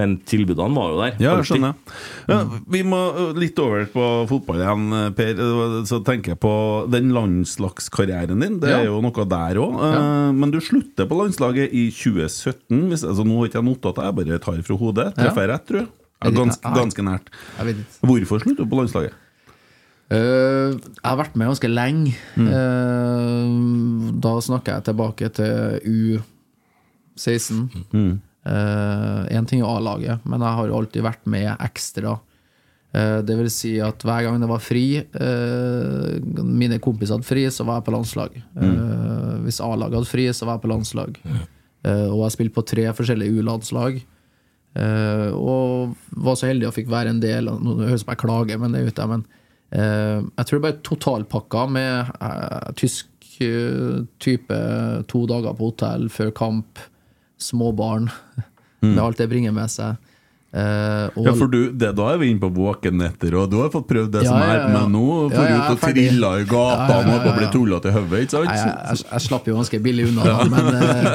E: Men tilbudene var jo der.
C: Ja, jeg
E: alltid.
C: skjønner. Ja,
D: Mm.
C: vi må ø, litt over på fotball igjen, eh, Per. Ø, Så tenker jeg på den landslagskarrieren din. Det er
D: Ja.
C: jo noe der òg. Men du slutter på landslaget i 2017. Hvis, altså, nå har ikke jeg notater, jeg bare tar fra hodet. Treffer jeg rett, tror jeg? Ja, ganske, ganske nært.
D: Jeg vet ikke.
C: Hvorfor slutter du på landslaget?
D: Eh, jeg har vært med ganske lenge.
E: Mm.
D: Eh, da snakker jeg tilbake til U16.
E: Mm.
D: Én Eh, ting er A-laget, men jeg har jo alltid vært med ekstra. Eh, det vil si at hver gang det var fri, eh, mine kompiser hadde fri, så var jeg på landslag. Eh,
C: Mm.
D: hvis A-laget hadde fri, så var jeg på landslag. Eh, og jeg spilte på tre forskjellige U-landslag. Eh, og var så heldig og fikk være en del av- Nå høres det ut som jeg klager, men det er jo ikke det. Men eh, jeg tror det bare totalpakka med eh, tysk eh, type [laughs] to dager på hotell før kamp, små barn, med alt det bringer med seg. Eh, og-
C: Mm. Ja, for du, det, Da er vi inne på våkenetter, og du har fått prøvd det
D: Ja,
C: som
D: ja,
C: er,
D: ja.
C: men nå
D: Ja,
C: får du
D: ja,
C: ut og
D: ferdig.
C: trilla i
D: Ja, ja,
C: gatene
D: ja,
C: og
D: ja,
C: bli
D: ja.
C: tulla til hodet, ikke
D: Nei, jeg,
C: sant?
D: jeg, jeg slapp jo ganske billig unna, da,
C: Ja. [laughs]
D: men, eh,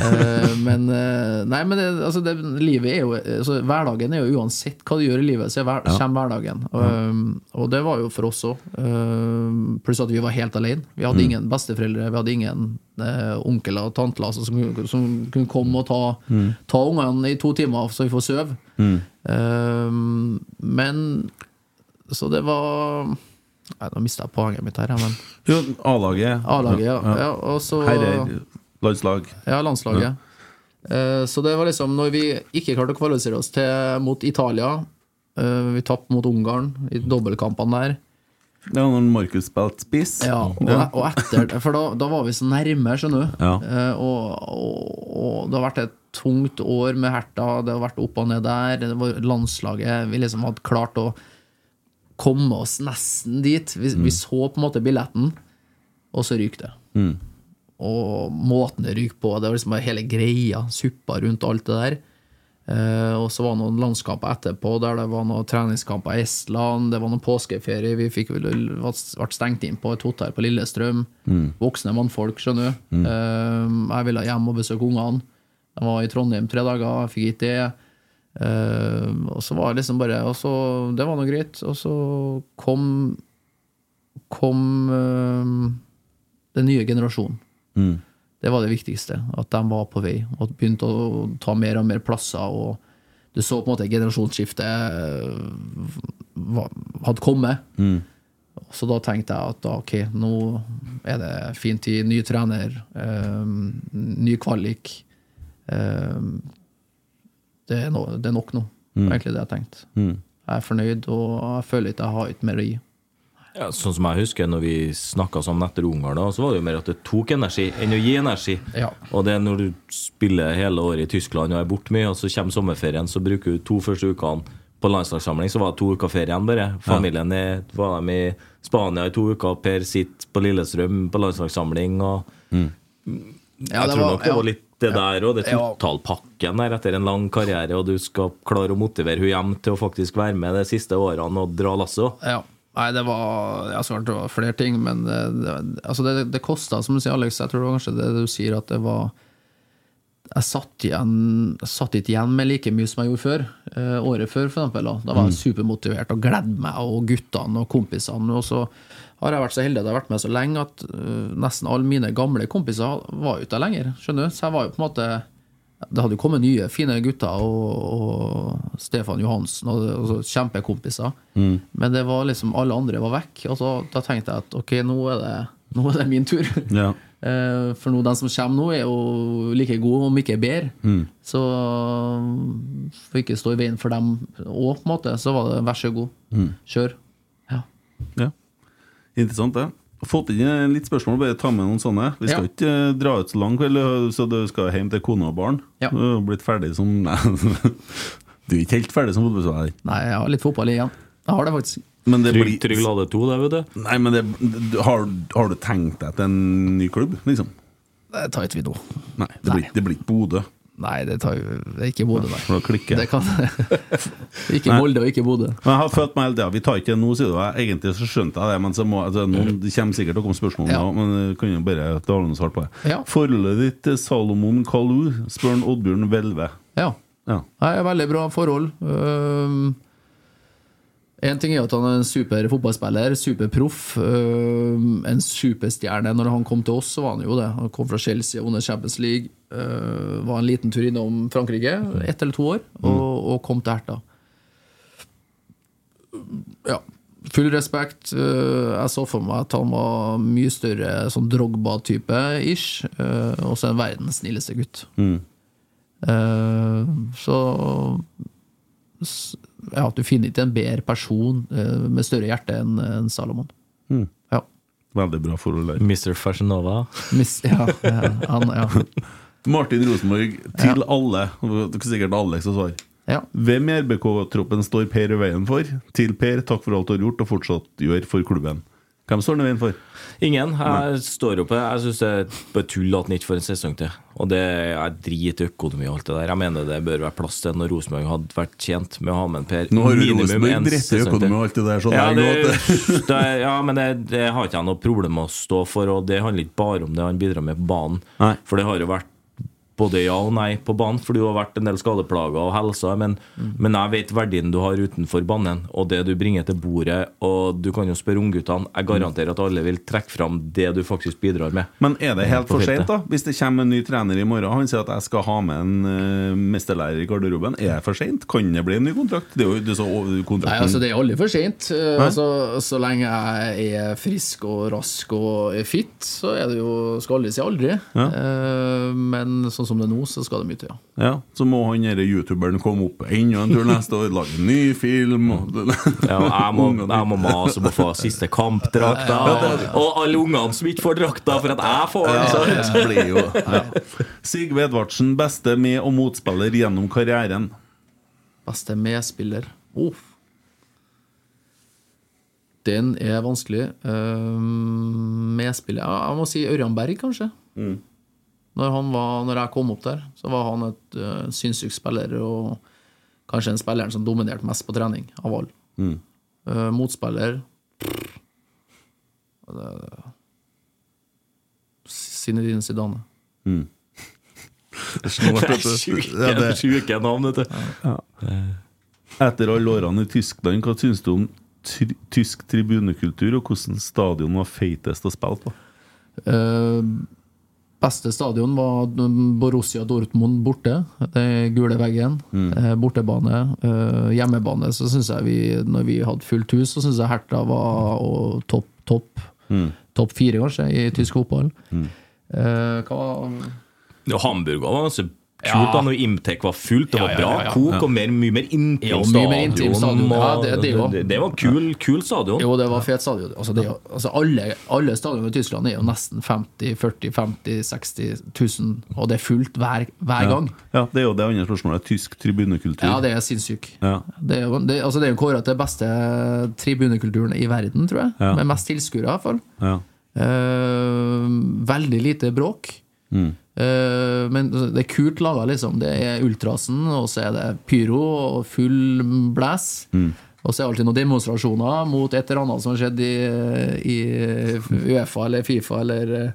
D: eh, men eh, Nei, men det, altså, det, livet er jo altså, Hverdagen er jo uansett hva du gjør i livet, så er hver,
C: Ja.
D: kommer hverdagen. Og, um, og det var jo for oss òg. Pluss at vi var helt alene. Vi hadde
C: Mm.
D: ingen besteforeldre, vi hadde ingen eh, onkler og tantler altså, som, som kunne komme og ta,
C: Mm.
D: ta ungene i to timer så vi får sove.
C: Mm.
D: Ehm, men Så det var Nei, Nå mista jeg poenget mitt her, ja, men
C: Jo, A-laget.
D: A-laget, ja. ja. og så,
C: Herrer, landslag.
D: ja, landslaget. Eh, så det var liksom når vi ikke klarte å kvalifisere oss til, mot Italia eh, Vi tapte mot Ungarn i dobbeltkampene der.
C: Ja, når Markus spilte spiss.
D: Ja, og, e-
C: Ja.
D: og etter For da, da var vi så nærme, skjønner du.
C: Ja.
D: Eh, og, og, og det har vært et tungt år med Herta. Det har vært opp og ned der. Det var landslaget Vi liksom hadde klart å komme oss nesten dit. Vi, vi så på en måte billetten, og så ryker det.
C: Mm.
D: Og måten det ryker på. Det var liksom bare hele greia. Suppa rundt alt det der. Eh, og så var det noen landskamper etterpå der det var noen treningskamper i Estland. Det var noen påskeferie. Vi fikk, vel- ble stengt inn på et hotell på Lillestrøm.
C: Mm.
D: Voksne mannfolk, skjønner du.
C: Mm.
D: Eh, jeg ville hjem og besøke ungene. Jeg var i Trondheim tre dager, jeg fikk ikke det. Eh, og så var det liksom bare og så, Det var nå greit. Og så kom kom eh, den nye generasjonen.
C: Mm.
D: Det var det viktigste. At de var på vei og begynte å ta mer og mer plasser. og Du så på en måte generasjonsskiftet eh, var- hadde kommet.
C: Mm.
D: Så da tenkte jeg at da, ok, nå er det fin tid, ny trener, eh, ny kvalik. Eh, det, er no, det er nok nå,
E: Mm.
D: egentlig det jeg tenkte.
C: Mm.
D: Jeg er fornøyd, og jeg føler ikke jeg har ikke mer å gi.
E: Ja, sånn som jeg husker når vi snakka sammen etter Ungarn, da, så var det jo mer at det tok energi enn å gi energi.
D: Ja.
E: Og det er når du spiller hele året i Tyskland og er borte mye, og så kommer sommerferien, så bruker du to første ukene på landslagssamling, så var det to uker ferie igjen, bare. Familien er, var dem i Spania i to uker, Per sitter på Lillestrøm på landslagssamling, og
D: Ja,
E: jeg
D: det
E: tror
D: var-
E: nok det
D: ja.
E: var litt det der òg. Det er
D: Ja.
E: totalpakken der etter en lang karriere, og du skal klare å motivere hun hjem til å faktisk være med de siste årene og dra lasset òg.
D: Ja. Nei, det var, jeg har svart det var flere ting, men det, det, altså det, det kosta, som du sier, Alex. Jeg tror det var kanskje det du sier, at det var Jeg satt, igjen, jeg satt ikke igjen med like mye som jeg gjorde før. Eh, året før, for eksempel. Da, da var
C: Mm.
D: jeg supermotivert og gledde meg, og guttene og kompisene. Og så har jeg vært så heldig at jeg har vært med så lenge at eh, nesten alle mine gamle kompiser var ute lenger. Skjønner du? Så jeg var jo på en måte det hadde jo kommet nye, fine gutter og, og Stefan Johansen og, og så kjempekompiser.
C: Mm.
D: Men det var liksom alle andre var vekk. Og så, da tenkte jeg at ok, nå er det, nå er det min tur.
C: Ja.
D: Eh, For nå, de som kommer nå, er jo like gode, om ikke bedre.
C: Mm.
D: Så um, for ikke stå i veien for dem òg, på en måte, så var det vær så god,
C: Mm.
D: kjør.
C: Ja. Interessant, det. Fått inn eh, litt spørsmål, bare ta med noen sånne. Vi skal
D: Ja.
C: ikke eh, dra ut så langt, vel, eh, så du skal hjem til kone og barn.
D: Ja.
C: Du har blitt ferdig som [laughs] Nei, du er ikke helt ferdig som fotballspiller.
D: Nei, jeg har litt fotball igjen. Jeg har det faktisk.
C: Men det blir-
E: Trygg, trygg hadde to, det, vet du.
C: Nei, men det, du- har, har du tenkt deg til en ny klubb, liksom?
D: Det tar ikke vi nå.
C: Nei, det blir, det blir ikke Bodø.
D: Nei, det tar jo det er ikke Bodø, nei.
C: For da klikker
D: Det kan [laughs] Ikke
C: Nei.
D: Molde og ikke Bodø.
C: Men jeg har følt meg hele tida. Vi tar ikke det nå, sier du. Jeg- Egentlig så skjønte jeg det, men så må, altså, nå, det kommer sikkert til å komme spørsmål om det
D: Mm. Ja.
C: også, men jeg kan jo bare ta noe svar på det.
D: Ja.
C: Forholdet ditt til Salomon Kalou, spør han Oddbjørn Hvelve.
D: Ja.
C: Ja.
D: Nei, veldig bra forhold. Um, en ting er at han er en super fotballspiller, superproff. Um, en superstjerne. Når han kom til oss, så var han jo det. Han kom fra Chelsea, vunnet Champions League. Uh, var en liten tur innom Frankrike, ett eller to år, og, og kom til Herta. Ja. Full respekt. Uh, jeg så for meg at han var mye større sånn Drogba-type ish. Uh, også en verdens snilleste gutt.
C: Mm.
D: Eh, så s- Ja, du finner ikke en bedre person eh, med større hjerte enn enn Salomon.
C: Mm.
D: Ja.
C: Veldig bra forhold der.
E: Mr. Fashionova.
D: Miss, ja, ja, han, ja.
C: Martin Rosenborg, til alle, og det er sikkert Alex som svar.
D: Ja.
C: Hvem i RBK-troppen står Per i veien for? Til Per, takk for alt du har gjort og fortsatt gjør for klubben. Hvem står han i veien for?
E: Ingen. Jeg står oppe. Jeg syns det er bare tull at han ikke får en sesong til. Og det er drit i økonomi og alt det der. Jeg mener det bør være plass til når Rosenborg hadde vært tjent med å ha med en Per
C: Nå har jo
E: minimum en
C: Rosenborg dritt i
E: sesong til.
C: økonomi og alt det der så
E: ja,
C: lenge
E: det,
C: at det- [laughs]
E: det, ja, men det, det har ikke jeg noe problem med å stå for, og det handler ikke bare om det han bidrar med på banen. For det har jo vært både ja og nei på banen, for du har vært en del skadeplager og helsa, men, men jeg vet verdien du har utenfor banen, og det du bringer til bordet, og du kan jo spørre ungguttene. Jeg garanterer at alle vil trekke fram det du faktisk bidrar med.
C: Men er det helt
E: På
C: for
E: feltet.
C: sent, da? Hvis det kommer en ny trener i morgen han sier at jeg skal ha med en eh, mesterlærer i garderoben, er det for sent? Kan det bli en ny kontrakt? Det er jo det er så, kontrakten
D: Nei, altså Det er aldri for seint. Eh,
C: Nei.
D: Altså, så lenge jeg er frisk og rask og er fit, så er det jo, skal aldri si aldri.
C: Ja.
D: Eh, Men sånn som det er nå, så skal det mye til. Ja.
C: Ja, Så må han denne youtuberen komme opp enda en tur neste år, lage en ny film og
E: Ja, og jeg må, jeg må mase om å få siste kampdrakta, og, og alle ungene som ikke får drakta for at jeg får den.
C: Ja,
E: sant?
C: det blir jo ja. Sigve Edvardsen, beste med- og motspiller gjennom karrieren.
D: Beste medspiller oh. Den er vanskelig. Eh, Medspiller Ja, Jeg må si Ørjan Berg, kanskje. Når, han var, når jeg kom opp der, så var han et uh, sinnssyk spiller, og kanskje den spilleren som dominerte mest på trening av alle.
C: Mm.
D: Eh, motspiller Det- Zinedine Zidane.
C: Mm.
E: Det er sjuke,
C: Ja, det-
E: sjuke navn, vet du.
C: Etter alle årene i Tyskland, hva syns du om tr- tysk tribunekultur, og hvordan stadion var feitest å spille på?
D: Eh, beste stadion var Borussia Dortmund borte. Den gule veggen.
C: Mm.
D: Eh, bortebane. Eh, hjemmebane, så syns jeg vi, når vi hadde fullt hus, så syns jeg Herta var og topp, topp.
E: Mm.
D: Topp fire, kanskje, i tysk fotball.
E: Mm.
D: Eh, hva
E: Ja, Hamburg var ganske kult.
D: Ja.
E: da, når Imtek var fullt, det
D: Ja,
E: var
D: ja,
E: bra.
D: ja, ja.
E: Kok
D: Ja.
E: og mer, mye mer intim
D: Jo, mye
E: stadion.
D: mer intim stadion. Ja,
E: og-
D: det- det jo.
E: det, det var kul, kul stadion.
D: Jo, det var fet stadion. Altså, det, er jo- altså, alle, alle stadioner i Tyskland er jo nesten 50 40 50 60 000, og det er fullt hver, hver gang.
C: Ja. ja, Det er jo det andre spørsmålet. Tysk tribunekultur.
D: Ja, det er sinnssykt.
C: Ja.
D: Det er jo det, altså det er jo kåret til beste tribunekulturen i verden, tror jeg.
C: Ja.
D: Med mest tilskuere, i hvert fall.
C: Ja.
D: Eh, veldig lite bråk.
C: Mm.
D: Eh, men det er kult laga, liksom. Det er ultrasen, og så er det pyro og full blæs.
C: Mm.
D: Og så er det alltid noen demonstrasjoner mot et eller annet som har skjedd i, i Uefa eller Fifa eller eh,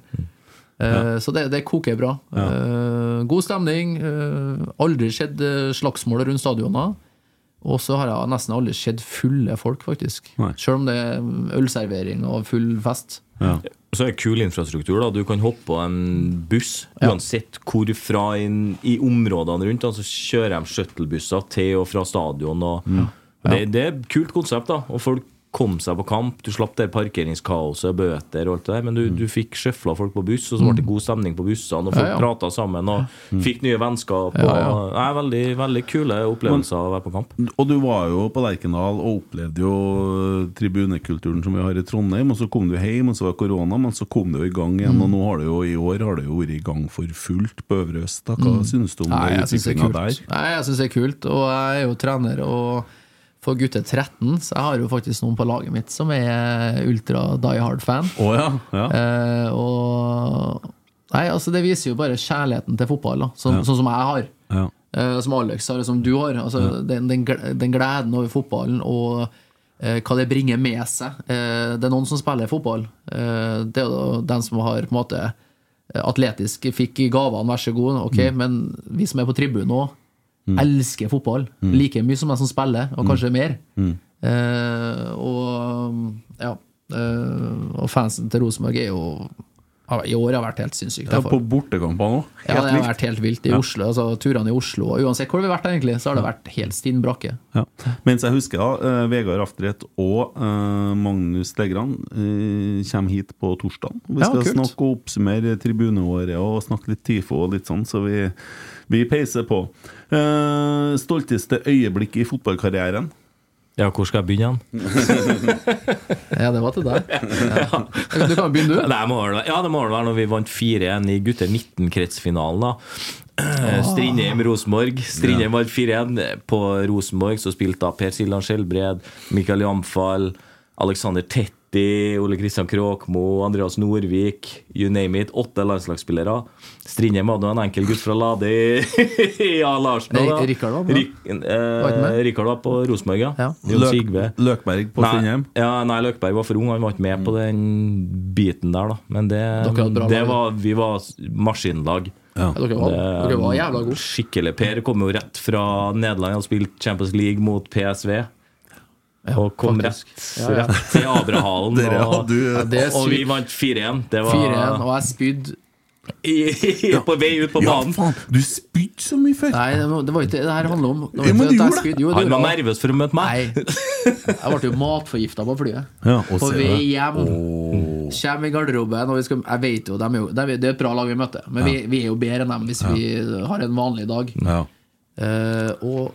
C: Ja.
D: Så det, det koker bra. Eh, god stemning. eh, aldri skjedd eh, slagsmål rundt stadioner. Og så har jeg nesten aldri sett fulle folk, faktisk. Selv om det er ølservering og full fest.
E: Så er det kul infrastruktur. da Du kan hoppe på en buss uansett hvor fra inn, i områdene rundt. da, Så kjører de shuttlebusser til og fra stadion. Og, og Det, det er et kult konsept. da Og Folk kom seg på kamp. Du slapp det parkeringskaoset, bøter og alt det der. Men du, du fikk sjøfla folk på buss, og så ble det god stemning på bussene. Og folk
D: Ja, ja.
E: prata sammen og fikk nye vennskap. Og,
D: Ja, ja.
E: Nei, veldig, veldig kule opplevelser å være på kamp.
C: Og du var jo på Lerkendal og opplevde jo eh, tribunekulturen som vi har i Trondheim. Og så kom du hjem, og så var det korona, men så kom du i gang igjen.
D: Mm.
C: Og nå har det jo i år har det jo vært i gang for fullt på Øvre Øst. da. Hva
D: Mm.
C: synes du om
D: Nei,
C: det
D: jeg synes det er
C: utviklinga
D: kult.
C: der?
D: Nei, jeg syns det er kult, og jeg er jo trener og for gutter 13, så jeg har jo faktisk noen på laget mitt som er ultra die hard-fan.
C: Å ja, ja.
D: Eh, og Nei, altså det viser jo bare kjærligheten til fotball, da. Sånn,
C: Ja.
D: sånn som jeg har.
C: Ja.
D: Eh, som Alex har, og som du har. Altså, den, den, gle- den gleden over fotballen og eh, hva det bringer med seg. Eh, det er noen som spiller fotball. Eh, det er jo den som har på en måte eh, atletisk fikk i gavene, vær så god. Ok,
C: Mm.
D: Men vi som er på tribunen òg, elsker fotball
C: Mm.
D: like mye som de som spiller, og kanskje mer.
C: Mm.
D: Eh, og ja eh, Og fansen til Rosenborg er jo har- i år har vært helt sinnssykt.
C: Ja, på bortekampene òg.
D: Ja, det har
C: vilt.
D: vært helt vilt i
C: Ja.
D: Oslo. Altså, turene i Oslo og Uansett hvor vi har vært, egentlig, så har det vært helt stinn brakke.
C: Ja. Mens jeg husker da, eh, Vegard Aftret og eh, Magnus Stegran eh, kommer hit på torsdag. Vi
D: Ja,
C: skal
D: kult.
C: snakke og oppsummere tribuneåret og snakke litt TIFO og litt sånn, så vi, vi peiser på. Eh, stolteste øyeblikk i fotballkarrieren?
E: Ja, hvor skal jeg begynne?
D: Ja, det var til deg. [laughs] Ja. Du kan jo begynne, du.
E: Nei, må vel være- ja, det må vel være når vi vant 4-1 i gutter 19-kretsfinalen. da Eh, Strindheim Rosenborg. Strindheim vant 4-1. På Rosenborg så spilte da Per Siljan Skjelbred, Mikael Jamfall, Alexander Tetti Vetti, Ole Kristian Kråkmo, Andreas Norvik, you name it. Åtte landslagsspillere. Strindheim hadde jo en enkel gutt fra Lade Ja, Larsen
D: Nei,
E: da.
D: Rikard var med.
E: Rik,
D: Var ikke
E: eh,
D: med?
E: Rikard var på Rosenborg, ja. Jon
C: Løk-
E: Sigve.
C: Løkberg på
E: Nei,
C: Strindheim.
E: Ja, nei, Løkberg var for ung. Han var ikke med på den biten der, da. Men det,
D: Dere hadde bra
E: det
D: lag, da.
E: var Vi var maskinlag.
D: Ja, dere var-
E: Det-
D: dere var jævla gode.
E: Skikkelig. Per kom jo rett fra Nederland. Han spilte Champions League mot PSV. og kom rett,
D: Ja, ja.
E: rett til
D: [laughs]
E: Abrahalen.
D: Dere
E: og,
D: hadde jo- Ja, det er
E: og vi
D: sykt.
E: vant 4-1. Det var
D: 4-1, og jeg spydde
E: på vei ut på banen.
C: Du spydde så mye før!
D: Nei, det var, det var ikke det her handla om. Det var
E: Jo,
D: ikke
E: men
D: at
E: du
D: jeg
E: gjorde det.
D: spydde. Jo,
E: Han
D: gjorde
E: var
D: jeg.
E: nervøs for å møte meg.
D: Jeg ble jo matforgifta på flyet.
C: Ja, og
D: på
C: se
D: vei
C: det.
D: hjem. Kjem i garderoben, og vi skal, jeg vet jo, de er jo de, er- Det er et bra lag vi møter, men vi, vi er jo bedre enn dem hvis vi har en vanlig dag.
C: Ja.
D: Eh, og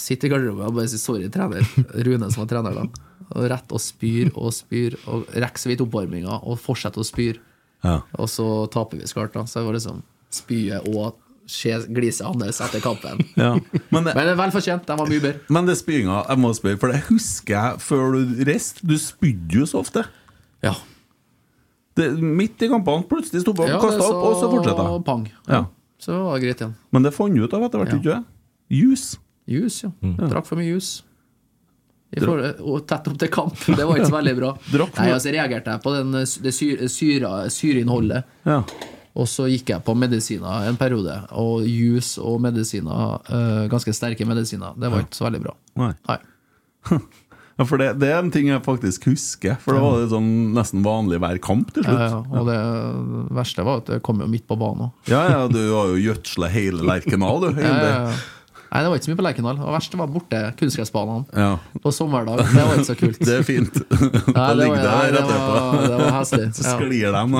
D: sitter i garderoben og bare sier sorry, trener. Rune som var trener da. Og rett og spyr og spyr, og rekker så vidt oppvarminga og fortsetter å spyr.
C: Ja.
D: Og så taper vi skart, da. Så det var liksom spyet og skje- gliset hans etter kampen.
C: [laughs] Ja. Men, eh, det,
D: Men det er vel fortjent. De var mye bedre.
C: men det spyinga, jeg må spørre, for det husker jeg før du reiste. Du spydde jo så ofte.
D: Ja.
C: Det, midt i kampene, plutselig stoppa
D: Ja,
C: ja,
D: det
C: kasta
D: så-
C: opp, og så fortsetta.
D: Pang.
C: Ja.
D: Så det var greit igjen.
C: Men det fant du ut av etter hvert,
D: Ja.
C: ikke du? Jus.
D: Jus, ja.
C: Mm.
D: Drakk for mye jus. I forhold- og tett opp til kamp. Det var ikke så veldig bra.
C: [laughs] Drakk for
D: Nei,
C: mye-
D: altså reagerte jeg på den, eh, sy- det syre, syra, syreinnholdet.
C: Ja.
D: Og så gikk jeg på medisiner en periode. Og jus og medisiner, eh, ganske sterke medisiner, det var ikke så veldig bra.
C: Nei. Ja, for det, det er en ting jeg faktisk husker. For det var det sånn nesten vanlig hver kamp til
D: Ja,
C: slutt.
D: ja, Eh, og det verste var at det kom jo midt på banen òg.
C: Ja, ja, du har jo gjødsla hele Lerkendal, du.
D: Ja,
C: Hele.
D: ja, ja. Eh, Nei, det var ikke så mye på Lerkendal. Det verste var borte kunstgressbanene
C: Ja.
D: på sommerdag. Det var ikke så kult.
C: [laughs] Det er
D: [laughs]
C: fint. Da
D: det var-
C: ligger det der
D: nei, det
C: etterpå.
D: var- det var heslig.
C: [laughs] Så
D: Ja.
C: sklir de, da.
D: [laughs]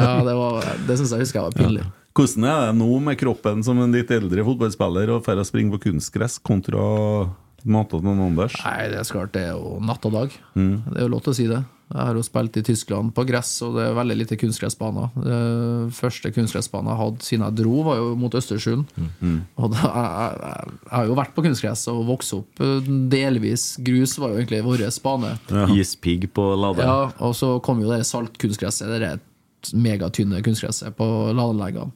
D: Ja, det, var- det syns jeg husker jeg var pinlig.
C: Hvordan er det nå med kroppen som en litt eldre fotballspiller og drar å springe på kunstgress kontra Mata noen Anders?
D: Nei, det er så klart det er jo natt og dag. Det er jo lov til å si det. Jeg har jo spilt i Tyskland på gress, og det er veldig lite kunstgressbaner. Det Første kunstgressbane jeg hadde siden jeg dro, var jo mot Østersund. Og da, jeg, jeg, jeg har jo vært på kunstgress og vokst opp eh, delvis. Grus var jo egentlig vår bane.
E: Ispigg på Lade.
D: Ja, og så kom jo det saltkunstgresset, det der megatynne kunstgresset på ladeanleggene.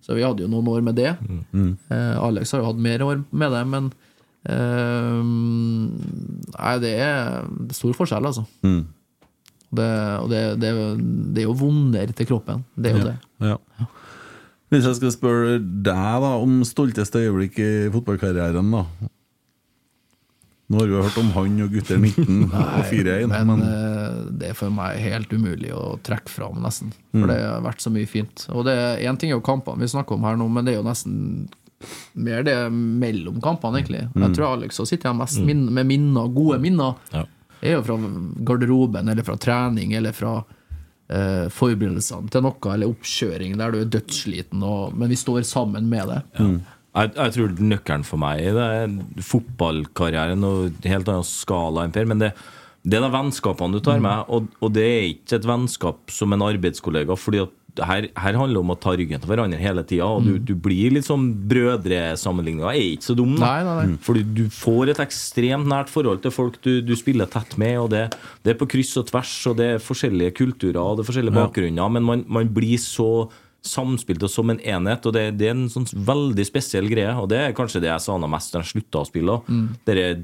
D: Så vi hadde jo noen år med det.
C: Mm.
D: Eh, Alex har jo hatt mer år med det, men eh, Nei, det er stor forskjell, altså.
C: Mm.
D: Det, og det, det, det er jo vonder til kroppen. Det er jo det.
C: Ja. Hvis jeg skal spørre deg da om stolteste øyeblikk i fotballkarrieren, da? Nå har vi jo hørt om han og gutter 19
E: [laughs]
C: og 4-1,
D: men,
C: men
D: eh, det er for meg helt umulig å trekke fram, nesten. For
C: Mm.
D: det har vært så mye fint. Og det er én ting er jo kampene vi snakker om her nå, men det er jo nesten mer det mellom kampene, egentlig. Jeg tror Alex også sitter igjen mest min med minner, gode minner.
E: Ja.
D: Det er jo fra garderoben, eller fra trening, eller fra eh, forberedelsene til noe, eller oppkjøring der du er dødssliten, og, men vi står sammen med det.
E: Mm. Jeg, jeg tror nøkkelen for meg i det er fotballkarrieren og helt annen skala enn Per, men det, det er de vennskapene du tar med, og, og det er ikke et vennskap som en arbeidskollega, fordi at her, her handler det om å ta ryggen til hverandre hele tida, og du, du blir litt sånn brødresammenligninga er ikke så dum, da.
D: Nei, nei, nei.
E: Fordi du får et ekstremt nært forhold til folk du, du spiller tett med, og det, det er på kryss og tvers, og det er forskjellige kulturer, og det er forskjellige
C: Ja.
E: bakgrunner, men man, man blir så samspilt og som en enhet, og det, det er en sånn veldig spesiell greie, og det er kanskje det jeg savna mest da jeg slutta å spille. Mm. Det der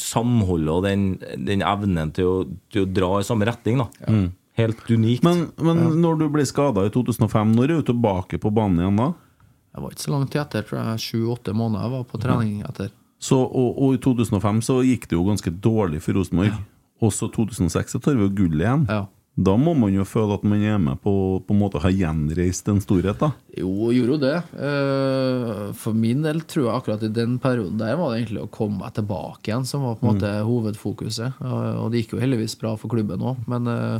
E: samholdet og den, den evnen til å, til å dra i samme retning. da. Helt unikt.
C: Men, men når du ble skada i 2005, når er du tilbake på banen igjen da?
D: Jeg var ikke så langt etter, tror jeg sju-åtte måneder jeg var på trening etter.
C: Så, og, og i 2005 så gikk det jo ganske dårlig for Rosenborg. Og så 2006 så tar vi jo gull igjen. Da må man jo føle at man er med på på en måte har gjenreist en storhet, da.
D: Jo, gjorde jo det. Eh, For min del tror jeg akkurat i den perioden der var det egentlig å komme meg tilbake igjen som var på en måte hovedfokuset. Eh, Og det gikk jo heldigvis bra for klubben òg, men eh,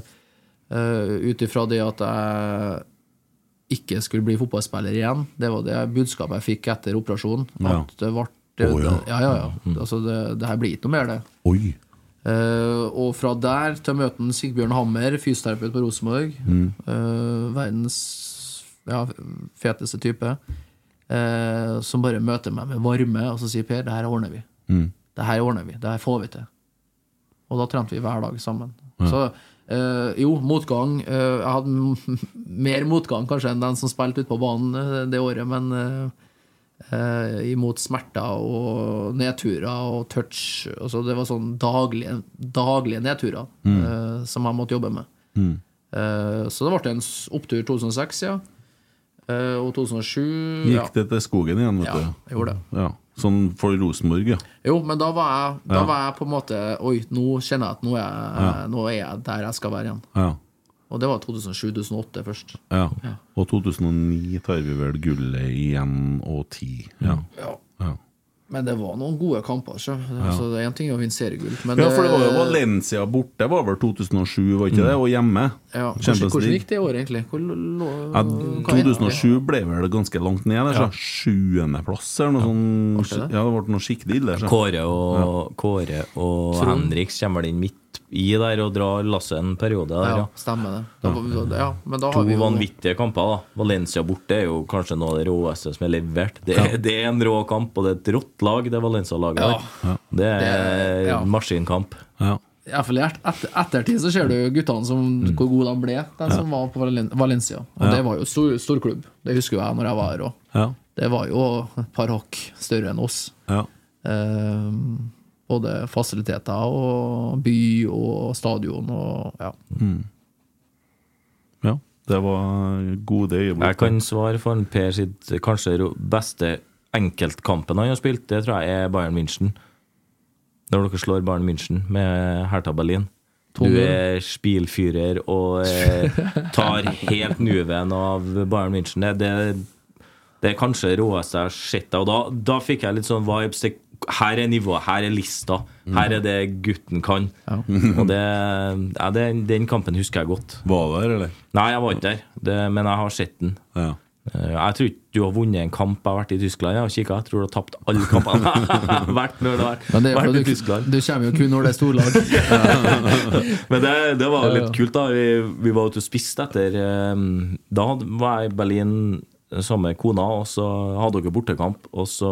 D: ut ifra det at jeg ikke skulle bli fotballspiller igjen, det var det budskapet jeg fikk etter operasjonen.
C: Ja.
D: At det ble
C: Å, ja.
D: ja, ja, ja. Altså, det, det her blir ikke noe mer, det.
C: Oi!
D: Eh, og fra der til møten Sigbjørn Hammer, fysioterapeut på Rosenborg.
C: Mm.
D: Eh, verdens ja, feteste type. eh, som bare møter meg med varme, og så sier Per det her ordner vi.
C: Mm.
D: Det her ordner vi, det her får vi til. Og da trente vi hver dag sammen.
C: Ja.
D: Så eh, jo, motgang. eh, jeg hadde m- mer motgang kanskje enn den som spilte ute på banen eh, det året, men eh, eh, imot smerter og nedturer og touch. Altså, det var sånn daglige, daglige nedturer
B: Mm.
D: eh, som jeg måtte jobbe med.
B: Mm.
D: Eh, så det ble en s- opptur 2006, ja. Eh, og 2007 ja.
C: Gikk det til skogen igjen, vet
D: Ja,
C: du?
D: jeg gjorde det.
C: Ja. Sånn for Rosenborg, ja.
D: Jo, men da var jeg, da
C: Ja.
D: var jeg på en måte Oi, nå kjenner jeg at nå er jeg,
C: Ja.
D: nå er jeg der jeg skal være igjen.
C: ja.
D: Og det var 2007-2008 først.
C: ja.
D: Ja.
C: Og 2009 tar vi vel gullet igjen, og 10. Ja.
D: Ja.
C: Ja.
D: Men det var noen gode kamper. Så. Altså, det er Én ting er å vinne seriegull, men
C: ja, for det var jo
D: Eh,
C: Valencia borte, var vel 2007, var ikke det? Og hjemme.
D: ja, Mm. hvordan,
C: Champions
D: hvordan
C: League.
D: gikk det i året, egentlig? Hvor, lå,
C: Ja,
D: hva endte det?
C: 2007 ble vel ganske langt ned. Der,
D: Ja.
C: så. Sjuendeplass eller noe sånn.
E: det?
C: Ja, det ble noe skikkelig ille. altså. så.
E: Kåre og, Kåre og
D: Trond.
E: Henriks kommer vel inn midt i der og drar lasset en periode der,
D: Ja,
E: ja.
D: stemmer det. Da, var- da, ja, men da
E: To
D: har vi jo
E: vanvittige kamper. da Valencia borte er jo kanskje noe av det råeste som er levert. Det, er- det er en rå kamp, og det er et rått lag, det Valencia-laget
D: Ja.
E: der. Det er
D: Det- ja.
E: maskinkamp.
D: i hvert fall i et- etter, ettertid så ser du guttene som,
C: Mm.
D: hvor gode de ble, de som var på Valen- Valencia. Og
E: Ja.
D: det var jo stor, stor klubb. Det husker jo jeg når jeg var her òg.
C: Ja.
D: Det var jo et par hakk større enn oss.
C: Ja.
D: Eh, både fasiliteter og by og stadion og ja.
C: Mm. ja. Det var gode øyeblikk.
E: Jeg kan svare for en Per sitt kanskje ro- beste enkeltkampen han har spilt. Det tror jeg er Bayern München. Når dere slår Bayern München med Hertha Berlin. Du
D: 2-0.
E: er spilfyrer og
D: [laughs]
E: eh, tar helt nuven av Bayern München. Det, det, det er kanskje det råeste jeg har sett. deg, Og da, da fikk jeg litt sånn vibes. Det, her er nivået, her er lista. Her er det gutten kan. Og det, ja, det, den kampen husker jeg godt.
C: Var du der, eller?
E: Nei, jeg var ikke der, det, men jeg har sett den. Eh, Jeg tror ikke du har vunnet en kamp jeg har vært i Tyskland. Jeg har kikket, jeg tror du har tapt alle kampene [laughs] jeg har vært når du har
D: Men det er
E: vært
D: fordi
E: i Tyskland.
D: du, du kommer jo kun når det er storlag.
E: [laughs] Men det, det var
D: Ja, ja.
E: litt kult, da. Vi, vi var ute og spiste etter eh, Da hadde- var jeg i Berlin sammen med kona, og så hadde dere bortekamp. Og så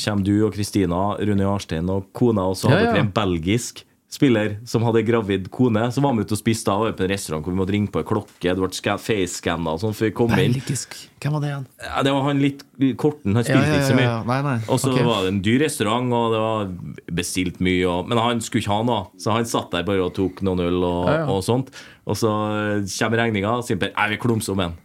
E: kommer du og Kristina, Rune Jarstein og kona, og så hadde
D: Ja, ja.
E: dere en belgisk spiller som hadde gravid kone, som var med ut og spiste. Da var vi på en restaurant hvor vi måtte ringe på en klokke, det ble ska- face-scanna og sånn før vi kom inn.
D: Belgisk. Hvem var det igjen?
E: Ja, det var han litt korten, han spilte
D: Ja, ja,
E: ikke så
D: ja,
E: mye.
D: ja. Nei, nei.
E: Og så
D: Ok.
E: var det en dyr restaurant, og det var bestilt mye. Og, men han skulle ikke ha noe, så han satt der bare og tok noen øl og,
D: Ja, ja.
E: og sånt. Og så kommer regninga, og Simper er vi klumser om en.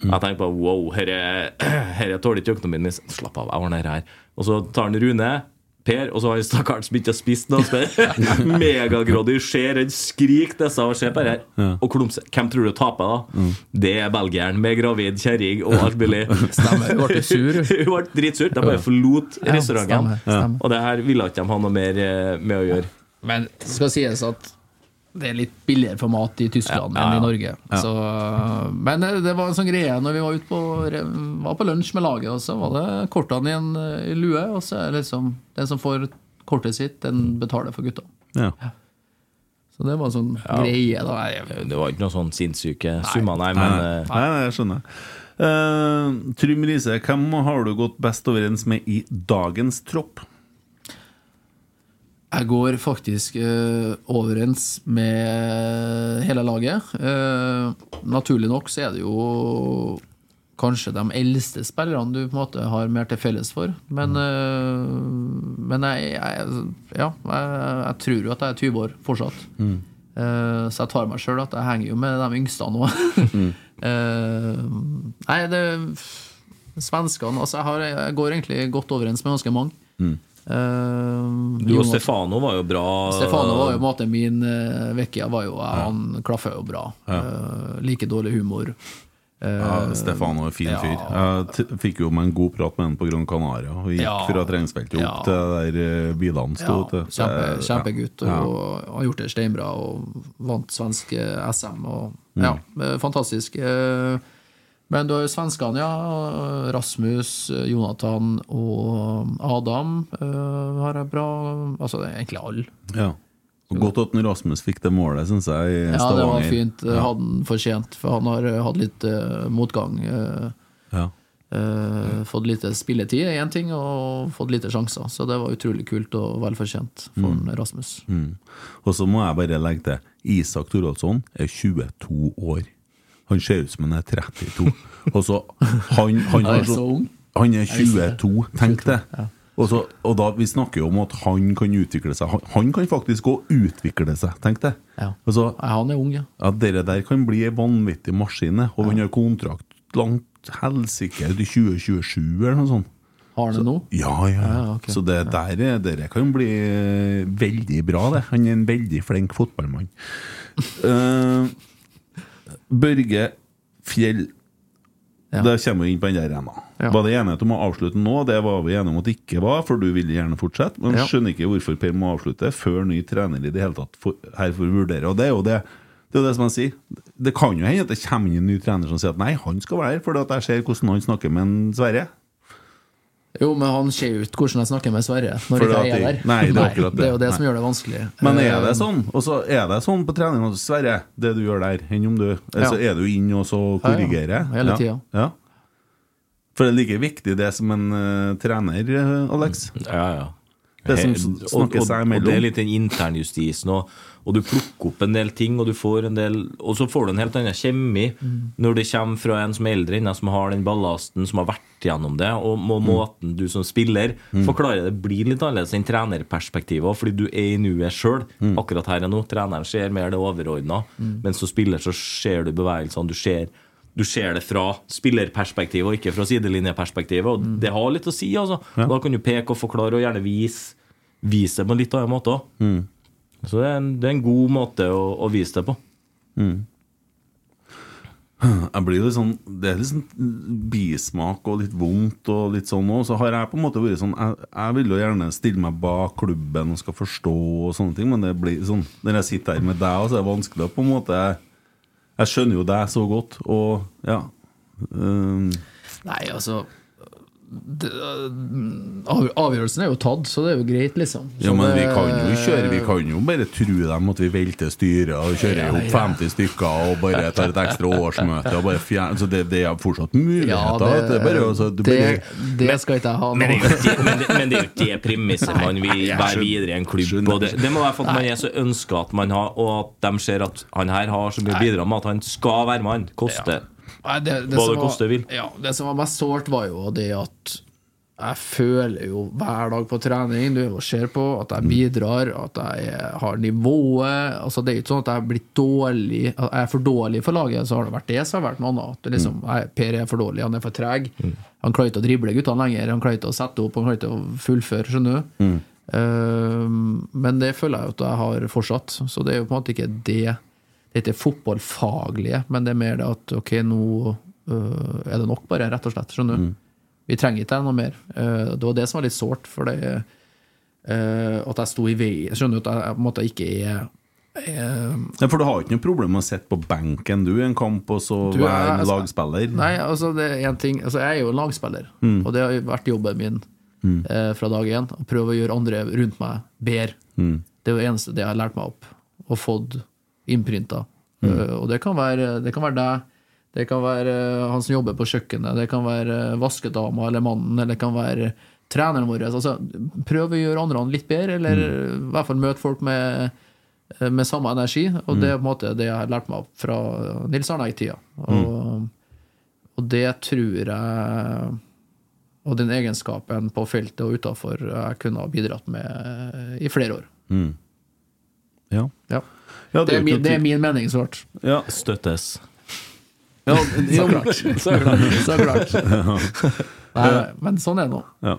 E: Mm. Jeg tenker på wow, [clears throat] dette tåler ikke økonomien min. Slapp av, jeg ordner det her. Og så tar han Rune. Per, og så har han stakkaren som ikke har spist noe. som er Megagrådig. Ser han skriker til seg og ser på det her. Og klumser. Hvem tror du taper, da? Det er belgieren med gravid kjerring og alt mulig.
D: [laughs] Stemmer, hun ble sur.
E: [laughs] Hun ble dritsur. De bare forlot
D: Ja,
E: restauranten.
D: stemmer, stemmer.
E: Og det her ville ikke de ha noe mer eh, med å gjøre.
D: Men det skal sies at det er litt billigere for mat i Tyskland
E: Ja, ja, ja.
D: enn i Norge.
E: Ja.
D: Så, men det, det var en sånn greie når vi var ute på, re- var på lunsj med laget, og så var det kortene i en eh, lue. Og så er det liksom den som får kortet sitt, den betaler for gutta.
C: Ja.
D: Så det var en sånn
E: Ja.
D: greie. da
E: Det var ikke noe sånn sinnssyke summer, nei,
C: Nei,
E: men
C: nei,
E: eh,
C: nei, nei, jeg skjønner. Eh, Trym Riise, hvem har du gått best overens med i dagens tropp?
D: Jeg går faktisk eh, overens med hele laget. Eh, naturlig nok så er det jo kanskje de eldste spillerne du på en måte har mer til felles for.
E: Mm.
D: Men, eh, men jeg, jeg, ja, jeg, jeg tror jo at jeg er 20 år fortsatt.
E: Mm.
D: Eh, så jeg tar meg sjøl at jeg henger jo med de yngste
E: [laughs]
D: nå.
E: Mm.
D: [laughs] Eh, nei, det Svenskene Altså, jeg, har, jeg går egentlig godt overens med ganske mange. Eh,
E: Mm. du og
D: Jonas-
E: Stefano var jo bra.
D: Stefano
C: Eh,
D: var jo på en måte min uh, Vecchia var jo, Han klaffa jo bra. Eh, like dårlig humor. Eh,
C: Ja, Stefano er en fin
D: ja.
C: fyr. Jeg t fikk jo meg en god prat med han på Gran Canaria. Vi gikk
D: Ja.
C: fra treningsfeltet opp
D: Ja.
C: til der eh, bilene sto.
D: Ja,
C: til. Så
D: kjempe,
C: jeg-
D: kjempegutt. Og,
C: Ja.
D: har gjort det steinbra og vant svensk eh, SM. Og,
C: Mm.
D: Ja, eh, fantastisk. Eh, Men du har jo svenskene, ja. Rasmus, eh, Jonathan og Adam eh, har jeg bra Altså egentlig alle.
C: Ja. Og Godt at den Rasmus fikk det målet, syns jeg. i
D: Ja, det var
C: Stavanger.
D: fint.
C: Ja.
D: Hadde han fortjent, for han har eh, hatt litt eh, motgang. eh,
C: Ja.
D: Eh, fått lite spilletid er én ting, og fått lite sjanser. Så det var utrolig kult og velfortjent for
C: Mm.
D: Rasmus.
C: Mm. Og så må jeg bare legge til Isak Thoroldsson er 22 år. Han ser ut som han er 32. Altså, han, han,
D: Han er
C: har
D: så ung.
C: han er
D: Jeg visste det.
C: 22, tenk det. Og, så, og da, Vi snakker jo om at han kan utvikle seg. Han, han kan faktisk òg utvikle seg, tenk det. Altså,
D: han er ung, ja.
C: ja Dere der kan bli ei vanvittig maskin, og han har kontrakt langt helsike til 2027 eller noe sånt.
D: Har han det nå?
C: Ja, ja.
D: Ja, ok.
C: Så det der, er- dere kan bli eh, veldig bra, det. Han er en veldig flink fotballmann. Eh, Børge Fjell. Da kommer vi inn på den der ena.
B: Ja.
C: Var det enighet om å avslutte nå? Det var vi enige om at det ikke var, for du ville gjerne fortsette. Men
B: Ja.
C: skjønner ikke hvorfor Per må avslutte før ny trener i det hele tatt for, her får vurdere. Og det er jo det det er jo det som jeg sier. Det kan jo hende at det kommer inn en ny trener som sier at nei, han skal være her, fordi at jeg ser hvordan han snakker med en Sverre.
D: Jo, men han ser ut hvordan jeg snakker med Sverre når
C: For
D: ikke
C: at
D: jeg er
C: det-
D: der.
C: Nei,
D: [laughs]
C: det er akkurat
D: det er jo det
C: Nei.
D: som gjør det vanskelig.
C: Men er det
D: Eh,
C: sånn? Og så er det sånn på trening at, Sverre, det du gjør der, enn om du eh, Så
D: Ja.
C: er du inn og så
D: Ja, ja.
C: korrigerer.
D: Hele tiden.
C: Ja. For det er like viktig det som en eh, trener, eh, Alex.
E: Ja, ja.
C: Det som
E: He-
C: s-
E: og,
C: snakker
E: og,
C: seg
E: og det er
C: imellom.
E: litt den internjustisen, og, og du plukker opp en del ting, og du får en del Og så får du en helt annen kjemi
B: Mm.
E: når det kommer fra en som er eldre enn deg, som har den ballasten, som har vært gjennom det, og må, måten du som spiller
B: Mm.
E: forklarer det, blir litt annerledes enn trenerperspektivet, også, fordi du er i nuet sjøl, akkurat her og nå. Treneren ser mer det overordna,
B: Mm.
E: men som spiller så ser du bevegelsene, du ser du ser det fra spillerperspektivet og ikke fra sidelinjeperspektivet. Og
B: Mm.
E: det har litt å si, altså. Da kan du peke og forklare og gjerne vise, vise det på en litt annen måte òg.
C: Mm.
E: Så det er, en, det er en god måte å, å vise det på.
C: Mm. Jeg blir jo litt sånn Det er litt sånn bismak og litt vondt og litt sånn òg. Så har jeg på en måte vært sånn Jeg, jeg vil jo gjerne stille meg bak klubben og skal forstå og sånne ting, men det blir sånn når jeg sitter her med deg, så er det vanskelig å på en måte Jeg skjønner jo deg så godt, og ja. Um,
D: Nei, altså det, av- Avgjørelsen er jo tatt, så det er jo greit, liksom. Så
C: ja, men vi
D: det-
C: kan jo kjøre Vi kan jo bare true dem at vi velter styret og kjører
D: Ja,
C: opp
D: ja.
C: 50 stykker og bare tar et ekstra årsmøte og bare fjerner Så det, det er fortsatt muligheter.
D: Ja,
C: vet du. Det er bare å- så
D: det,
C: det blir-
D: det, det skal ikke jeg ha
E: Men det
D: nå.
E: er jo ikke- men det, men det, er jo ikke
B: [laughs]
E: det premisset man
D: [laughs]
E: vil være videre i en klubb. Og det, det må være for at man er så ønska at man har, og at de ser at han her har så mye å bidra med, at han skal være med han. Koste
D: Nei, det, det
E: hva
D: som
E: det koste
D: var,
E: vil.
D: Ja, det som var mest sårt, var jo det at jeg føler jo hver dag på trening du er og ser på at jeg bidrar, at jeg er- har nivået. Altså Det er jo ikke sånn at jeg er blitt dårlig at Jeg er for dårlig for laget, så har det vært det som har vært noe annet. At det
E: Mm.
D: Liksom, jeg, per er for dårlig, han er for treg. Han klarer ikke å drible guttene lenger, han klarer ikke å sette opp, han klarer ikke å fullføre. skjønner du?
B: Mm.
D: Ehm, men det føler jeg jo at jeg har fortsatt. Så det er jo på en måte ikke det Det er ikke fotballfaglige, men det er mer det at ok, nå øh, er det nok, bare, rett og slett. Skjønner du? Vi trenger ikke noe mer. Eh, det var det som var litt sårt, for det eh, at jeg sto i veien. Skjønner du at jeg på en måte ikke er eh,
C: Ja, for du har jo ikke noe problem med å sitte på benken du i en kamp og så
D: Du,
C: være
D: jeg-
C: lagspiller?
D: Nei, altså det er en ting altså Jeg er jo en lagspiller,
C: Mm.
D: og det har jo vært jobben min
C: Mm.
D: eh, fra dag én. Å prøve å gjøre andre rundt meg bedre.
C: Mm.
D: Det er det eneste det jeg har lært meg opp, og fått innprinta.
B: Mm.
D: Eh, og det kan være Det kan være deg, det kan være eh, han som jobber på kjøkkenet, det kan være eh, vaskedama eller mannen, eller det kan være treneren vår. Altså, prøv å gjøre andre litt bedre, eller
C: Mm.
D: i hvert fall møte folk med eh, med samme energi, og
C: Mm.
D: det er på en måte det jeg har lært meg opp fra Nils Arne-tida.
C: Mm.
D: Og, og det tror jeg Og den egenskapen på feltet og utafor jeg kunne ha bidratt med eh, i flere år.
C: Mm. Ja.
D: Ja.
C: Ja,
D: det,
C: det er jo
D: er min,
C: ikke
D: det er
C: noe
D: min
C: [laughs]
D: mening, svart.
C: Ja.
E: Støttes.
C: Ja,
D: Så klart. [laughs] Så klart. Så klart. Nei,
C: [laughs] Ja.
D: men sånn er det nå.
C: Ja.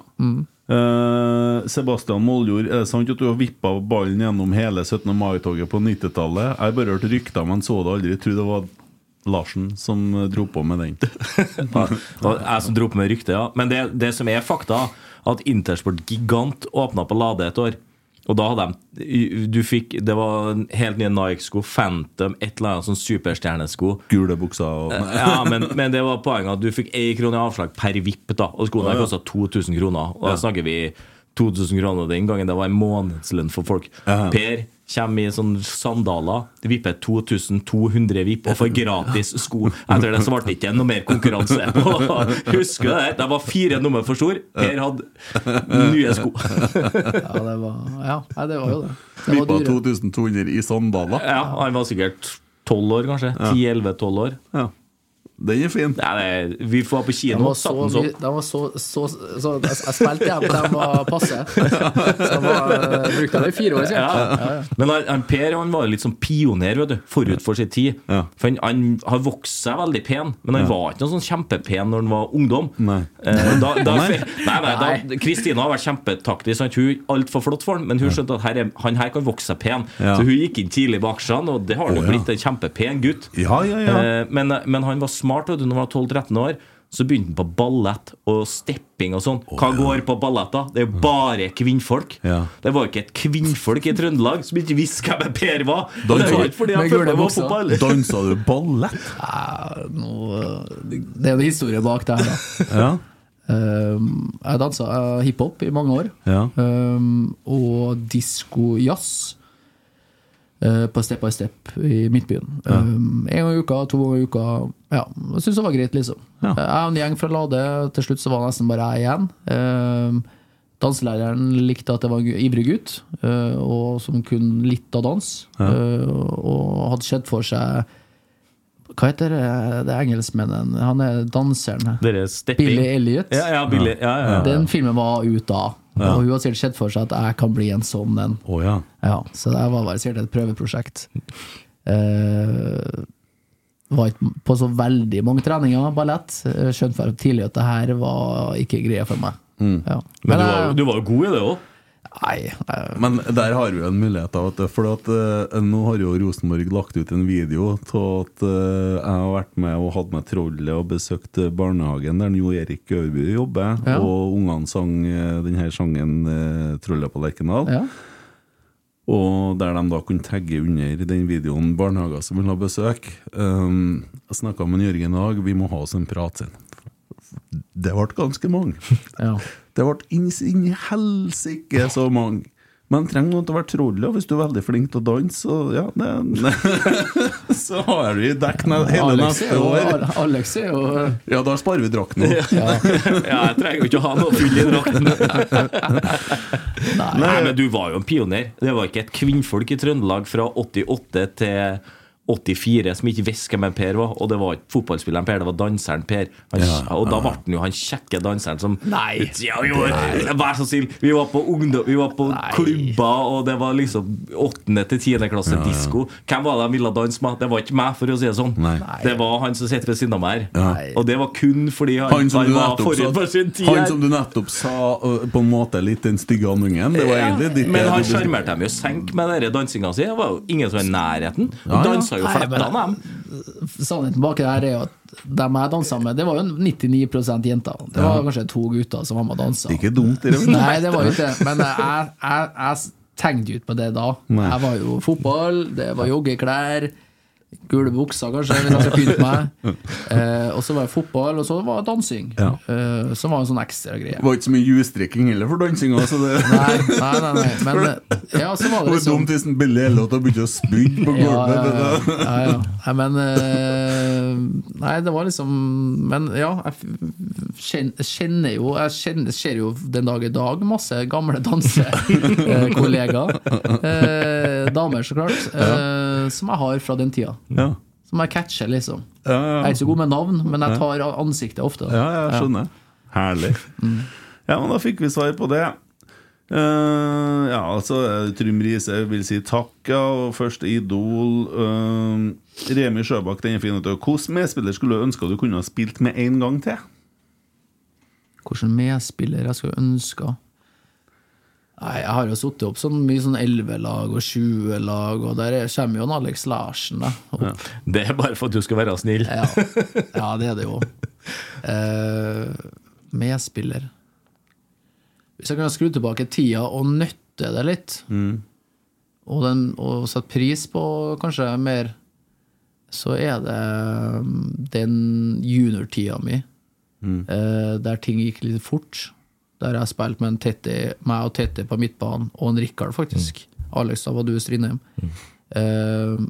C: Eh, Sebastian Moljord, er det sant at du har vippa ballen gjennom hele 17. mai-toget på 90-tallet? Jeg har bare hørt rykter, men så det aldri. Jeg tror det var Larsen som eh, dro på med den.
E: Og jeg som dro på med ryktet, ja. Men det, det som er fakta, at Intersport Gigant åpna på Lade et år. Og da hadde de Du fikk Det var en helt nye Nike-sko, Phantom, et eller annet sånn superstjernesko.
C: Gule bukser og
E: Eh, Ja, men, men det var poenget at du fikk én krone i avslag per vipp, da. Og skoene
C: Ja,
E: der
C: ja.
E: kosta 2000 kroner. Og da
C: Ja.
E: snakker vi 2000 kroner den gangen. Det var en månedslønn for folk.
C: Ja.
E: Per Kommer i sånne sandaler, vipper 2200 vipp og får gratis sko. Etter det så ble det ikke noe mer konkurranse. Husker du det? der? De var fire nummer for stor. Per hadde nye sko.
D: Ja, det var, ja, nei, det var jo det. Det var
C: Vippa
D: dyre.
C: 2200 i sandaler.
E: Ja, Han var sikkert 12 år, kanskje.
C: Ja.
E: 10-11-12 år.
C: Ja. Den er fin.
E: Nei, nei, vi var på
D: De
E: kino
D: var
E: og
D: så,
E: satt den sånn.
D: mye- de var så, så, så Jeg jeg spilte dem, de var passe. Så de var, brukte dem i fire år siden.
E: Ja. Men han, han Per han var litt sånn pioner vet du, forut for sin tid. For han, han har vokst seg veldig pen, men han
C: Ja.
E: var ikke noe sånn kjempepen når han var ungdom. Nei. da, da,
C: Nei.
E: nei, nei, da, Kristina har vært kjempetaktisk. sant? Hun er altfor flott for han, men hun skjønte at her er, han her kan vokse seg pen.
C: Ja.
E: Så hun gikk inn tidlig på aksjene, og det har han
C: Å,
E: jo
C: ja.
E: blitt. En kjempepen gutt.
C: Ja, ja, ja.
E: Eh, Men, men han var smart vet du, når han var 12-13 år. Så begynte han på ballett og stepping og sånn. Hva går på ballett, da? Det er jo bare kvinnfolk.
C: Ja.
E: Det var jo ikke et kvinnfolk i Trøndelag som ikke visste hvem Per var. Og det var ikke fordi han
D: Med gule
E: følte det var
D: bukser.
E: fotball.
C: [laughs] Dansa du ballett?
D: Nei, nå- eh, Det er jo en historie bak det her, da.
C: Ja.
D: Um, jeg dansa uh, hiphop i mange år.
C: Ja.
D: Um, og disko-jazz uh, på Step by Step i Midtbyen.
C: Ja.
D: Um, en gang i uka, to ganger i uka. Ja, jeg syntes det var greit, liksom.
C: Ja.
D: Uh, jeg og en gjeng fra Lade, til slutt så var det nesten bare jeg igjen. Um, danselæreren likte at jeg var en gu- ivrig gutt, uh, og som kunne litt av dans.
C: Ja.
D: Uh, og hadde sett for seg Hva heter det, det engelskmennen? Han er danseren.
E: Dere stepper
D: Billy
E: inn.
D: Elliot.
E: Ja, ja, Billy. Ja, ja, ja.
D: Den filmen var ut da.
E: Ja.
D: Og hun har sikkert sett for seg at jeg kan bli en sånn en.
C: Å ja.
D: Ja, så det var bare sikkert et prøveprosjekt. Eh, var ikke på så veldig mange treninger, ballett. Eh, Skjønte for tidlig at det her var ikke greia for meg. Ja.
E: Mm. Men du
D: jeg-
E: var, du var jo god i det òg.
C: Men der har vi en mulighet. Da, vet du, for at, eh, nå har jo Rosenborg lagt ut en video av at eh, jeg har vært med og hatt med trollet og besøkt eh, barnehagen der Jo Erik Øverby jobber,
D: Ja.
C: og ungene sang eh, denne sangen eh, 'Trollet på Lerkendal'.
D: Ja.
C: Og der de da kunne tagge under den videoen barnehager som ville ha besøk. Um, jeg snakka med Jørgen i dag, vi må ha oss en prat sin. Det ble ganske mange.
D: Ja.
C: Det ble inns- inn i helsike så mange. Men trenger noen til å være troll, og hvis du er veldig flink til å danse, så ja det, [laughs] Så har du dekk ne- hele
D: Alex er
C: neste
D: jo,
C: år.
D: Al- Alex er jo
C: Ja, da sparer vi drakten òg.
E: [laughs] Ja, jeg trenger jo ikke å ha noe full i
D: [laughs]
E: drakten. Nei. men du var jo en pioner. Det var ikke et kvinnfolk i Trøndelag fra 88 til 84 som ikke visste hvem en Per var. Og det var ikke fotballspilleren Per, det var danseren Per. Han,
C: Ja,
E: og da
C: ja.
E: ble han jo han kjekke danseren som
D: Nei.
E: Ja, jo, vær så snill! Vi var på ungdom, vi var på klubber, og det var liksom åttende til tiende klasse
C: Ja, ja.
E: disko. Hvem var det de ville danse med? Det var ikke meg, for å si det sånn.
C: Nei.
E: Det var han som sitter ved siden av meg her.
C: Ja.
E: Og det var kun fordi han,
C: Han som, du
E: var
C: nettopp
E: forut for sin
C: sa,
E: tid.
C: han som du nettopp sa ø, på en måte litt den stygge andungen. Det var
E: Ja,
C: egentlig ditt
E: Men han
C: ditt-
E: sjarmerte dem jo senk med den dansinga si. Det var jo ingen som var i nærheten. De
C: Ja, ja.
E: dansa jo
D: Nei, men-
E: fletta, dem.
D: Sannheten bak det her er jo at dem jeg dansa med, det var jo 99 jenter. Det var kanskje to gutter som var med og dansa.
C: Ikke dumt, det. vet du.
D: Nei, det var jo ikke det. Men jeg, jeg, jeg tenkte jo ikke på det da.
C: Nei.
D: Jeg var jo fotball, det var joggeklær, gule bukser kanskje, hvis jeg skal pynte meg. Eh, og så var det fotball, og så var det dansing.
C: Ja.
D: Eh, som var en sånn ekstra greie.
C: Det var ikke så mye jusdrikking heller for dansinga. Så det
D: Nei, nei, nei, nei. Men eh, ja, så var
C: det
D: det
C: var
D: liksom
C: dumt hvis en Billy Elliot hadde begynt å spytte på gulvet.
D: ja, ja,
C: men
D: ja,
C: det-
D: ja, ja. Nei, men eh, Nei, det var liksom Men ja, jeg f- kjen- kjenner jo Jeg kjenner, ser jo den dag i dag masse gamle
C: [laughs]
D: dansekollegaer. eh, damer, så klart. eh, som jeg har fra den tida.
C: Ja.
D: Som jeg catcher, liksom.
C: Ja, ja, ja.
D: Jeg er ikke så god med navn, men jeg tar ansiktet ofte.
C: Ja, jeg skjønner. Herlig. Ja, men da fikk vi svar på det. Eh, ja, altså eh, Trym Riise vil si takk, ja. Og første Idol. eh, Remi Sjøbakk, den er fin. vet du. Hvilken medspiller skulle du ønske du kunne ha spilt med en gang til?
D: Hvilken medspiller jeg skulle ønske Nei, Jeg har jo sittet opp sånn mye sånn 11-lag og 20-lag, og der er- kommer jo en Alex Larsen da, opp. Ja.
E: Det er bare for at du skal være snill.
D: Ja. det er det jo. Eh, medspiller Hvis jeg kunne skru tilbake tida og nøtte det litt, og, den, og sette pris på kanskje mer, så er det mm, den juniortida mi.
C: Mm.
D: Eh, der ting gikk
C: Mm.
D: litt fort. Der jeg spilte med en Tette, meg og Tette på midtbanen, og en Rikard, faktisk. Alex, da var du i Strindheim. Eh,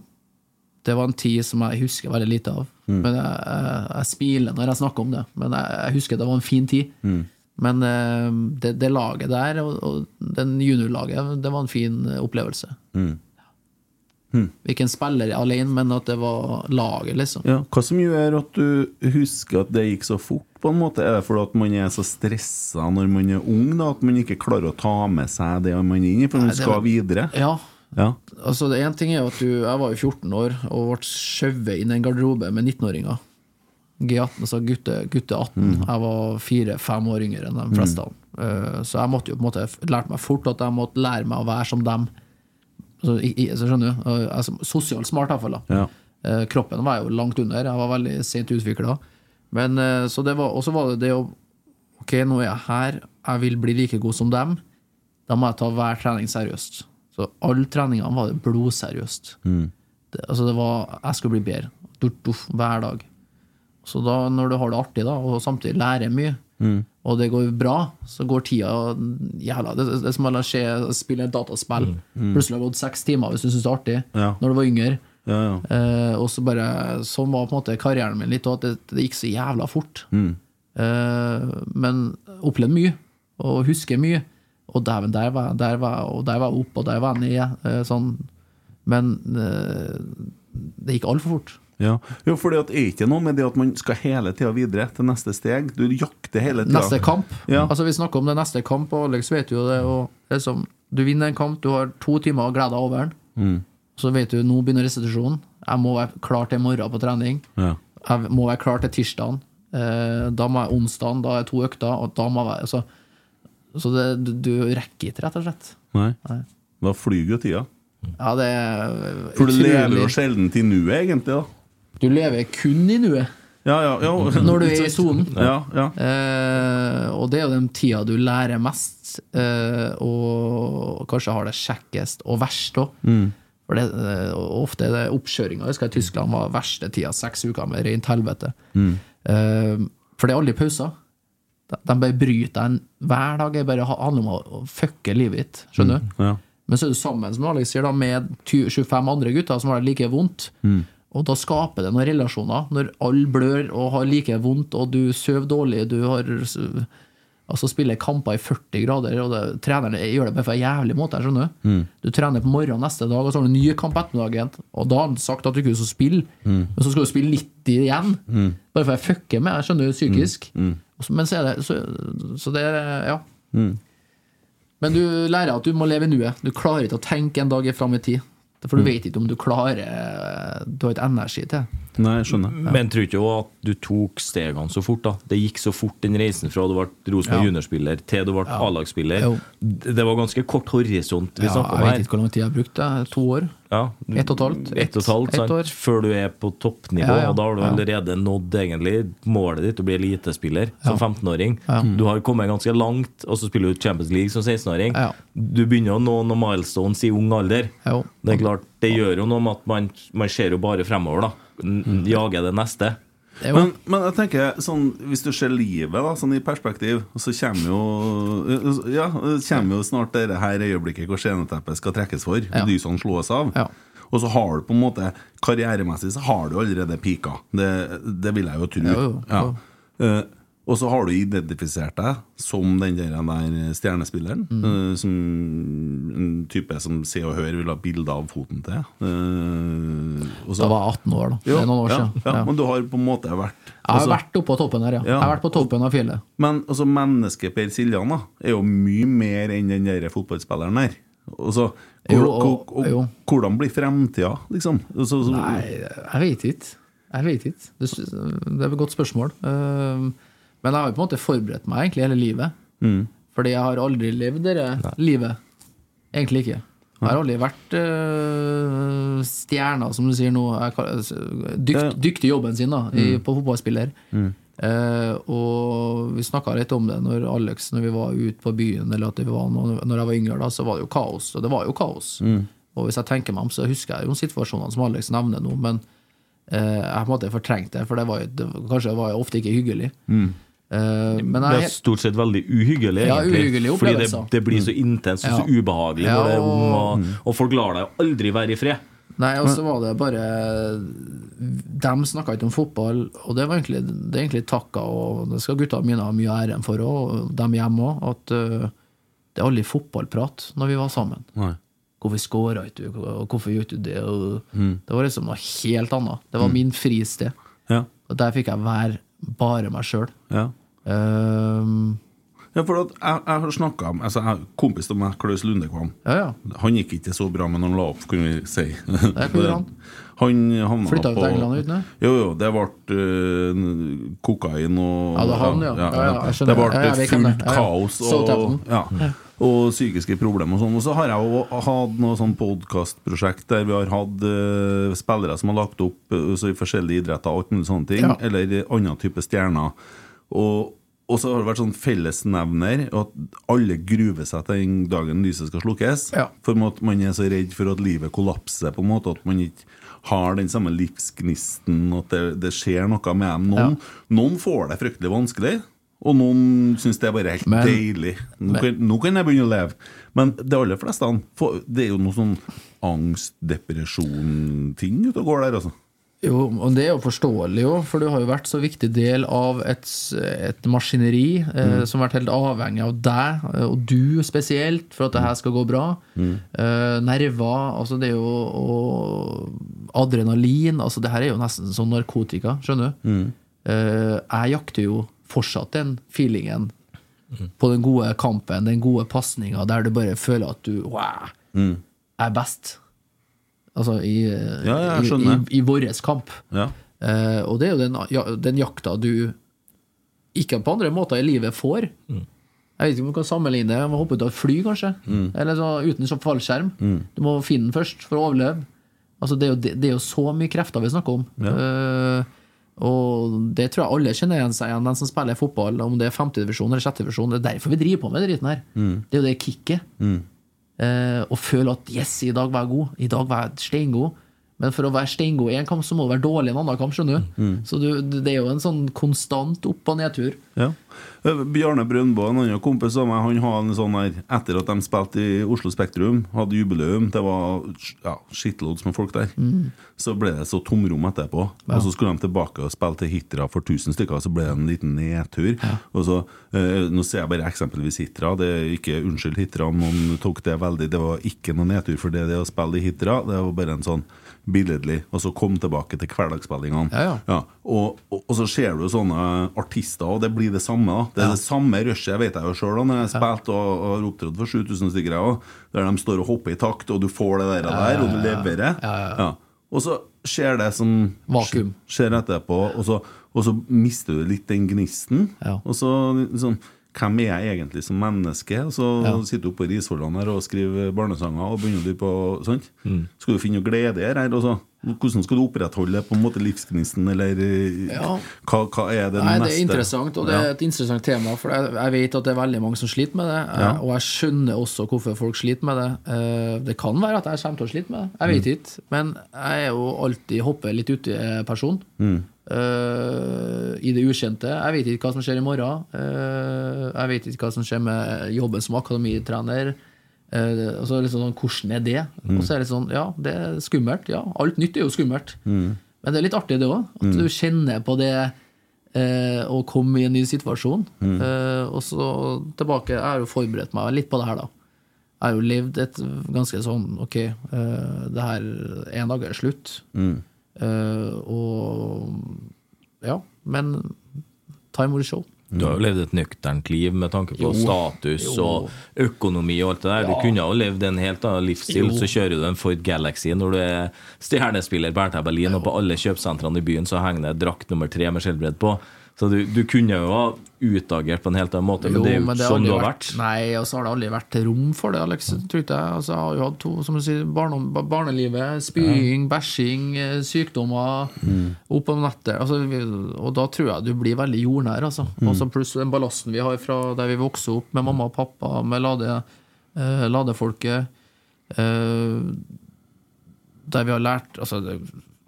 D: det var en tid som jeg husker veldig lite av.
B: Mm.
D: Men jeg, jeg, jeg smiler når jeg snakker om det, men jeg, jeg husker det var en fin tid.
B: Mm.
D: Men eh, det, det laget der, og, og den juniorlaget, det var en fin eh, opplevelse.
C: Mm.
D: Ikke en spiller alene, men at det var laget, liksom.
C: Ja, hva som gjør at du husker at det gikk så fort? på en måte? Er det fordi at man er så stressa når man er ung, da, at man ikke klarer å ta med seg det man er inne i, for man
D: det
C: skal
D: var-
C: videre?
D: Ja.
C: Ja.
D: Altså, det ene ting er jo at du, jeg var jo 14 år og ble skjøvet inn i en garderobe med 19-åringer. G18, altså gutte, gutte 18.
B: Mhm.
D: Jeg var fire-fem år yngre enn de fleste
B: Mhm.
D: av dem. Eh, Så jeg måtte jo på en måte f- lærte meg fort at jeg måtte lære meg å være som dem. Altså, i, i, så skjønner du? Eh, Altså, sosialt smart, i hvert fall. da.
C: Ja.
D: Eh, Kroppen var jeg jo langt under. Jeg var veldig sent utvikla. Og eh, så var det det å Ok, nå er jeg her. Jeg vil bli like god som dem. Da må jeg ta hver trening seriøst. Så alle treningene var det blodseriøst.
C: Mm.
D: Det, altså det var, jeg skulle bli bedre. Duff, duff, hver dag. Så da, når du har det artig, da, og samtidig lærer mye,
B: Mm.
D: og det går bra, så går tida jævla Det, det er som å se, spille et dataspill.
B: Mm.
D: Plutselig har det gått seks timer hvis du syns det er artig,
B: Ja.
D: når du var yngre.
C: Ja, ja.
D: Eh, og så bare, sånn var på en måte karrieren min litt, og at det, det gikk så jævla fort.
C: Mm.
D: Eh, men opplevde mye, og husker mye. Og dæven, der var jeg, der var jeg, og der var jeg opp, og der var jeg ned. eh, sånn. Men eh, det gikk altfor fort.
C: Ja, jo, fordi at er ikke noe med det at man skal hele tida videre til neste steg? Du jakter hele tida.
D: Neste kamp. Altså Vi snakker om det neste kamp, og Alex vet jo det. Og det er som, du vinner en kamp, du har to timer å glede deg over den.
C: Mm.
D: Så vet du, nå begynner restitusjonen. Jeg må være klar til i morgen på trening.
C: Ja.
D: Jeg må være klar til tirsdagen. Eh, da må jeg onsdagen, da er to økter. Og da må jeg, være- altså, så det, du, du rekker ikke, rett og slett.
C: Nei.
D: Nei.
C: Da flyr jo tida.
D: Ja, det er
C: Mm. For du lever jo sjelden i nuet, egentlig. da
D: Du lever kun i nuet.
C: Ja, ja, ja.
D: Når du er i sonen.
C: Ja, ja.
D: Eh, og det er jo den tida du lærer mest, eh, og kanskje har det kjekkest og verst òg.
B: Mm.
D: For det, eh, og ofte er det oppkjøringa. Jeg husker i Tyskland var verste tida, seks uker med rent helvete.
B: Mm.
D: Eh, for det er aldri pauser. De, de bare bryter deg en- hver dag. Det bare handler om å- å fucke livet ditt. Skjønner du?
C: Ja.
D: Men så er du sammen som Alex sier da, med 20 25 andre gutter som har det like vondt.
C: Mm.
D: Og da skaper det noen relasjoner. Når alle blør og har like vondt, og du sover dårlig, du har Altså spiller kamper i 40 grader, og det, treneren gjør det bare for en jævlig måte. jeg skjønner du?
B: Mm.
D: Du trener på morgenen neste dag, og så har du en ny kamp ettermiddagen. Og da har han sagt at du ikke skal spille,
B: Mm.
D: men så skal du spille 90 igjen.
B: Mm.
D: Bare for jeg fucker med, jeg skjønner jo psykisk.
B: Mm.
D: Og så- Men så er det så, så det er- ja.
C: Mm.
D: Men du lærer at du må leve i nuet. Du klarer ikke å tenke en dag fram i tid. For
E: Mm.
D: du vet ikke om du klarer eh, Du har ikke energi til det.
C: Nei, jeg skjønner.
E: Men tror ikke også at du tok stegene så fort? da Det gikk så fort, den reisen fra du ble Rosenborg
D: Ja.
E: juniorspiller til du ble A-lagsspiller.
D: Jo.
E: D- Det var ganske kort horisont vi
D: Ja,
E: snakket
D: jeg
E: om
D: vet
E: her.
D: ikke hvor lang tid jeg har brukt. jeg. To år?
E: Ja.
D: Ett og et halvt?
E: Ett og et halvt,
D: Ett
E: sant?
D: år.
E: Før du er på toppnivå.
D: Ja, ja.
E: Og da har du
D: Ja.
E: allerede nådd egentlig målet ditt å bli elitespiller som 15-åring.
D: Ja.
E: Du har kommet ganske langt, og så spiller du Champions League som 16-åring. Du begynner å nå noen milestones i ung alder.
D: Jo.
E: Det er klart, det gjør jo noe med at man, man ser jo bare fremover, da. N jager det neste.
C: Men, men jeg tenker, sånn, hvis du ser livet da, sånn i perspektiv, så kommer jo, eh, ja, kommer jo snart det her øyeblikket hvor sceneteppet skal trekkes for. Lysene slås av. Og så har du på en måte karrieremessig så har du allerede pika. Det, det vil jeg jo tro.
D: Jo, jo,
C: Ja. Eh, og så har du identifisert deg som den der, der stjernespilleren.
B: Mm.
C: eh, som en type som Se og Hør vil ha bilde av foten til. Eh, og så-
D: Da var jeg 18 år, da. Det er noen år
C: ja,
D: siden.
C: Ja,
D: Ja.
C: Men du har på en måte vært
D: Jeg har
C: altså-
D: vært oppe på toppen her, ja. Jeg har vært på toppen av fjellet.
C: Men altså, mennesket Per Siljan da, er jo mye mer enn den der fotballspilleren der. Og så, hvor,
D: Jo, og-
C: hvor- hvor- Hvordan blir fremtida, liksom? Så, så,
D: Nei, jeg vet ikke. Jeg vet ikke. Det, sy- det er et godt spørsmål. Ehm, Men jeg har jo på en måte forberedt meg egentlig hele livet.
C: Mm.
D: Fordi jeg har aldri levd det livet. Egentlig ikke. Jeg har aldri vært øh, stjerna, som du sier nå. Jeg kal- altså, Dykt, dyktig i jobben sin da, i,
B: Mm.
D: på fotballspiller.
B: Mm.
D: Eh, og vi snakka litt om det når Alex, når vi var ute på byen, eller at vi var, nå- når jeg var yngre, da, så var det jo kaos. Og det var jo kaos.
B: Mm.
D: Og hvis jeg tenker meg om, så husker jeg jo situasjonene som Alex nevner nå, men eh, jeg på en måte fortrengte det, for det var, jo- det, kanskje det var jo ofte ikke hyggelig.
B: Mm.
D: Eh, men
E: det
D: jeg,
E: er stort sett veldig uhyggelig,
D: Ja,
E: egentlig.
D: uhyggelige
E: fordi det,
D: opplevelser.
E: det blir så intenst og så
D: Ja.
E: ubehagelig
D: Ja,
E: når det er ung,
D: og-
E: og, og folk lar deg jo aldri være i fred.
D: Nei, og så var det bare De snakka ikke om fotball, og det, var egentlig, det er egentlig takka, og det skal gutta mine ha mye æren for òg, og dem hjemme òg, at eh, det er aldri fotballprat når vi var sammen.
C: Nei.
D: Hvorfor skåra ikke du, og hvorfor gjorde du det? Og
C: Mm.
D: Det var liksom noe helt annet. Det var
C: Mm.
D: min fristed.
C: Ja.
D: Og der fikk jeg være bare meg Ehm, sjøl.
C: Ja. ja, for at jeg, jeg har snakka om altså jeg, Kompis av meg, Klaus Lundekvam, han gikk ikke så bra, men han la opp, kan vi si.
D: hvor gjorde han?
C: [laughs] Han havna
D: Flytta
C: da
D: jo til
C: på-
D: England, gjorde han
C: Jo, jo, det ble øh, kokain og
D: Ja, det var han, ja. Ja, ja, jeg skjønner.
C: Det
D: Ja, jeg
C: ble
D: vet hvem
C: fullt
D: det er. Ja, ja.
C: kaos og,
D: Southampton.
C: ja, og psykiske problemer og sånn. Og så har jeg jo hatt noe sånn podkastprosjekt der vi har hatt øh, spillere som har lagt opp øh, så i forskjellige idretter og alt mulig sånne ting,
D: Ja.
C: eller annen type stjerner. Og, og så har det vært sånn fellesnevner at alle gruer seg til den dagen lyset skal slukkes. For at man er så redd for at livet kollapser, på en måte at man ikke har den samme livsgnisten, at det, det skjer noe med dem. Noen, noen får det fryktelig vanskelig. Og noen syns det er bare helt
D: Men-
C: deilig. Nå
D: men-
C: kan, nå kan jeg begynne å leve. Men de aller fleste han får- Det er jo noe sånn angst, depresjon-ting ute og går der, altså.
D: Jo, og det er jo forståelig, jo, for du har jo vært så viktig del av et, s- et maskineri eh,
C: Mm.
D: som har vært helt avhengig av deg, eh, og du spesielt, for at det her skal gå bra.
C: Mm.
D: Eh, nerver, altså det er jo og adrenalin altså Det her er jo nesten som narkotika, skjønner du?
C: Mm.
D: Eh, jeg jakter jo fortsatt den feelingen på den gode kampen, den gode pasninga, der du bare føler at du wow,
C: Mm.
D: er best. Altså i,
C: Ja, ja, jeg
D: i, i,
C: skjønner.
D: i vår kamp.
C: Ja.
D: Eh, og det er jo den, ja, den jakta du ikke på andre måter i livet får. Jeg vet ikke om du kan sammenligne med å hoppe ut av et fly, kanskje.
C: Mm.
D: Eller så, uten sånn fallskjerm.
C: Mm.
D: Du må finne den først for å overleve. Altså, det, er jo, det, det er jo så mye krefter vi snakker om. Eh, og det tror jeg alle kjenner igjen seg igjen, den som spiller fotball, om det er femtedivisjon eller sjettedivisjon. Det er derfor vi driver på med den driten her.
C: Mm.
D: Det er jo det kicket.
C: Mm.
D: Eh, og føle at 'yes, i dag var jeg god', i dag var jeg steingod. Men for å være steingod i en kamp, så må du være dårlig i en annen kamp. skjønner du?
C: Mm.
D: Så du, det er jo en sånn konstant opp- og nedtur.
C: Ja. Eh, Bjarne Brøndbo, en annen kompis av meg, han har en sånn her Etter at de spilte i Oslo Spektrum, hadde jubileum, det var ja, skittloads med folk der,
B: Mm.
C: så ble det så tomrom etterpå.
B: Ja.
C: Og så skulle de tilbake og spille til Hitra for 1000 stykker, og så ble det en liten nedtur. Og så, eh, Nå ser jeg bare eksempelvis Hitra, det er ikke unnskyld Hitra om noen tok det veldig, det var ikke noen nedtur for det, det å spille i Hitra, det var bare en sånn billedlig, og så kom tilbake til hverdagsspillingene.
D: Ja, ja.
C: Ja, og, og, og så ser du sånne artister, og det blir det samme. da Det er det samme rushet, vet jeg jo sjøl, når jeg har spilt og, og har opptrådt for 7000 stykker, jeg òg. Der de står og hopper i takt, og du får det der, og, der, og du leverer. Ja. Og så skjer det som
D: Vakuum.
C: sk- skjer etterpå, og så, og så mister du litt den gnisten. Og så liksom hvem er jeg egentlig som menneske? Og så
D: Ja.
C: sitter du oppe i Risvollan her og skriver barnesanger. Og begynner du på, sant?
D: Mm.
C: Skal du finne noe glede her? her også? Hvordan skal du opprettholde på en måte livsgnisten, eller eh,
D: Ja.
C: hva, hva er det
D: Nei,
C: neste?
D: Det er interessant, og det er
C: Ja.
D: et interessant tema. For jeg, jeg vet at det er veldig mange som sliter med det, eh,
C: Ja.
D: og jeg skjønner også hvorfor folk sliter med det. Eh, Det kan være at jeg kommer til å slite med det, jeg
C: Mm.
D: vet ikke. Men jeg er jo alltid hopper litt uti-person.
C: Mm.
D: Eh, I det ukjente. Jeg vet ikke hva som skjer i morgen. Eh, jeg vet ikke hva som skjer med eh, jobben som akademitrener. Eh, og så er det liksom sånn, Hvordan er det?
C: Mm.
D: Og så er det sånn, ja, det er skummelt. Ja, alt nytt er jo skummelt.
C: Mm.
D: Men det er litt artig, det òg. At
C: Mm.
D: du kjenner på det eh, å komme i en ny situasjon.
C: Mm.
D: Eh, og så tilbake Jeg har jo forberedt meg litt på det her, da. Jeg har jo levd et ganske sånn Ok, eh, det her En dag er det slutt.
C: Mm.
D: Eh, og Ja. Men time will show.
E: Du har jo levd et nøkternt liv med tanke på
D: Jo.
E: status
D: Jo.
E: og økonomi og alt det der.
D: Ja.
E: Du kunne ha levd en helt annen livsstil.
D: Jo.
E: Så kjører du en Ford Galaxy når du er stjernespiller på RTL Berlin, og på alle kjøpesentrene i byen så henger det drakt nummer tre med skjellbredd på. Så du, du kunne jo ha utagert på en helt annen måte, men det er jo
D: men
E: ikke
D: det
E: sånn
D: aldri
E: du har vært.
D: Nei, og så har det aldri vært rom for det, Alex. Tror ikke jeg. Altså, jeg har jo hatt to, som du sier, barne, barnelivet, spying, bæsjing, eh, sykdommer,
B: Mm.
D: opp om nettet. Altså, vi- og da tror jeg du blir veldig jordnær, altså.
B: Mm.
D: Og så pluss den ballasten vi har fra der vi vokste opp, med mamma og pappa, med lade, eh, ladefolket. eh, der vi har lært altså, det,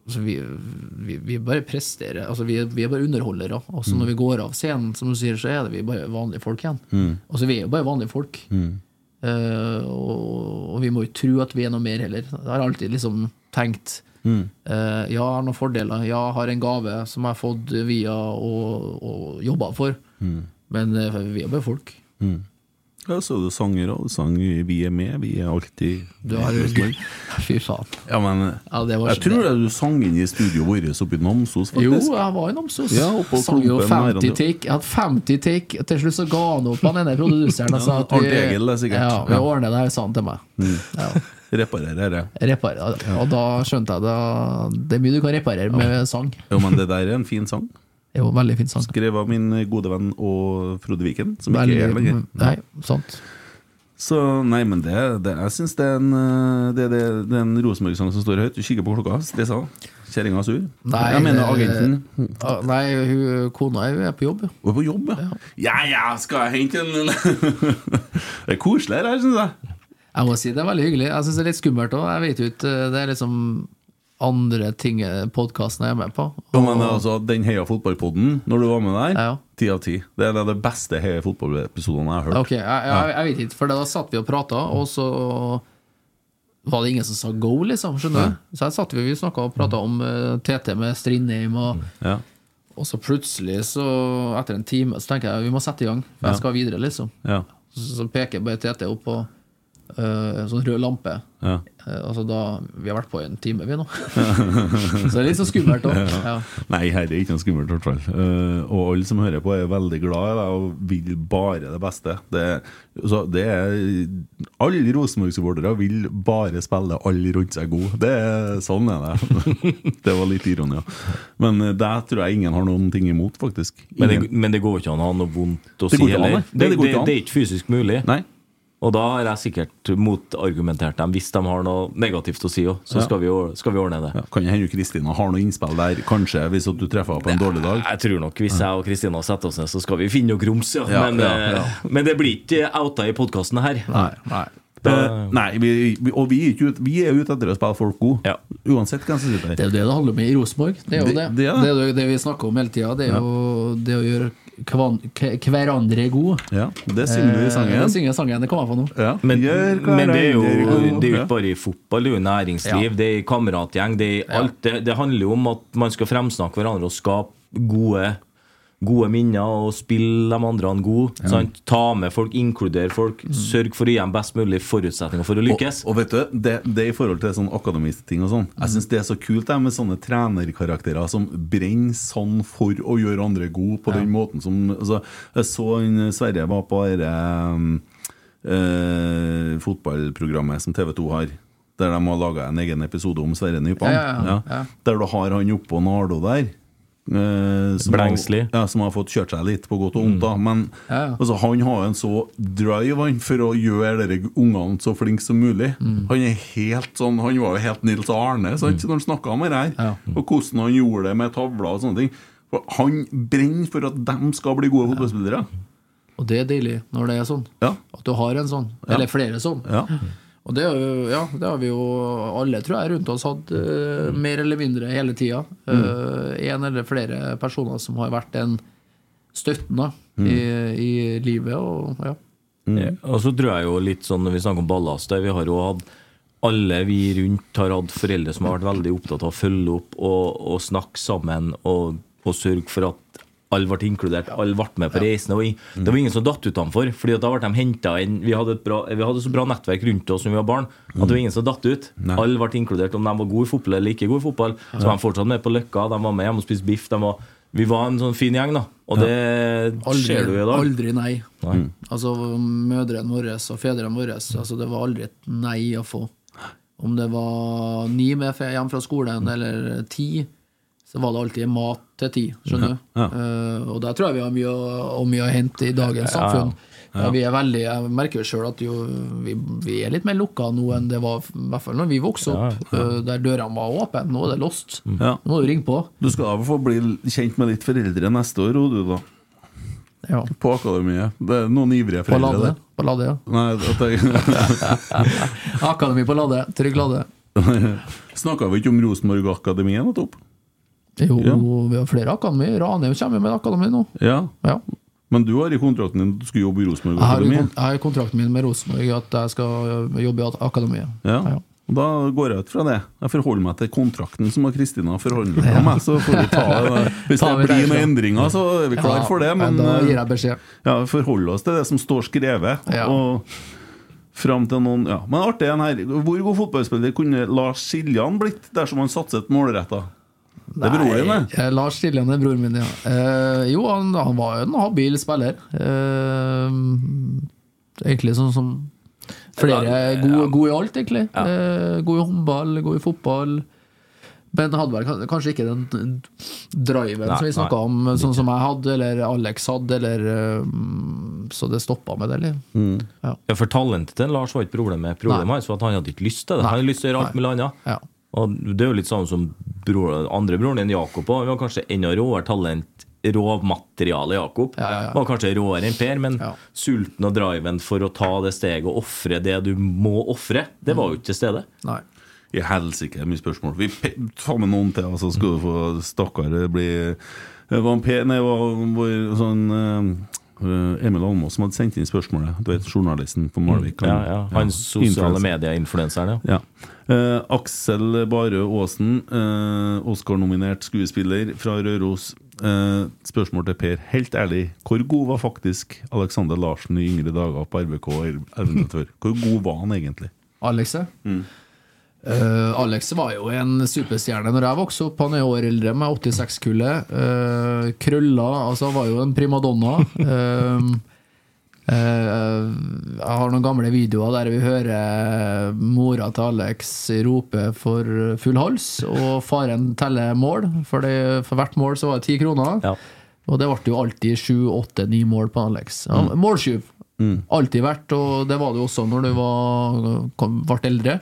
D: altså vi, vi, vi bare presterer. Altså vi, vi er bare underholdere. Og så når vi går av scenen, som du sier, så er det vi bare vanlige folk igjen.
C: Mm.
D: Altså Vi er jo bare vanlige folk.
C: Mm.
D: Eh, og, og vi må jo tro at vi er noe mer heller. Jeg har alltid liksom tenkt
C: Mm.
D: eh, Ja, jeg har noen fordeler. Ja, jeg har en gave som jeg har fått via og, og jobba for.
C: Mm.
D: Men eh, vi er bare folk.
C: Mm. Ja, så er du sanger òg. Du sang i Vi er med, vi er alltid
D: Du har-
C: Rosenborg.
D: [laughs] Fy faen.
C: Ja, men
D: Ja, det var
C: Jeg
D: så-
C: tror det du sang inn i studioet vårt oppe i Namsos,
D: Jo,
C: faktisk.
D: jeg var i Namsos.
C: Ja, oppå
D: Sang jo
C: klumpen her og
D: 50
C: nå.
D: take. Jeg hadde 50 take. og Til slutt så ga han opp han ene produseren og sa at
C: Arnt Egil, det er sikkert.
D: Ja, vi
C: Ja.
D: ordner det her, sa han til meg.
C: Mm.
D: Ja.
C: Reparerer det.
D: Reparer, og da skjønte jeg det. Det er mye du kan reparere med sang.
C: Jo, men det der er en fin sang.
D: Jo, veldig fin sang.
C: Skrevet av min eh, gode venn og Frode Viken, som ikke er her
D: Veldig- mm,
C: lenger.
D: Nei, sant.
C: Så nei, men det, det jeg syns det er en, eh, det, det, det er en Rosenborg-sang som står høyt. Du kikker på klokka, stressa. Kjerringa er sur.
D: Nei,
C: jeg mener
D: det-
C: agenten.
D: Ah, Nei, hun, kona er er på jobb, jo.
C: Hun er på jobb, ja. Ja ja, skal jeg hente en [laughs] Det er koselig her, syns jeg.
D: Jeg må si det er veldig hyggelig. Jeg syns det er litt skummelt òg. Jeg vet jo ikke Det er liksom andre ting podkasten er med på.
C: Ja, men det er altså, Den Heia fotballpodden, når du var med der, ti av ti. Det er en av de beste Heia fotballepisodene jeg har hørt.
D: Ok, jeg, jeg, jeg vet ikke, for da satt vi og prata, og så var det ingen som sa go, liksom. Skjønner du? Så her satt vi og snakka og prata om eh, TT med Strindheim, og,
C: Mm. Ja.
D: og så plutselig, så etter en time, så tenker jeg vi må sette i gang,
C: Ja.
D: for jeg skal videre, liksom.
C: Ja.
D: Så, så peker bare TT opp på eh, en sånn rød lampe.
C: Ja.
D: Eh, altså da Vi har vært på en time,
C: [laughs]
D: vi nå. [laughs] så det er litt så skummelt òg.
C: Ja.
D: Ja.
C: Nei, her er det ikke noe skummelt, i hvert fall. Eh, og alle som hører på, er veldig glad i deg og vil bare det beste. Det, så det er Alle Rosenborg-supportere vil bare spille alle rundt seg gode. Det er sånn er det. [laughs] det var litt ironi, ja. Men eh, det tror jeg ingen har noen ting imot, faktisk.
E: Men det,
C: Ingen.
E: men det går ikke an å ha noe vondt å
C: Mm. Det
E: si
C: går ikke an,
E: heller.
C: nei. Det- det går ikke an.
E: det er ikke fysisk mulig.
C: Nei.
E: Og da har jeg sikkert motargumentert dem hvis de har noe negativt å si òg. Så
C: Ja.
E: skal, vi, or- skal vi ordne det.
C: Ja, kan hende Kristina har noe innspill der, kanskje, hvis at du treffer henne på en dårlig dag.
E: Jeg tror nok Hvis jeg og Kristina setter oss ned, så skal vi finne noe grums, ja.
C: Ja,
E: men,
C: ja,
E: eh,
C: ja.
E: men det blir ikke outa i podkasten her.
D: Nei.
C: Eh, nei, vi, vi, og vi er, ikke ut, vi er ute etter å spille folk gode. Uansett hvem som sitter her.
D: Det er jo det det handler om i Rosenborg. Det er jo det. Det, er jo det vi snakker om hele tida. Det er
C: Ja.
D: jo det å gjøre kvan, k- hverandre god.
C: Ja, det synger du i sangen.
D: Eh, det synger jeg i sangen. Det kommer jeg på nå.
E: Men,
C: Gjør hva
E: men det er jo
C: regner går.
E: det er jo ikke bare i fotball, det er jo i næringsliv,
D: Ja.
E: det er i kameratgjeng. Det, er i alt, det, det handler jo om at man skal fremsnakke hverandre og skape gode, gode minner og spille de andre en god. sant? Ta med folk, inkludere folk, sørg for å gi dem best mulig forutsetninger for å lykkes.
C: Og, og vet du, det, det er i forhold til sånn akademiting og sånn. Jeg syns det er så kult det med sånne trenerkarakterer som brenner sånn for å gjøre andre gode på den måten som altså, Jeg så en Sverre var på det eh, fotballprogrammet som TV 2 har. Der de har laga en egen episode om Sverre Nypan.
D: Ja, ja, ja. Ja.
C: Der du har han oppå Nardo der. eh, som har-
E: Blengsli.
C: Ja, som har fått kjørt seg litt på godt og vondt. da Men
D: Mm. Ja, ja.
C: Altså, han har en så drive han, for å gjøre dere ungene så flinke som mulig.
D: Mm.
C: Han er helt sånn Han var jo helt Nils Arne sant, når han snakka om det her, og hvordan han gjorde det med tavler og sånne ting. For han brenner for at de skal bli gode fotballspillere.
D: Og det er deilig når det er sånn.
C: Ja.
D: At du har en sånn.
C: Ja.
D: Eller flere sånn.
C: Ja.
D: Og det, er jo- ja, det har vi jo alle, tror jeg, rundt oss hatt eh, mer eller mindre hele tida. Én eller flere personer som har vært en støttende i, i livet. Og, ja. Mm.
E: Ja, Og så tror jeg jo litt sånn når vi snakker om ballast der, Vi har jo hatt alle vi rundt har hatt foreldre som har vært veldig opptatt av å følge opp og, og snakke sammen og, og sørge for at alle ble inkludert, alle ble med på reisen. Det var, ing- det var ingen som datt utenfor. Fordi at da ble de hentet inn vi hadde, et bra, vi hadde så bra nettverk rundt oss når vi var barn, at det var ingen som datt ut. Alle ble inkludert, om de var gode i fotball eller ikke gode i fotball. Så var de fortsatt med på Løkka, de var med hjem og spiste biff. De var, vi var en sånn fin gjeng, da. Og det
D: Aldri,
E: ser du i dag.
D: aldri nei.
E: Nei.
D: Altså Mødrene våre og fedrene våre altså, Det var aldri et nei å få. Om det var ni med fe- hjem fra skolen eller ti, så var det alltid mat til ti. Skjønner du?
C: Ja,
D: Eh, og der tror jeg vi har mye, å- og mye å hente i dagens
E: Ja, ja.
D: samfunn.
E: Ja.
D: Ja, vi er veldig, jeg merker jo sjøl at jo, vi, vi er litt mer lukka nå enn det var i hvert fall når vi vokste opp, eh, der dørene var åpne. Nå er det lost.
C: Ja.
D: Nå må du ringe på.
C: Du skal da få bli kjent med litt foreldre neste år, du, da.
D: Ja.
C: På akademiet. Det er noen ivrige
D: På
C: foreldre
D: Lade.
C: der.
D: På Lade, ja.
C: Nei, at jeg... [laughs]
D: Akademi på Lade. Trygg Lade.
C: Snakka vi ikke om Rosenborg-akademiet nettopp?
D: Jo,
C: Ja.
D: vi har flere akademier. Ranheim kommer med akademi nå.
C: Ja. Men du har i kontrakten din at du skulle jobbe i
D: Jeg har,
C: Rosenborg-akademiet.
D: jeg har i kontrakten min med Rosenborg at jeg skal jobbe i at- akademiet.
C: Ja. Og da går jeg ut fra det. Jeg forholder meg til kontrakten som har Kristina forhandla
D: Ja.
C: med. Så får vi ta
D: [laughs]
C: det. Hvis det
D: Ta vi
C: blir
D: derfra.
C: noen endringer, så er vi klar
D: Ja,
C: for det.
D: ja,
C: Men eh,
D: da gir jeg beskjed.
C: Ja, vi forholder oss til det som står skrevet. Og frem til noen ja. Men artig en her. Hvor god fotballspiller kunne Lars Siljan blitt dersom han satset målretta? Det er broren din, det.
D: Eh, Lars Siljan er broren min, ja. Eh, jo, han, han var jo en habil spiller. Eh, egentlig sånn som flere gode, gode i alt, egentlig. Eh, god i håndball, god i fotball. Men hadde vel kan- kanskje ikke den driven
E: Nei,
D: som vi snakka
E: nei.
D: om, sånn som jeg hadde, eller Alex hadde, eller eh, Så det stoppa med det, eller?
E: Mm.
D: Ja.
E: For talentet til Lars var ikke problemet. Problemet hans var at han hadde ikke lyst til det. Han hadde lyst til å gjøre alt mulig annet.
D: Ja.
E: Og det er jo litt samme som bror, andre broren din, Jakob. også. Han var kanskje enda råere talent, råmateriale Jakob. Var kanskje råere enn Per, men sulten og driven for å ta det steget og ofre det du må ofre, det var jo ikke til stede.
D: Nei.
C: I helsike, det er mye spørsmål. Vi pe- tar med noen til, og så skal du få Stakkar, det blir det var en P- Nei, det var vår sånn eh, Emil Almås som hadde sendt inn spørsmålet. Du vet, journalisten på Malvik.
E: Mm, Ja, ja. Han sosiale
C: Influencer.
E: medier-influenseren, ja.
C: Ja. Eh, Aksel Barø Aasen, eh, Oscar-nominert skuespiller fra Røros. Eh, spørsmål til Per. Helt ærlig, hvor god var faktisk Alexander Larsen i yngre dager på RBK og Elvenes før? Hvor god var han egentlig?
D: Alex, ja. Eh, Alex var jo en superstjerne når jeg vokste opp. Han er jo år eldre, med 86-kullet. Eh, krølla Altså, han var jo en primadonna. Eh, eh, jeg har noen gamle videoer der vi hører mora til Alex rope for full hals, og faren teller mål. For, det, for hvert mål så var det ti kroner. Og det ble jo alltid sju, åtte, ni mål på Alex. Ja,
C: Mm.
D: Målskyv. Alltid vært, og det var det jo også når du var, kom, ble eldre.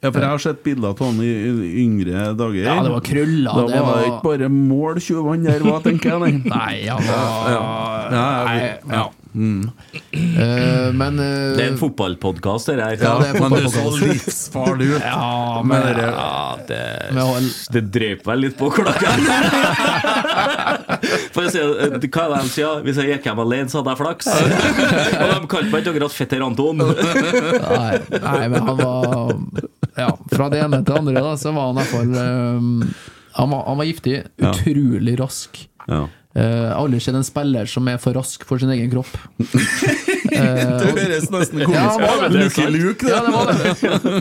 C: Ja, for jeg har sett bilder av han i i yngre dager.
D: Ja, det var krøller,
C: Da var
D: det
C: det
D: var-
C: ikke bare mål tjuvene der var, tenker jeg. nei.
D: [laughs] Nei, han var-
C: Ja, ja, vi- ja. Mm.
D: Eh, men eh,
E: Det er en fotballpodkast, det her.
D: Ja, det er en
E: Men du så
D: fotballpodcast.
C: livsfarlig ut.
D: [laughs] Ja,
E: men,
D: men-
E: ja, det,
D: Men
E: det drøp vel litt på klokka. For å si, eh, hva er det de sier? Hvis jeg gikk hjem alene, så hadde jeg flaks. [laughs] Og de kalte meg ikke akkurat fetter [laughs] Anton.
D: Nei, nei, men han var Ja, fra det ene til det andre, da, så var han i hvert fall eh, han, var, han var giftig.
C: Ja.
D: Utrolig rask.
C: Ja.
D: Eh, Jeg har aldri sett en spiller som er for rask for sin egen kropp.
C: [laughs] Det høres nesten komisk
D: Eh, Ja,
C: ut.
D: men det er
C: Luke i
D: sant.
C: Luke, det.
D: Ja, det var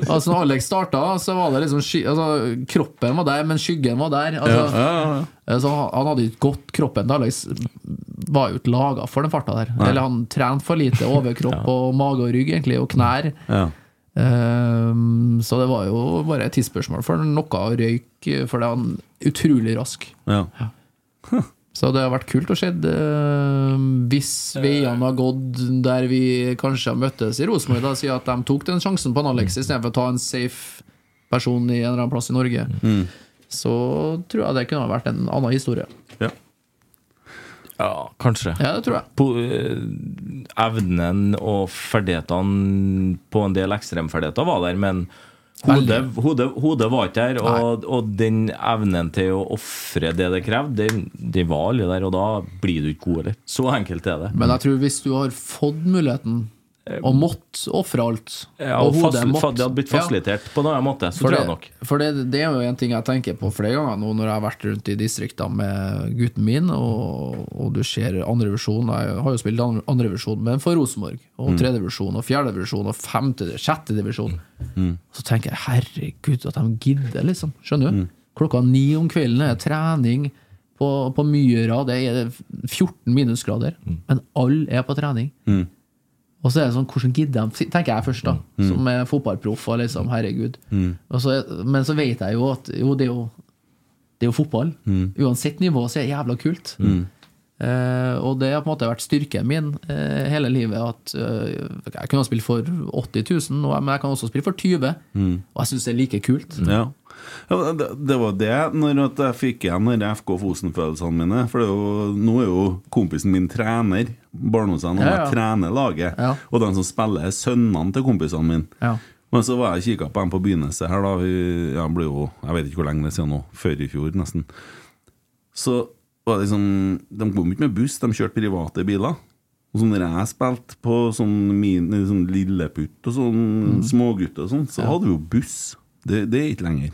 D: det. [laughs] Altså, når Alex starta, så var det liksom sky altså, Kroppen var der, men skyggen var der. Altså,
C: Ja, ja, ja.
D: Altså, han hadde ikke gått kroppen til Alex. Var jo ikke laga for den farta der.
C: Nei.
D: Eller han trente for lite
C: [laughs]
D: overkropp og mage og rygg, egentlig, og knær.
C: Ja.
D: Ehm, så det var jo bare et tidsspørsmål for noe røyk, for det var han utrolig rask.
C: Ja.
D: Så det har vært kult å se. eh, Hvis veiene har gått der vi kanskje har møttes i Rosenborg, da, si at de tok den sjansen på en Alex istedenfor å ta en safe person i en eller annen plass i Norge,
C: Mm.
D: så tror jeg det kunne ha vært en annen historie.
E: Ja, kanskje.
D: Ja, det tror jeg.
E: På, eh, evnen og ferdighetene på en del ekstremferdigheter var der, men hodet, hodet, hodet var ikke der. Og, og den evnen til å ofre det det krevde, den, den var aldri der. Og da blir du ikke god heller. Så enkelt er det. Eh,
D: Men jeg tror hvis du har fått muligheten, og mått ofre alt,
E: Ja,
D: og
E: og
D: hodet
E: fasli- fa-
D: mått
E: det hadde blitt
D: Ja.
E: fasilitert på en annen måte. Så
D: For
E: tror
D: det,
E: jeg nok.
D: for det, det er jo en ting jeg tenker på flere ganger nå når jeg har vært rundt i distriktene med gutten min, og, og du ser andrevisjon Jeg har jo spilt andre- andrevisjon, men for Rosenborg. Og
C: Mm.
D: tredjevisjon, og fjerdedivisjon, og femte, sjettedivisjon. Så tenker jeg herregud, at de gidder, liksom. Skjønner du? Klokka ni om kvelden er det trening på, på Myra. Det er 14 minusgrader, men alle er på trening.
C: Mm.
D: Og så er det sånn, hvordan gidder de? Tenker jeg først, da.
C: Mm.
D: Som er fotballproff. og Liksom, herregud.
C: Mm.
D: Og så- men så vet jeg jo at jo, det er jo, det er jo fotball.
C: Mm.
D: Uansett nivå så er det jævla kult.
C: Mm.
D: Eh, og det har på en måte vært styrken min eh, hele livet. At eh, Jeg kunne ha spilt for 80 000, og jeg- men jeg kan også spille for 20
C: Mm.
D: Og jeg syns det er like kult.
C: Ja. ja det, det var det når at jeg fikk igjen de FK Fosen-følelsene mine. For det er jo, nå er jo kompisen min trener. Barndomsvenn. Han
B: Ja, ja.
C: er trener laget.
B: Ja.
C: Og de som spiller, er sønnene til kompisene mine.
D: Ja.
C: Men så var jeg og kikka på dem på begynnelsen her, da. Vi- ja, det ble jo, jeg vet ikke hvor lenge det er siden nå. Før i fjor, nesten. Så var det liksom De kom ikke med buss, de kjørte private biler. Og så når jeg spilte på sånn, min, sånn lilleputt og sånn
D: Mm.
C: smågutt og sånn, så hadde vi jo buss. Det, det er ikke lenger.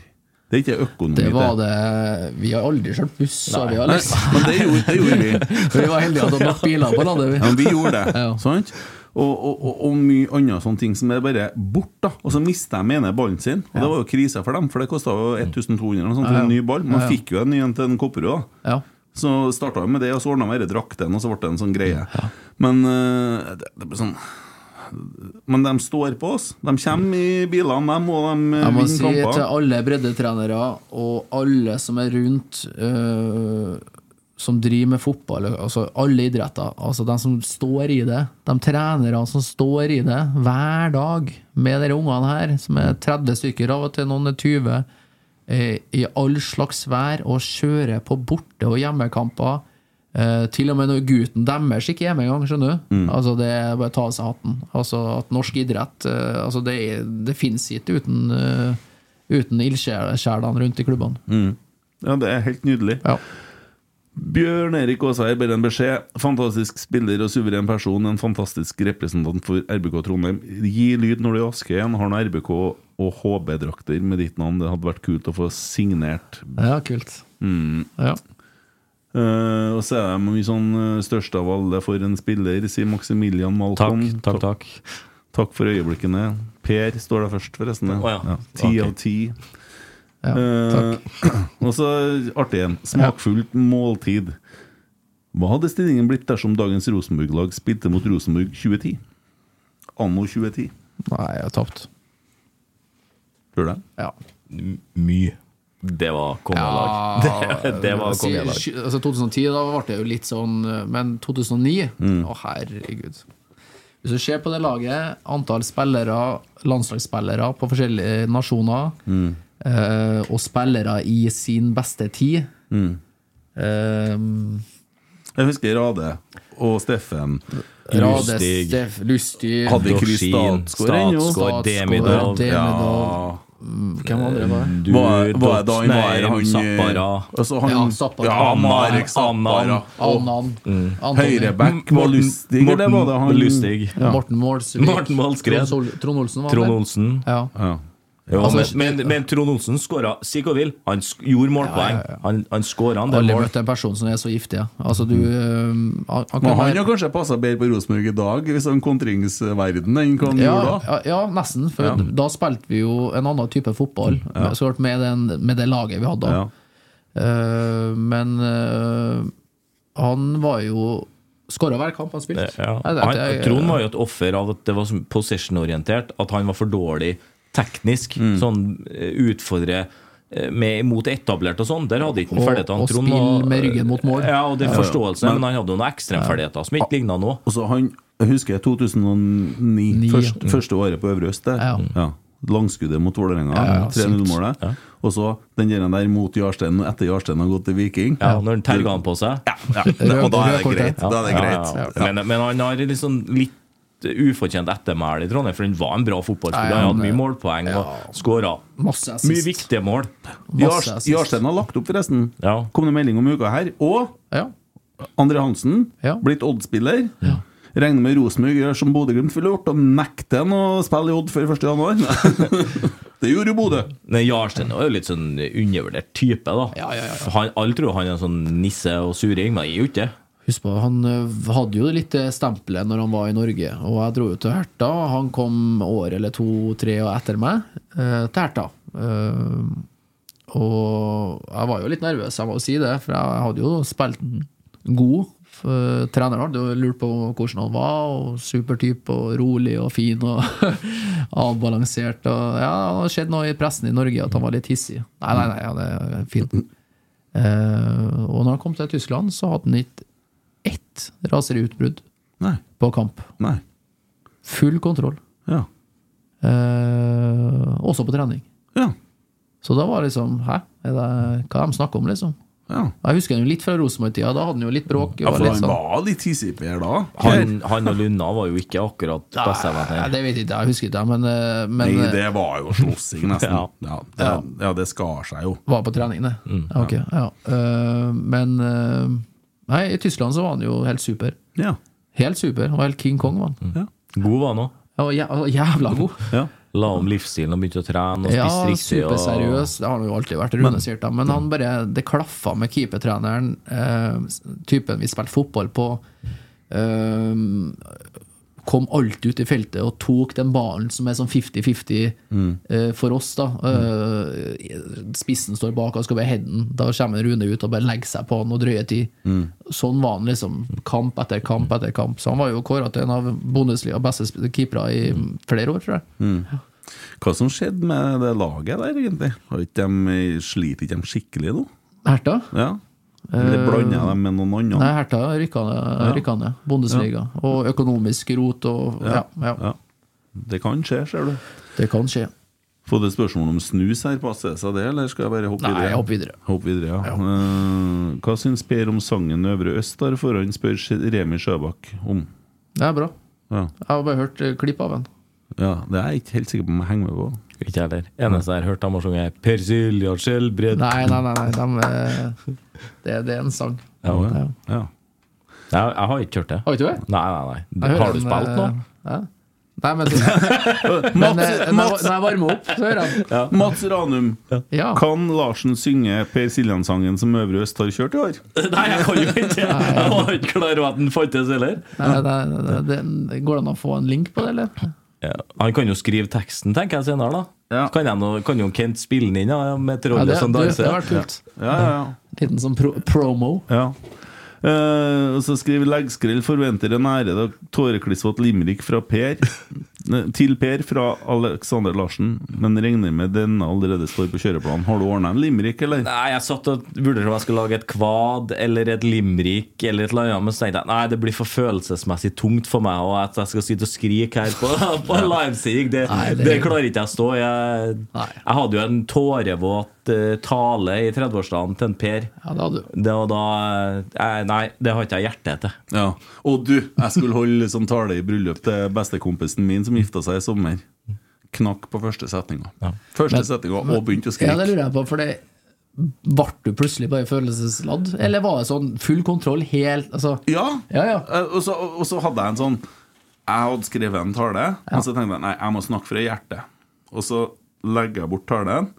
C: Det er ikke økonomi.
D: Det var det Vi har aldri kjørt buss, så vi har
C: Nei, [laughs]
D: liksom
C: Men det gjorde, det gjorde vi.
D: [laughs] Vi var heldige at det var nok biler på landet, vi.
C: Ja, men vi gjorde det.
D: [laughs] Ja.
C: Sant? Og, og, og, og mye andre sånne ting som er bare bort. da Og så mista de ene ballen sin. Og Det var jo krise for dem, for det kosta 1200 eller noe sånt for
D: Mm. Ja, ja.
C: en ny ball. Man
D: Ja, ja.
C: fikk jo en ny en til en Kopperud. da
D: Ja.
C: Så starta vi med det, og så ordna vi denne drakten, og så ble det en sånn greie. Men eh, det, det ble sånn Men de står på oss. De kommer i bilene, dem, og de eh,
D: Jeg må
C: vinner
D: si til
C: kamper.
D: alle breddetrenere og alle som er rundt øh, Som driver med fotball, altså alle idretter Altså De som står i det, de trenerne som står i det hver dag med de ungene her, som er 30 stykker av og til, noen er 20, eh, i all slags vær og kjører på borte- og hjemmekamper. Eh, til og med når gutten deres ikke er med engang, skjønner du.
F: Mm.
D: Altså Det er bare å ta av seg hatten. Altså At norsk idrett eh, Altså Det, er- det fins ikke uten eh, Uten ildsjelene rundt i klubbene.
C: Mm. Ja, det er helt nydelig. Bjørn Erik Aasheim ber en beskjed. Fantastisk spiller og suveren person. En fantastisk representant for RBK Trondheim. Gi lyd når du er i Aske igjen. Har noen RBK- og HB-drakter med ditt navn. Det hadde vært kult å få signert.
D: Ja, kult.
C: Mm.
D: Ja.
C: Eh, og så er det mye sånn eh, størst av alle for en spiller, sier Maximilian Malcolm. Takk, takk, takk. for øyeblikkene. Per står der først, forresten.
E: Å ja,
C: Ti
E: ok.
C: av ti. Eh, [clears throat] og så artig en. Smakfullt måltid. Hva hadde stillingen blitt dersom dagens Rosenborg-lag spilte mot Rosenborg 2010? Anno 2010.
D: Nei, jeg har tapt.
C: Tror du det?
D: Ja.
E: Mye. Det var kongelag. [laughs] det, det var
D: si-
E: kongelag.
D: sky- Altså 2010 da ble det jo litt sånn eh, Men 2009
E: Mm.
D: Å herregud Hvis du ser på det laget Antall spillere Landslagsspillere på forskjellige nasjoner
C: Mm.
D: eh, Og spillere i sin beste tid ehm,
C: Mm. Jeg husker Rade og Steffen.
D: Rade, Steff, Lustig
C: Hadde ikke vi Statsgård ennå?
D: Statsgård,
C: Demidov.
D: Demidov. Mm, Hvem andre var det?
C: Var- var det da han var her, han,
E: Zappara.
C: altså han-
D: ja, Zappara.
C: Ja, Marek Zappara.
D: Annan.
E: Mm.
D: Antonio.
C: Høyreback var Lustig,
E: Morten-
C: eller var det han
E: Lustig.
D: Ja. Morten Målsvik.
E: Morten Målskred.
D: Trond Sol- Trond Olsen var
E: Trond
D: med.
E: Olsen.
D: Ja.
E: Jo,
D: Altså,
E: men, men, men Trond Olsen skåra Si hva du vil, han sk gjorde målpoeng. Han, han skåra en del
D: Aldri
E: mål.
D: møtt en person som er så giftig. ja. Altså, du
E: Mm.
D: øhm, han, han
C: Men han
D: kan være-
C: har kanskje passa bedre på Rosenborg i dag, hvis han kontringsverden enn hva han
D: ja,
C: gjorde da?
D: ja, ja, nesten. For
C: Ja.
D: da spilte vi jo en annen type fotball,
C: Ja.
D: med- så klart med, den, med det laget vi hadde da. Eh, men eh, han var jo Skåra hver kamp han spilte.
E: Ja.
D: Jeg-
E: Han,
D: jeg-
E: Trond var jo et offer av at det var så possession-orientert. At han var for dårlig teknisk.
D: Mm.
E: Sånn eh, utfordre eh, med, mot etablert og sånn. Der hadde ikke han
D: Og-
E: ferdighetene.
D: og
E: Trond
D: spill
E: var-
D: med ryggen mot mål.
E: Ja, og det er
C: Ja.
E: forståelse,
C: Men-
E: men, han hadde jo noen ekstremferdigheter som ikke ligna noe.
C: Og så han, jeg husker 2009, først, første året på Øvre Øst der. Ja. Langskuddet mot Vålerenga,
E: Ja, ja,
C: 3-0-målet. Og så den der der mot Jarstein, etter Jarstein har gått til Viking.
E: Ja, når han terga han på seg.
C: Ja, det- og da er det greit. Da er det
E: Ja,
C: greit.
E: ja, ja.
C: Ja.
E: Men, men han har liksom litt ufortjent ettermæl i Trondheim, for han var en bra fotballspiller.
C: Nei,
E: Han hadde
C: han-
E: mye målpoeng og skåra.
D: Masse assist.
E: Mye viktige mål.
C: Jars- Jarstein har lagt opp, forresten. Kom det melding om uka her. Og André Hansen, blitt Odd-spiller. Regner med Rosenborg gjør som Bodø-Glimt ville gjort, og nekter han å spille i Odd før 1. januar. det gjorde jo Bodø.
E: Men Jarstein er jo litt sånn undervurdert type, da. Han, alle tror han er en sånn nisse og suring, men han er jo ikke det.
D: Husk på, han ø, hadde jo litt det stempelet når han var i Norge, og jeg dro jo til Herta. Han kom år eller to-tre etter meg eh, til Herta. Eh, og jeg var jo litt nervøs, jeg må jo si det, for jeg hadde jo spilt en god. eh, Trener hadde jo lurt på hvordan han var, og supertype og rolig og fin og [laughs] avbalansert. Og ja, det hadde skjedd noe i pressen i Norge at han var litt hissig. Nei, nei, nei, ja, det er fint. Eh, og når han kom til Tyskland, så hadde han ikke ett raseriutbrudd på kamp. Full kontroll. Eh, også på trening.
C: Ja.
D: Så da var liksom Hæ, er det, hva de snakker om, liksom? Jeg husker han jo litt fra Rosenborg-tida. Da hadde han jo litt bråk.
E: Ja, for
D: litt sånn.
E: han
C: var litt hissig-per da.
E: Han, han og Lunna var jo ikke akkurat
D: Nei,
E: bestevenner.
D: det vet jeg ikke, jeg husker ikke, men, eh, men
C: Nei,
D: eh,
C: det var jo slåssing, nesten. ja.
E: Ja.
C: det, ja. det skar seg jo.
D: var på trening, det.
E: Mm.
D: Ja, ok, ja. Eh, men eh, Nei, i Tyskland så var han jo helt super.
C: Ja.
D: Helt super. Han var helt King Kong, var han.
E: God var han òg.
D: Han var jæ- han var jævla god.
E: La om livsstilen og begynte å trene og
D: Ja,
E: spise riktig. og-
D: superseriøs. Det har han jo alltid vært. Rune
E: Men-
D: sier det. Men han bare, det klaffa med keepertreneren, eh, typen vi spilte fotball på. Eh, kom alltid ut i feltet og tok den ballen som er sånn 50-50
E: Mm.
D: eh, for oss. da eh, Spissen står bak og skal være headen. Da kommer Rune ut og bare legger seg på han og drøye tid.
E: Mm.
D: Sånn var han liksom kamp etter kamp etter kamp. Så han var jo kåra til en av Bundesligas beste sp- keepere i flere år, tror jeg.
C: Mm. Hva som skjedde med det laget der, egentlig? Har ikke de, sliter ikke de skikkelig nå?
D: Herta?
C: Ja. Eller
D: Eh,
C: blander jeg dem med noen andre?
D: Nei, Herta rykka
C: Ja.
D: ned. rykka ned. Bundesliga. Og økonomisk rot og ja. ja.
C: Det kan skje, ser du.
D: Det kan skje.
C: Får du et spørsmål om snus her? Passer det seg det, eller skal jeg bare hoppe
D: Nei,
C: videre?
D: jeg hopper videre.
C: Hopp videre ja. Eh, hva syns Per om sangen 'Øvre Øst' der forhånd, spør Remi Sjøbakk om?
D: Det er bra.
C: Ja.
D: Jeg har bare hørt eh, klipp av den.
C: ja, Det er jeg ikke helt sikker på om jeg henger med på.
E: Ikke heller. Eneste jeg har hørt dem har sunget, er Per Silja Skjelbred.
D: Nei, nei, nei. nei dem, eh, det, det er en sang.
E: Ja,
D: ja.
E: Jeg, jeg har ikke hørt det.
D: Har ikke du det?
E: Nei, nei, nei.
D: Jeg hører
E: Har du
D: den,
E: spilt nå?
D: eh, ja. Nei, men,
E: [laughs]
D: men eh, når,
C: Mats!
D: når jeg varmer opp, så hører jeg den.
C: Mats Ranum,
D: Ja.
C: kan Larsen synge Per Siljan-sangen som Øvre Øst har kjørt i år?
E: Nei, jeg kan jo ikke Jeg var ikke klar over at den fantes heller.
D: Nei, nei, nei, det- Går det an å få en link på det, eller?
E: Ja. Han kan jo skrive teksten, tenker jeg senere, da. Kan, jeg nå- kan jo Kent spille den inn ja, med
D: Ja,
E: trollet
D: det,
E: som
D: det, det
E: danser?
D: har vært kult.
C: Ja, ja, ja.
D: Liten sånn pro promo.
C: Ja. Eh, og så skriver leggskrell forventer en ære da tåreklissvåt limerick fra Per [laughs] Nei, til Per fra Alexander Larsen, men regner med denne allerede står på kjøreplanen. Har du ordna en limerick, eller?
E: Nei, jeg satt og vurderte om jeg skulle lage et kvad eller et limrik eller et eller annet, men så tenkte jeg nei, det blir for følelsesmessig tungt for meg, og at jeg skal sitte og skrike her
C: [laughs]
E: på, på livesending, det,
D: Nei,
E: det...
D: det-
E: klarer ikke jeg å stå i. Jeg, jeg hadde jo en tårevåt eh, tale i 30-årsdagen til en Per.
D: Ja, det hadde du.
E: Det var da eh, Nei, det har ikke jeg hjerte til.
C: Ja. Og du, jeg skulle holde sånn tale i bryllup til bestekompisen min som gifta seg i sommer. Knakk på første setninga. Første
D: Men-
C: setninga, og begynte å
D: Ja, det
C: skrike.
D: lurer jeg på, for det ble du plutselig bare følelsesladd? Eller var det sånn full kontroll helt altså,
C: Ja!
D: Ja, ja.
C: Eh, Og så, og så hadde jeg en sånn Jeg hadde skrevet en tale, og så tenkte jeg nei, jeg må snakke fra hjertet. Og så legger jeg bort talen,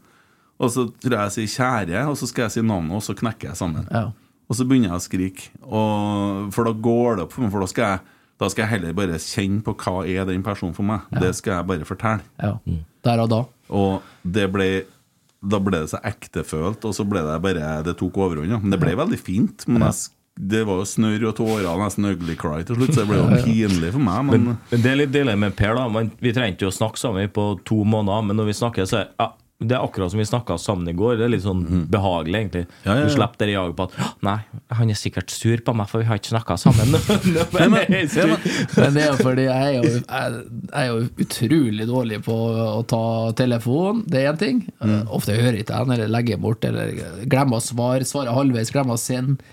C: og så tror jeg jeg sier 'kjære', og så skal jeg si navnet, og så knekker jeg sammen.
D: ja.
C: Og så begynner jeg å skrike, og, for da går det opp for meg. For da skal, jeg, da skal jeg heller bare kjenne på hva er den personen for meg. Det skal jeg bare fortelle.
D: ja. Der og da.
C: Og det ble da ble det så ektefølt, og så ble det bare Det tok overhånd, ja. Men det ble veldig fint. Men jeg, s- det var jo snørr og tårer og nesten ugly cry til slutt, så det ble jo pinlig for meg. Men,
E: Men, men det er litt deilig med Per. da Man, Vi trengte jo å snakke sammen på to måneder, men når vi snakker, så er ja, det er akkurat som vi snakka sammen i går. Det er litt sånn
C: Mhm.
E: behagelig, egentlig.
C: Ja, ja, ja.
E: Du slipper det jaget på at «Hå, Nei, han er sikkert sur på meg, for vi har ikke snakka sammen. Nå, nå, men, [laughs] jeg er sur.
D: Men det er jo fordi jeg er jo, jeg, jeg er jo utrolig dårlig på å ta telefon, det er én ting.
C: Mm.
D: Ofte hører jeg ikke den, eller legger bort, eller glemmer å svare, svarer halvveis, glemmer å sende.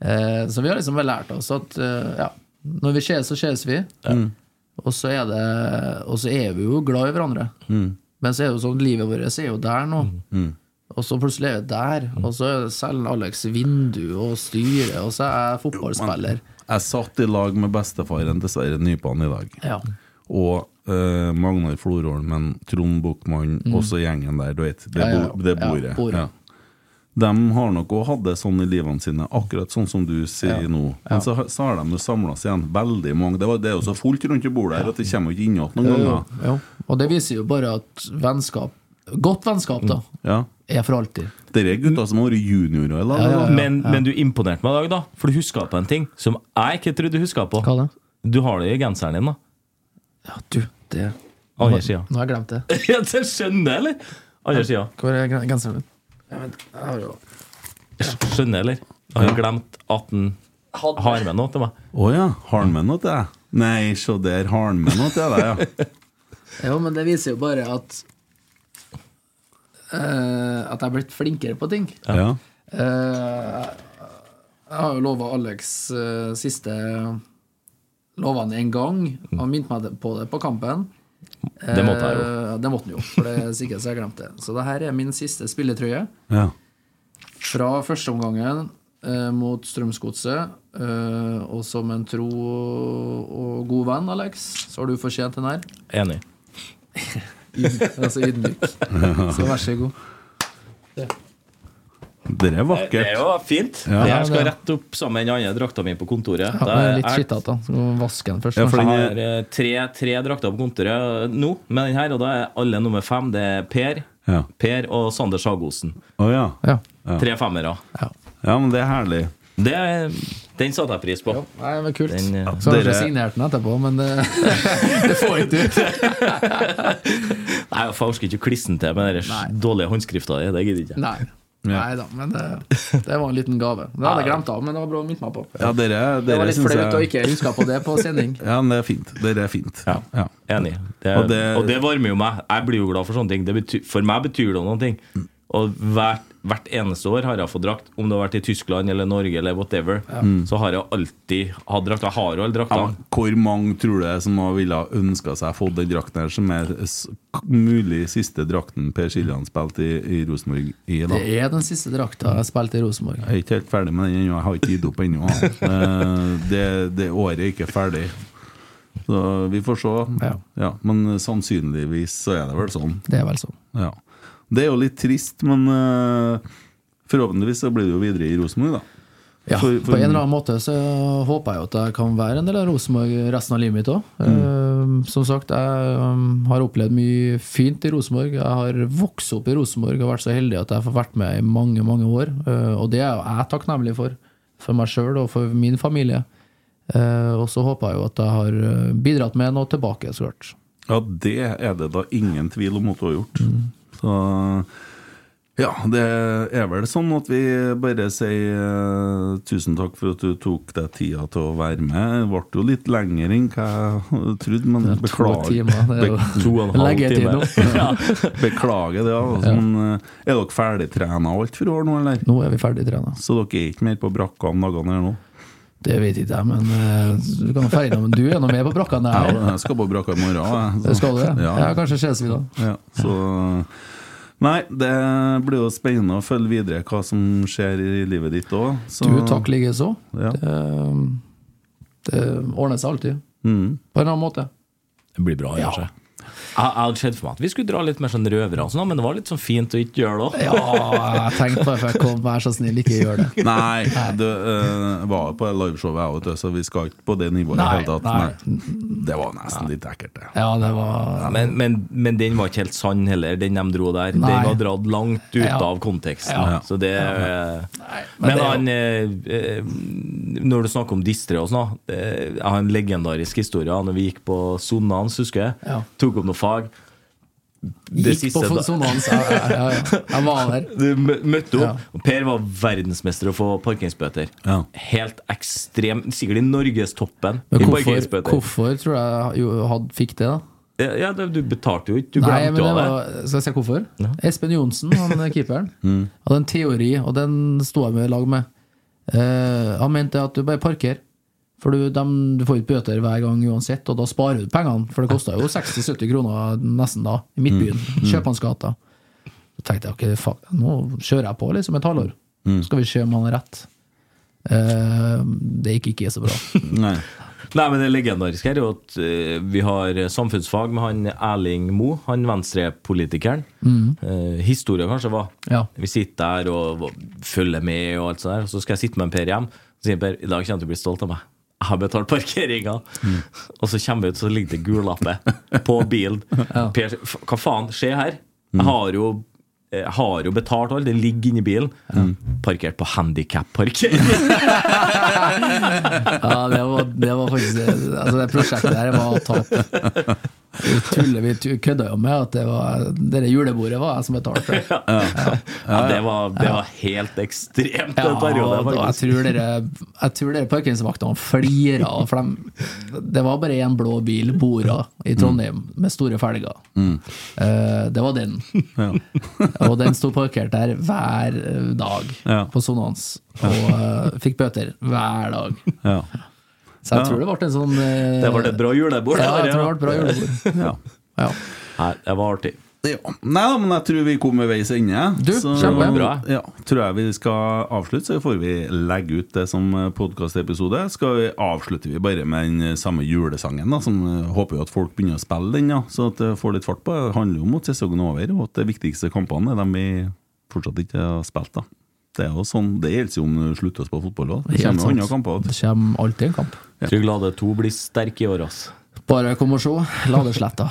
D: Eh, Så vi har liksom vel lært oss at eh, ja, når vi ses, så ses vi.
C: Mm.
D: Og, så er det, og så er vi jo glad i hverandre.
C: Mm.
D: Men så er det jo sånn, livet vårt er jo der nå. Og så plutselig er jeg der, og så er det selv Alex vindu og styre, og så er jeg fotballspiller.
C: jeg satt i lag med bestefaren til Sverre Nypan i dag,
D: Ja.
C: og eh, Magnar Florholmen, Trond Buchmann, også gjengen der, du vet. Det,
D: Mm. Ja, ja,
C: bo, det
D: ja,
C: bordet.
D: bordet.
C: Ja. De har nok òg hatt det sånn i livene sine, akkurat sånn som du sier nå. Men så, har- så har de samla seg igjen, veldig mange. Det, var, det er jo så fullt rundt i bordet her at det kommer jo ikke inn igjen noen ganger.
D: Eh, Ja. Og det viser jo bare at vennskap, godt vennskap, da,
C: Ja.
D: er for alltid.
C: Dere er gutter som har vært juniorer i lag. da.
E: Men, men du imponerte meg i dag, da. For du huska på en ting som jeg ikke trodde du huska på.
D: Hva da?
E: Du har det i genseren din, da.
D: Ja, du, det
E: Andre sida.
D: Nå har jeg glemt det.
E: [laughs] Ja, det skjønner jeg, eller? Andre sida.
D: Hvor er gren- genseren min? Jeg vet- jeg har jo-
E: Skjønner jeg, eller? Har jeg glemt at han har med noe til meg?
C: Å ja, har han med noe til deg? Nei, se der, har han med noe til
D: [laughs]
C: deg, ja.
D: Jo, men det viser jo bare at eh, At jeg er blitt flinkere på ting.
C: ja.
D: Eh, jeg har jo lova Alex eh, siste Lova han en gang. Han minte meg på det på kampen.
E: Det måtte jeg jo.
D: Eh, det måtte han jo, for det er sikkert så jeg glemte det. Så det her er min siste spilletrøye.
C: Ja.
D: Fra førsteomgangen eh, mot Strømsgodset. Eh, og som en tro og god venn, Alex, så har du fortjent den her.
E: Enig.
D: Yd- altså [laughs] ydmyk. Så vær så god.
C: Det er vakkert.
E: Det var fint.
C: Ja.
E: Jeg skal
D: Ja, det-
E: rette opp sammen med den andre drakta mi på kontoret.
D: Ja, det er litt skittete. Så må vi vaske den først.
E: Ja, for den
D: kanskje.
E: er eh, tre, tre drakter på kontoret nå, med den her, og da er alle nummer fem. Det er Per,
C: Ja.
E: Per og Sander Sagosen.
C: Å ja.
D: Ja.
E: Tre femmere.
C: Ja, men det er herlig.
E: Det, er- den satte jeg pris på.
D: Nei, men kult.
E: Den, eh,
D: så har jeg
E: dere-
D: ikke signert den etterpå, men det, [laughs] det får jeg ikke ut.
E: [laughs] Nei, jeg orker ikke å klisse den til med den dårlige håndskrifta di. Det gidder jeg ikke.
D: Nei. Nei da, men det, det var en liten gave. Det hadde jeg glemt av, men det var bra å minne meg på.
C: Ja, dere, dere
D: det var litt
C: synes
D: flaut
C: jeg-
D: å ikke huske på det på
E: [laughs]
D: sending.
C: Ja, men det er fint. Dere er fint. Ja.
E: Enig. Det, og,
C: Og
E: det,
C: det-
E: varmer jo meg. Jeg blir jo glad for sånne ting. Det betyr, for meg betyr det noen ting. Og hvert, hvert eneste år har jeg fått drakt. Om det har vært i Tyskland eller Norge eller whatever,
C: Mm.
E: så har jeg alltid hatt drakt. Jeg har jo alle draktene.
C: men Hvor mange tror du det er som har ville ha ønska seg å få den drakten her, som er s- mulig siste drakten Per Siljan spilte i, i Rosenborg i, da?
D: Det er den siste drakta jeg spilte i Rosenborg.
C: Jeg er ikke helt ferdig med den ennå. Jeg har ikke gitt opp ennå. Eh, [laughs] Det, det året er ikke ferdig. Så vi får se. Ja. men sannsynligvis så er det vel sånn.
D: Det er vel sånn.
C: Ja. Det er jo litt trist, men eh, forhåpentligvis så blir det jo videre i Rosenborg, da.
D: Ja,
C: For- for-
D: på en eller annen måte så håper jeg jo at jeg kan være en del av Rosenborg resten av livet mitt òg. som sagt, jeg eh, har opplevd mye fint i Rosenborg. Jeg har vokst opp i Rosenborg og vært så heldig at jeg får vært med i mange, mange år. Eh, og det er jo jeg takknemlig for. For meg sjøl og for min familie. Eh, og så håper jeg jo at jeg har eh, bidratt med noe tilbake, så klart.
C: Ja, det er det da ingen tvil om at du har gjort.
D: Mm.
C: Så ja, det er vel sånn at vi bare sier eh, tusen takk for at du tok deg tida til å være med. Det ble jo litt lenger enn hva jeg trodde, men beklager.
D: timer, det er jo-
C: Be-
D: To og en halv Leggetid time. [laughs] nå.
C: Ja. [laughs] beklager det. Altså. Men, eh, er dere ferdigtrena alt for i år nå, eller?
D: Nå er vi ferdigtrena.
C: Så dere er ikke mer på brakka om dagene her nå?
D: Det vet ikke jeg, men eh, du kan feire innom. Du er nå med på brakka
C: Ja,
D: der.
C: jeg skal på brakka i morgen. jeg. Så-
D: Skal du [laughs] det?
C: Ja.
D: Ja, kanskje ses vi da.
C: Ja, så Nei, det blir jo spennende å følge videre hva som skjer i livet ditt òg.
D: Du, takk Eh. likeså.
C: Ja.
D: Det, det ordner seg alltid.
C: Mm.
D: På en eller annen måte.
E: Det blir bra, kanskje. Jeg, jeg hadde sett for meg at vi skulle dra litt mer sånn røvere, og sånn, men det var litt sånn fint å ikke gjøre det.
D: Ja, jeg tenkte bare før jeg kom, vær så snill, ikke gjør det.
C: [laughs] Nei, du eh, var jo på det liveshowet jeg òg, så vi skal ikke på det nivået. i
D: Nei,
C: hele tatt.
D: nei.
C: Nei. Det var nesten litt ekkelt, det.
D: Ja, det var
E: Men, men, men den var ikke helt sann heller, den de dro der.
D: Nei.
E: Den var dratt langt ut
D: Ja.
E: av konteksten.
D: Ja.
E: Så det, eh,
D: men
E: men
D: det er jo-
E: han eh, eh, Når du snakker om distre og sånn, da, eh, jeg har en legendarisk historie. Når vi gikk på sonen hans, husker jeg.
D: Ja.
E: Tok opp noe fag. Det
D: Gikk på
E: da-
D: fonsonans. Ja, ja, ja, ja. Jeg var der.
E: [laughs] du mø- møtte opp. og Per var verdensmester å få parkeringsbøter.
C: Ja.
E: Helt ekstrem. Sikkert i norgestoppen.
D: Men
E: i
D: hvorfor,
E: parkeringsbøter.
D: hvorfor tror jeg jo hadde, fikk det, da?
E: Ja, ja, du betalte jo ikke. Du
D: Nei, men
E: glemte
D: det
E: jo det.
D: var, skal jeg si hvorfor? Espen Johnsen, han er keeperen,
E: [laughs] Mm.
D: hadde en teori, og den sto jeg med i lag med. Eh, han mente at du bare parker. For du, dem, du får ikke bøter hver gang uansett, og da sparer du pengene. For det kosta jo 60-70 kroner nesten da, i Midtbyen.
C: Mm.
D: Kjøpmannsgata. Så tenkte jeg ok, fuck, nå kjører jeg på liksom et halvår.
C: Mm.
D: Skal vi se om han har rett. Eh, det gikk ikke så bra.
C: Nei.
E: Nei, men Det legendariske her er jo at eh, vi har samfunnsfag med han Erling Mo, han venstrepolitikeren.
D: Mm.
E: Eh, historia kanskje var
D: Ja.
E: Vi sitter der og og følger med, og alt sånt der og så skal jeg sitte med en Per hjem. Så sier Per i dag kommer du til å bli stolt av meg. Jeg har betalt parkeringa.
D: Mm.
E: Og så kommer vi ut, så ligger det gul lappe på bilen.
D: [laughs]
E: Per, f- hva faen skjer her? Jeg har jo, jeg har jo betalt alt, det ligger inni bilen. Parkert på handikap-parkering.
D: [laughs] Ja, det var, det var faktisk det, altså det prosjektet der var tap. Vi, tuller, vi tu- kødda jo med at det var det der julebordet var jeg som betalte. for.
E: Ja, det var, det var helt ekstremt den
D: da, jeg
E: perioden. faktisk.
D: tror dere, jeg tror dere parkeringsvaktene flira. For dem- det var bare én blå bil, Bora,
E: Mm.
D: i Trondheim, med store felger. Eh, det var den. [laughs] og den sto parkert der hver eh, dag
C: Ja.
D: på Sonans.
C: Ja.
D: Og eh, fikk bøter hver dag.
C: Ja.
D: Så jeg
E: Ja.
D: tror det ble en sånn eh,
E: Det ble et bra julebord.
D: Ja, jeg
E: der,
D: tror det ble et bra julebord.
E: [laughs]
C: Ja.
D: [laughs]
E: Nei, det var artig.
C: Nei da, men jeg tror vi kom ved veis ende.
E: Du, kjempebra.
C: Ja, tror jeg vi skal avslutte, så får vi legge ut det som podkastepisode. Skal vi avslutte vi bare med den samme julesangen, da, som eh, håper jo at folk begynner å spille den, ja, så at det får litt fart på. Det handler jo om at sesongen er over, og at de viktigste kampene er de vi fortsatt ikke har spilt. da Det er jo sånn, det gjelder jo om du slutter å spille fotball òg. Det
D: Helt
C: kommer jo
D: sant.
C: andre kamper.
D: Det kommer alltid en kamp.
E: Trygg Lade 2 blir sterk i år, ass.
D: Bare kom og se. Ladesletta.